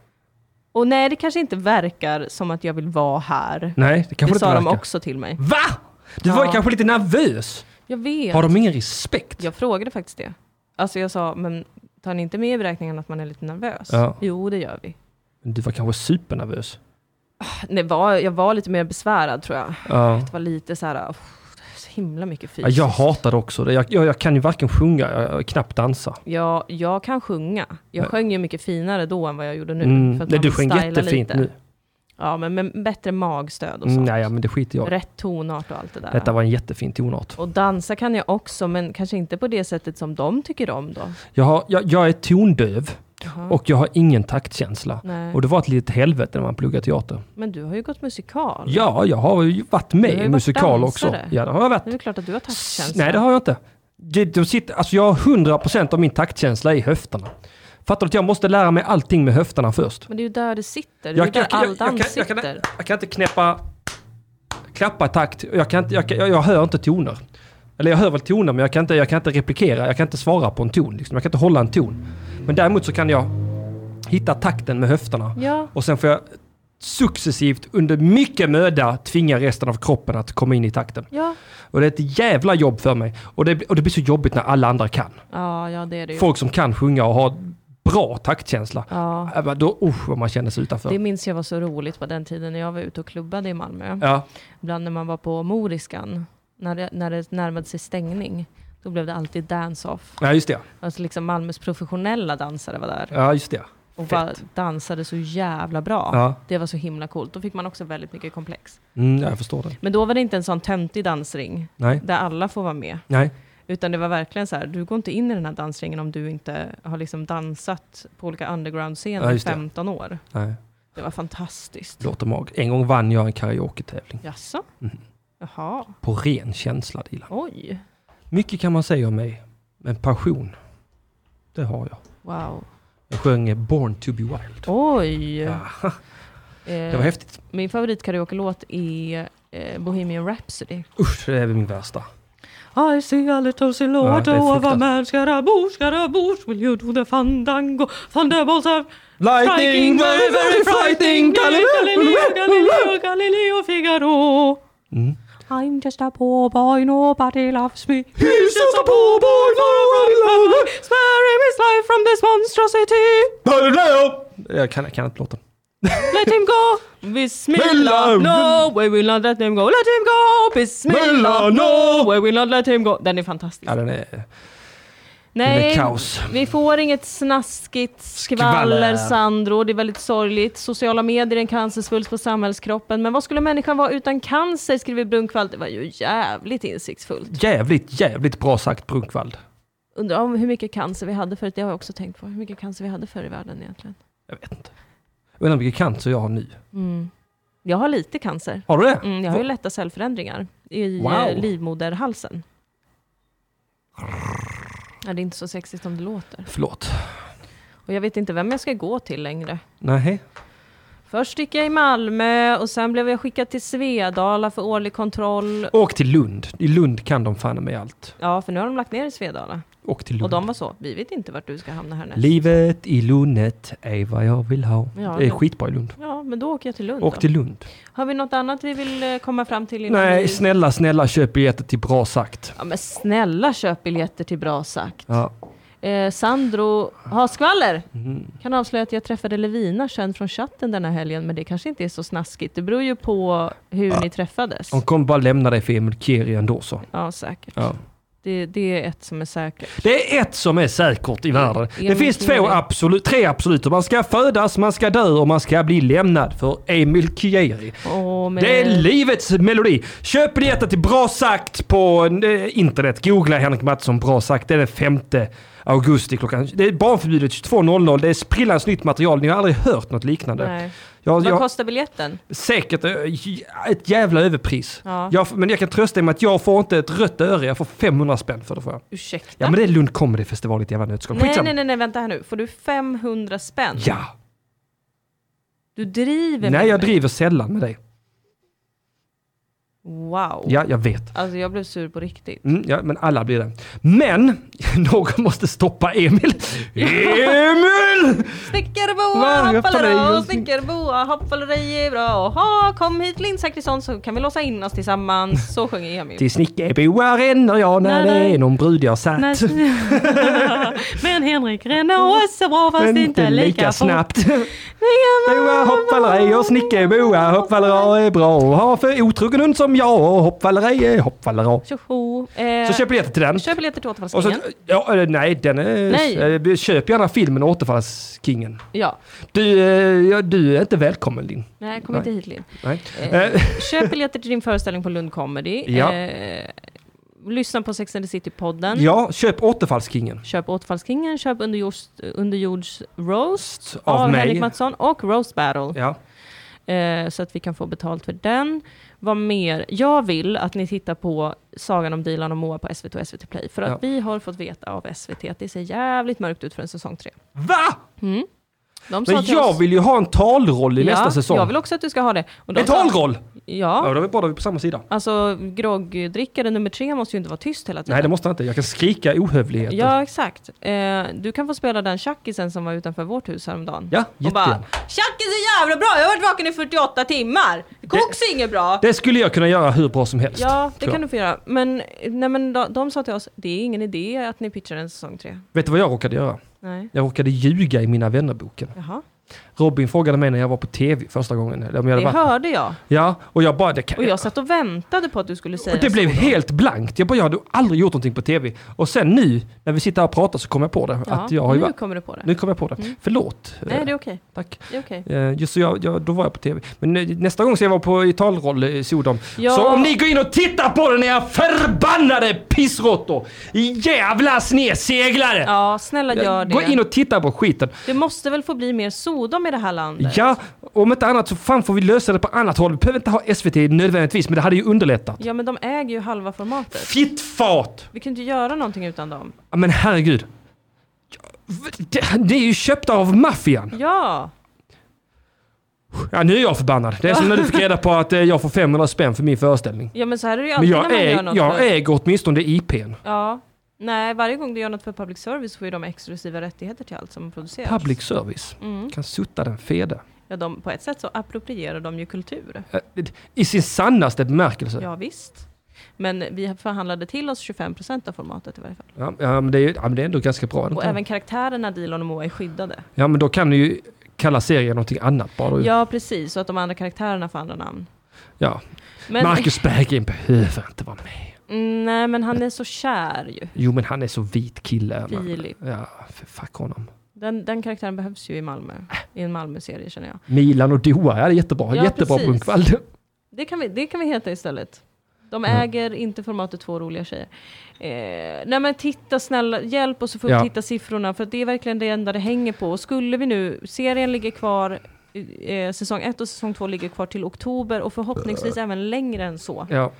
S4: Och nej, det kanske inte verkar som att jag vill vara här.
S3: nej det kanske
S4: Det
S3: inte
S4: sa de
S3: verkar.
S4: också till mig.
S3: Va? Du var ju
S4: Ja.
S3: kanske lite nervös.
S4: Jag vet.
S3: Har de ingen respekt?
S4: Jag frågade faktiskt det. Alltså jag sa, men tar ni inte med i beräkningen att man är lite nervös?
S3: Ja.
S4: Jo, det gör vi.
S3: Du var kanske supernervös.
S4: Det var, jag var lite mer besvärad tror jag.
S3: Ja.
S4: Det var lite så här, "Uff, det är så himla mycket
S3: Ja,
S4: fysiskt.
S3: Jag hatade också det. Jag, jag, jag kan ju varken sjunga, jag, jag knappt dansa.
S4: Ja, jag kan sjunga. Jag sjöng ju mycket finare då än vad jag gjorde nu.
S3: Mm.
S4: att
S3: Nej,
S4: man
S3: du
S4: får
S3: sjöng
S4: styla
S3: jättefint
S4: lite.
S3: nu.
S4: Ja, men med bättre magstöd och sånt.
S3: Mm, Nej, ja, men det skiter jag i.
S4: Rätt tonart och allt det där.
S3: Detta var en jättefin tonart.
S4: Och dansa kan jag också, men kanske inte på det sättet som de tycker om då.
S3: Jag, har, jag, jag är tondöv
S4: Jaha.
S3: och jag har ingen taktkänsla.
S4: Nej.
S3: Och det var ett litet helvete när man pluggade teater.
S4: Men du har ju gått musikal.
S3: Ja, jag har ju varit med
S4: Du har ju
S3: i
S4: varit
S3: musikal
S4: dansare.
S3: också. Ja, det har jag
S4: Det är
S3: varit.
S4: väl klart att du har taktkänsla.
S3: Nej, det har jag inte. Det, de sitter, alltså jag har 100% av min taktkänsla i höfterna. Fattar du att jag måste lära mig allting med höfterna först?
S4: Men det är ju där det sitter. Det är
S3: Jag
S4: ju där all
S3: jag, jag,
S4: dans
S3: kan, jag,
S4: sitter.
S3: kan, jag kan inte knäppa... Klappa i takt. Jag, kan inte, jag, kan- jag, jag hör inte toner. Eller jag hör väl toner, men jag kan, inte, jag kan inte replikera. Jag kan inte svara på en ton. Liksom. Jag kan inte hålla en ton. Men däremot så kan jag hitta takten med höfterna.
S4: Ja,
S3: Och sen får jag successivt under mycket möda tvinga resten av kroppen att komma in i takten.
S4: ja.
S3: Och det är ett jävla jobb för mig. Och det, och det blir så jobbigt när alla andra kan.
S4: Ja, ja det är det ju.
S3: Folk som kan sjunga och har bra taktkänsla.
S4: Ja.
S3: Äh, men Då, usch vad man känner sig utanför.
S4: Det minns jag var så roligt på den tiden när jag var ute och klubbade i Malmö.
S3: Ja.
S4: Ibland när man var på Moriskan, när det, när det närmade sig stängning, då blev det alltid dance-off.
S3: ja, just det.
S4: Alltså liksom Malmös professionella dansare var där
S3: Ja, just det.
S4: och
S3: fett.
S4: bara dansade så jävla bra.
S3: Ja.
S4: Det var så himla coolt. Då fick man också väldigt mycket komplex.
S3: Mm, ja, jag förstår det.
S4: Men då var det inte en sån töntig dansring
S3: Nej.
S4: där alla får vara med.
S3: Nej.
S4: Utan det var verkligen så här, du går inte in i den här dansringen om du inte har liksom dansat på olika underground-scener
S3: Ja,
S4: i
S3: just det.
S4: 15 år.
S3: Nej.
S4: Det var fantastiskt.
S3: Låter mag. En gång vann jag en karaoke-tävling.
S4: Jaså?
S3: Mm.
S4: Jaha,
S3: På ren känsla, Dilan.
S4: oj.
S3: Mycket kan man säga om mig, men passion, det har jag.
S4: Wow.
S3: Jag sjöng eh, Born to be wild.
S4: Oj!
S3: Ja,
S4: Eh,
S3: det var häftigt.
S4: min favoritkaraoke-låt är eh, Bohemian Rhapsody.
S3: Usch, det är väl min värsta.
S4: I see a little silhouette
S3: Ja, det är
S4: of a
S3: fruktansvärt.
S4: man, scarabouche, scarabouche, will you do the fandango, thunderbolts are
S3: Lightning,
S4: striking,
S3: very, very frightening,
S4: Galileo, Galileo, Galileo, Figaro.
S3: Mm.
S4: I'm just a poor boy, nobody loves me.
S3: He's just a poor boy for a ruddy lover.
S4: Spare him his life from this monstrosity.
S3: Galileo! Jag kan, jag kan inte låten.
S4: Let him go! Bismillah, no we will not let him go! Let him go! Bismillah, no we will not let him go! Den är fantastisk.
S3: Ja, den är... Det är
S4: Nej,
S3: kaos.
S4: vi får inget snaskigt skvaller,
S6: Skvaller.
S4: Sandro. Det är väldigt sorgligt. Sociala medier är en cancersvulst på samhällskroppen. Men vad skulle människan vara utan cancer, skriver Brunkvall. Det var ju jävligt insiktsfullt.
S3: Jävligt, jävligt bra sagt Brunkvald.
S4: Undrar om hur mycket cancer vi hade förut. Det har jag också tänkt på. Hur mycket cancer vi hade förr i världen egentligen.
S3: Jag vet inte. Jag undrar vilken cancer jag har nu.
S4: Jag har lite cancer.
S3: Har du det?
S4: Mm, jag har ju lätta cellförändringar i
S3: Wow.
S4: eh, livmoderhalsen. Ja, det är inte så sexigt som det låter.
S3: Förlåt.
S4: Och jag vet inte vem jag ska gå till längre.
S3: Nej.
S4: Först gick jag i Malmö och sen blev jag skickad till Svedala för årlig kontroll.
S3: Åk till Lund. I Lund kan de fan med allt.
S4: Ja, för nu har de lagt ner i Svedala.
S3: Åk till Lund.
S4: Och de var så, vi vet inte vart du ska hamna härnäst.
S3: Livet i Lundet är vad jag vill ha.
S4: Ja,
S3: det är
S4: men-
S3: skitbra i Lund.
S4: Ja, men då åker jag till Lund
S3: Åk
S4: då.
S3: till Lund.
S4: Har vi något annat vi vill eh, komma fram till? innan
S3: Nej,
S4: vi...
S3: snälla, snälla köp biljetter till Bra sagt.
S4: Ja, men snälla köp biljetter till Bra sagt.
S3: Ja.
S4: Eh, Sandro har skvaller.
S3: Mhm.
S4: Kan avslöja att jag träffade Levina känd från chatten denna helgen, men det kanske inte är så snaskigt. Det beror ju på hur ni träffades.
S3: Hon kommer bara lämna dig för Emil Kiri ändå så.
S4: Ja, säkert.
S3: Ja.
S4: Det, det är ett som är säkert.
S3: Det är ett som är säkert i världen.
S4: Emil
S3: Det finns två
S4: Kiri.
S3: absolut, tre absoluter. Man ska födas, man ska dö och man ska bli lämnad för Emil Kiri.
S4: Åh, men-
S3: Det är livets melodi. Köp biljetter till Bra sagt på eh, internet. Googla Henrik Mattsson Bra sagt. Det är den 5 augusti klockan... Det är barnförbjudet 22.00. Det är sprillans nytt material. Ni har aldrig hört något liknande.
S4: Nej.
S3: Jag,
S4: Vad
S3: jag,
S4: kostar biljetten?
S3: säkert eh, j- ett jävla överpris.
S4: Ja.
S3: Jag, men jag kan trösta er med att jag får inte ett rött öre. Jag får 500 spänn för det. Får jag.
S4: Ursäkta?
S3: Ja men det är Lund Comedy Festival i ett jävla nötskal.
S4: nej,
S3: Skitsamma.
S4: nej, nej, nej, vänta här nu. Får du 500 spänn?
S3: Ja!
S4: Du driver
S3: Nej
S4: med
S3: jag
S4: mig.
S3: driver sällan med dig.
S4: Wow.
S3: Ja, jag vet.
S4: Alltså jag blev sur på riktigt.
S3: Mm, ja, men alla blir det. Men någon måste stoppa Emil. Emil! Va?
S4: Snickarboa,
S3: Jag tar dig
S4: hoppalera,
S3: just-
S4: snickarboa, hoppalera är bra. Ha, kom hit Linn Zachrisson så kan vi låsa in oss tillsammans. Så sjunger Emil.
S3: Till snickerboa ränner jag när
S4: Nej, nej.
S3: det är någon brud jag satt.
S4: Men Henrik Renault är så bra fast
S3: Men
S4: inte lika fort.
S3: snabbt. Boa hoppvallrejer, snickerboa hoppvallera är bra. Ha för otrogen hund som jag, hoppvallera hoppvallera.
S4: Tjoho. Eh,
S3: Så köp biljetter till den.
S4: Köp biljetter till
S3: Och så,
S4: Återfallskungen.
S3: ja, eh, nej, den är...
S4: Nej.
S3: eh, Köp gärna filmen Återfallskingen.
S4: Ja.
S3: Du, eh, ja, du är inte välkommen Linn.
S4: Nej, kom
S3: Nej.
S4: inte hit Linn.
S3: Nej.
S4: Eh,
S3: Eh,
S4: Köp biljetter till din föreställning på Lund Comedy.
S3: Ja.
S4: Eh, lyssna på Sex and the City-podden.
S3: Ja, köp Återfallskingen.
S4: Köp Återfallskingen, köp Underjords, underjords Roast
S3: Av
S4: av,
S3: mig.
S4: Henrik Mattsson och Roast Battle.
S3: Ja.
S4: Eh, så att vi kan få betalt för den. Vad mer? Jag vill att ni tittar på Sagan om Dilan och Moa på SVT och SVT Play. För att
S3: Ja.
S4: vi har fått veta av SVT att det ser jävligt mörkt ut för en säsong tre.
S3: Va?
S4: De sa
S3: Men
S4: till
S3: jag
S4: oss-
S3: vill ju ha en talroll i nästa säsong.
S4: Jag vill också att du ska ha det. Och de
S3: En
S4: sa-
S3: talroll! Ja,
S4: Ja.
S3: då är vi båda på samma sida.
S4: Alltså groggdrickare nummer tre måste ju inte vara tyst hela tiden.
S3: Nej, det måste jag inte. Jag kan skrika ohövligheter.
S4: Ja, exakt. Eh, du kan få spela den tjackisen som var utanför vårt hus häromdagen.
S3: Ja,
S4: Och bara,
S3: jättegärna.
S4: tjackis är jävla bra, jag har varit vaken i 48 timmar. Koks är inget bra.
S3: Det skulle jag kunna göra hur bra som helst.
S4: ja, det
S3: tror jag.
S4: kan du få göra. Men, nej, men de, de sa till oss, det är ingen idé att ni pitchar en säsong tre.
S3: Vet du vad jag råkade göra?
S4: Nej.
S3: Jag råkade ljuga i Mina vännerboken.
S4: Jaha.
S3: Robin frågade mig när jag var på tv första gången. eller Om jag
S4: Det
S3: hade varit...
S4: hörde jag.
S3: Ja, och jag bara... Det kan
S4: Och jag satt och väntade på att du skulle säga
S3: Och det blev helt blankt. Jag bara, jag hade aldrig gjort någonting på tv. Och sen nu, när vi sitter här och pratar så kommer jag på det.
S4: ja,
S3: att jag har ju...
S4: Nu
S3: varit-
S4: kommer du på det.
S3: Nu kom jag på det. Förlåt.
S4: Nej, det är okej.
S3: Tack.
S4: Det är okej.
S3: Eh, Just så jag, jag, då var jag på tv. Men eh, nästa gång ska jag vara på i talroll i Sodom.
S4: Ja.
S3: Så om ni går in och tittar på den era förbannade pissråttor! Jävla sneseglare!
S4: Ja, snälla gör det.
S3: Gå in och titta på skiten.
S4: Det måste väl få bli mer Sodom i det här landet?
S3: Ja, om inte annat så fan får vi lösa det på annat håll. Vi behöver inte ha SVT nödvändigtvis, men det hade ju underlättat.
S4: Ja, men de äger ju halva formatet.
S3: Fittfat!
S4: Vi kan inte göra någonting utan dem.
S3: Ja, Men herregud. Det, det är ju köpt av maffian.
S4: Ja!
S3: Ja, nu är jag förbannad. Det är som när du fick reda på att eh, jag får 500 spänn för min föreställning.
S4: Ja men så här är det ju
S3: Men
S4: alltid när
S3: jag,
S4: man gör
S3: äg, jag
S4: något. för,
S3: äger åtminstone IPn.
S4: ja. Nej, varje gång du gör något för public service får ju de exklusiva rättigheter till allt som produceras.
S3: Public service.
S4: Mm.
S3: Kan sutta den fede.
S4: ja, de, på ett sätt så approprierar de ju kultur.
S3: Eh, I sin sannaste bemärkelse. Ja.
S4: Ja, visst. Men vi förhandlade till oss 25% av formatet i varje fall.
S3: Ja, men det är, ju- ja, men det är ändå ganska bra. är det
S4: Och
S3: inte?
S4: även karaktärerna Dilan och Moa är skyddade.
S3: Ja, men då kan du ju kalla serien någonting annat bara. Ja.
S4: Ja, precis. Så att de andra karaktärerna får andra namn.
S3: Ja.
S4: Men,
S3: Marcus Berggren behöver inte vara med.
S4: Mm, Nej, men han är så kär ju.
S3: Jo, men han är så vit kille. men-
S4: Filip.
S3: Ja, f- fuck honom.
S4: Den, den karaktären behövs ju i Malmö. I en Malmö-serie känner jag.
S3: Milan och Doha, ja det är jättebra.
S4: Ja,
S3: jättebra
S4: precis.
S3: Bunkvald.
S4: Det kan vi, det kan vi heta istället. De
S3: Mm.
S4: äger inte formatet två roliga tjejer. Eh, nej men titta snälla, hjälp oss att få upp
S3: Ja.
S4: titta siffrorna för att det är verkligen det enda det hänger på. Och skulle vi nu, serien ligger kvar, eh, säsong ett och säsong två ligger kvar till oktober och förhoppningsvis även längre än så.
S3: Ja.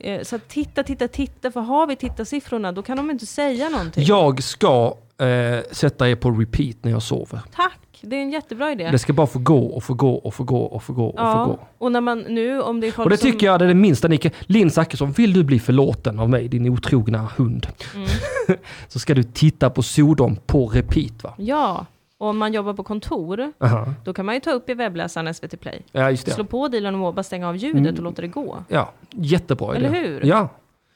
S4: Eh, så att titta, titta, titta, för har vi tittarsiffrorna då kan de inte säga någonting.
S3: Jag ska eh, sätta er på repeat när jag sover.
S4: Tack, det är en jättebra idé.
S3: Det ska bara få gå och få gå och få gå och få gå och få gå.
S4: och när man nu, om det är folk
S3: Och det
S4: som...
S3: tycker jag det är det minsta ni kan... Linn Zachrisson, vill du bli förlåten av mig, din otrogna hund?
S4: Mm.
S3: så ska du titta på Sodom på repeat va?
S4: Ja, och om man jobbar på kontor,
S3: Aha.
S4: då kan man ju ta upp i webbläsaren SVT Play.
S3: Ja, Mm. just
S4: Slå
S3: det.
S4: på Dilan och Moba, stänga av ljudet och låta det gå.
S3: Ja, jättebra idé.
S4: Eller hur?
S3: Ja.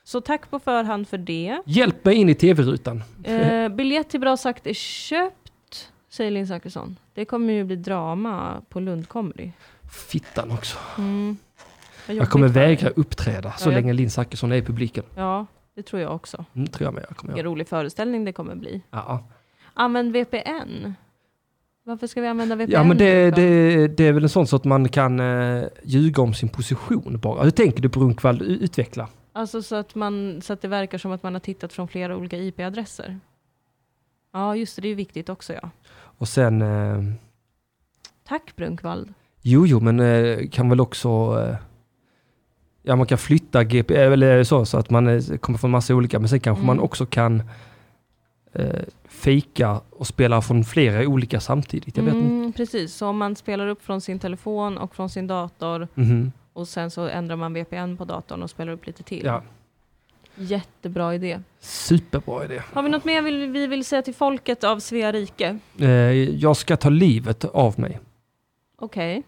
S4: Så tack på förhand för det.
S3: Hjälp mig in i tv-rutan.
S4: Eh, biljett till Bra sagt är köpt, säger Linn Zachrisson. Det kommer ju bli drama på Lund Comedy. Mm.
S3: Fittan också.
S4: Vad
S3: Jag kommer
S4: jobbigt för dig.
S3: vägra uppträda så
S4: Ja, jag-
S3: länge Linn Zachrisson är i publiken.
S4: Ja, det tror jag också.
S3: Mm, tror jag med. Jag kommer
S4: Vilken
S3: göra.
S4: rolig föreställning det kommer bli.
S3: Ja.
S4: Använd VPN. Varför ska vi använda VPN?
S3: ja, men det,
S4: Rickard?
S3: det, det är väl en sån så att man kan eh, ljuga om sin position bara. Hur tänker du Brunkvall? U- Utveckla.
S4: Alltså så att, man, så att det verkar som att man har tittat från flera olika IP-adresser. Ja, just det. Det är ju viktigt också, ja.
S3: Och sen... Eh,
S4: Tack Brunkvald.
S3: jo, jo, men eh, kan väl också... Eh, ja, man kan flytta GP... Eller så, så att man eh, kommer från massa olika. Men sen kanske
S4: Mm.
S3: man också kan eh, fejka och spela från flera olika samtidigt. Jag vet inte.
S4: Mm, precis, så om man spelar upp från sin telefon och från sin dator
S3: Mhm.
S4: och sen så ändrar man VPN på datorn och spelar upp lite till.
S3: Ja,
S4: Jättebra idé.
S3: superbra idé.
S4: Har vi något mer vi, vi vill säga till folket av Svea rike?
S3: Eh, jag ska ta livet av mig.
S4: Okej.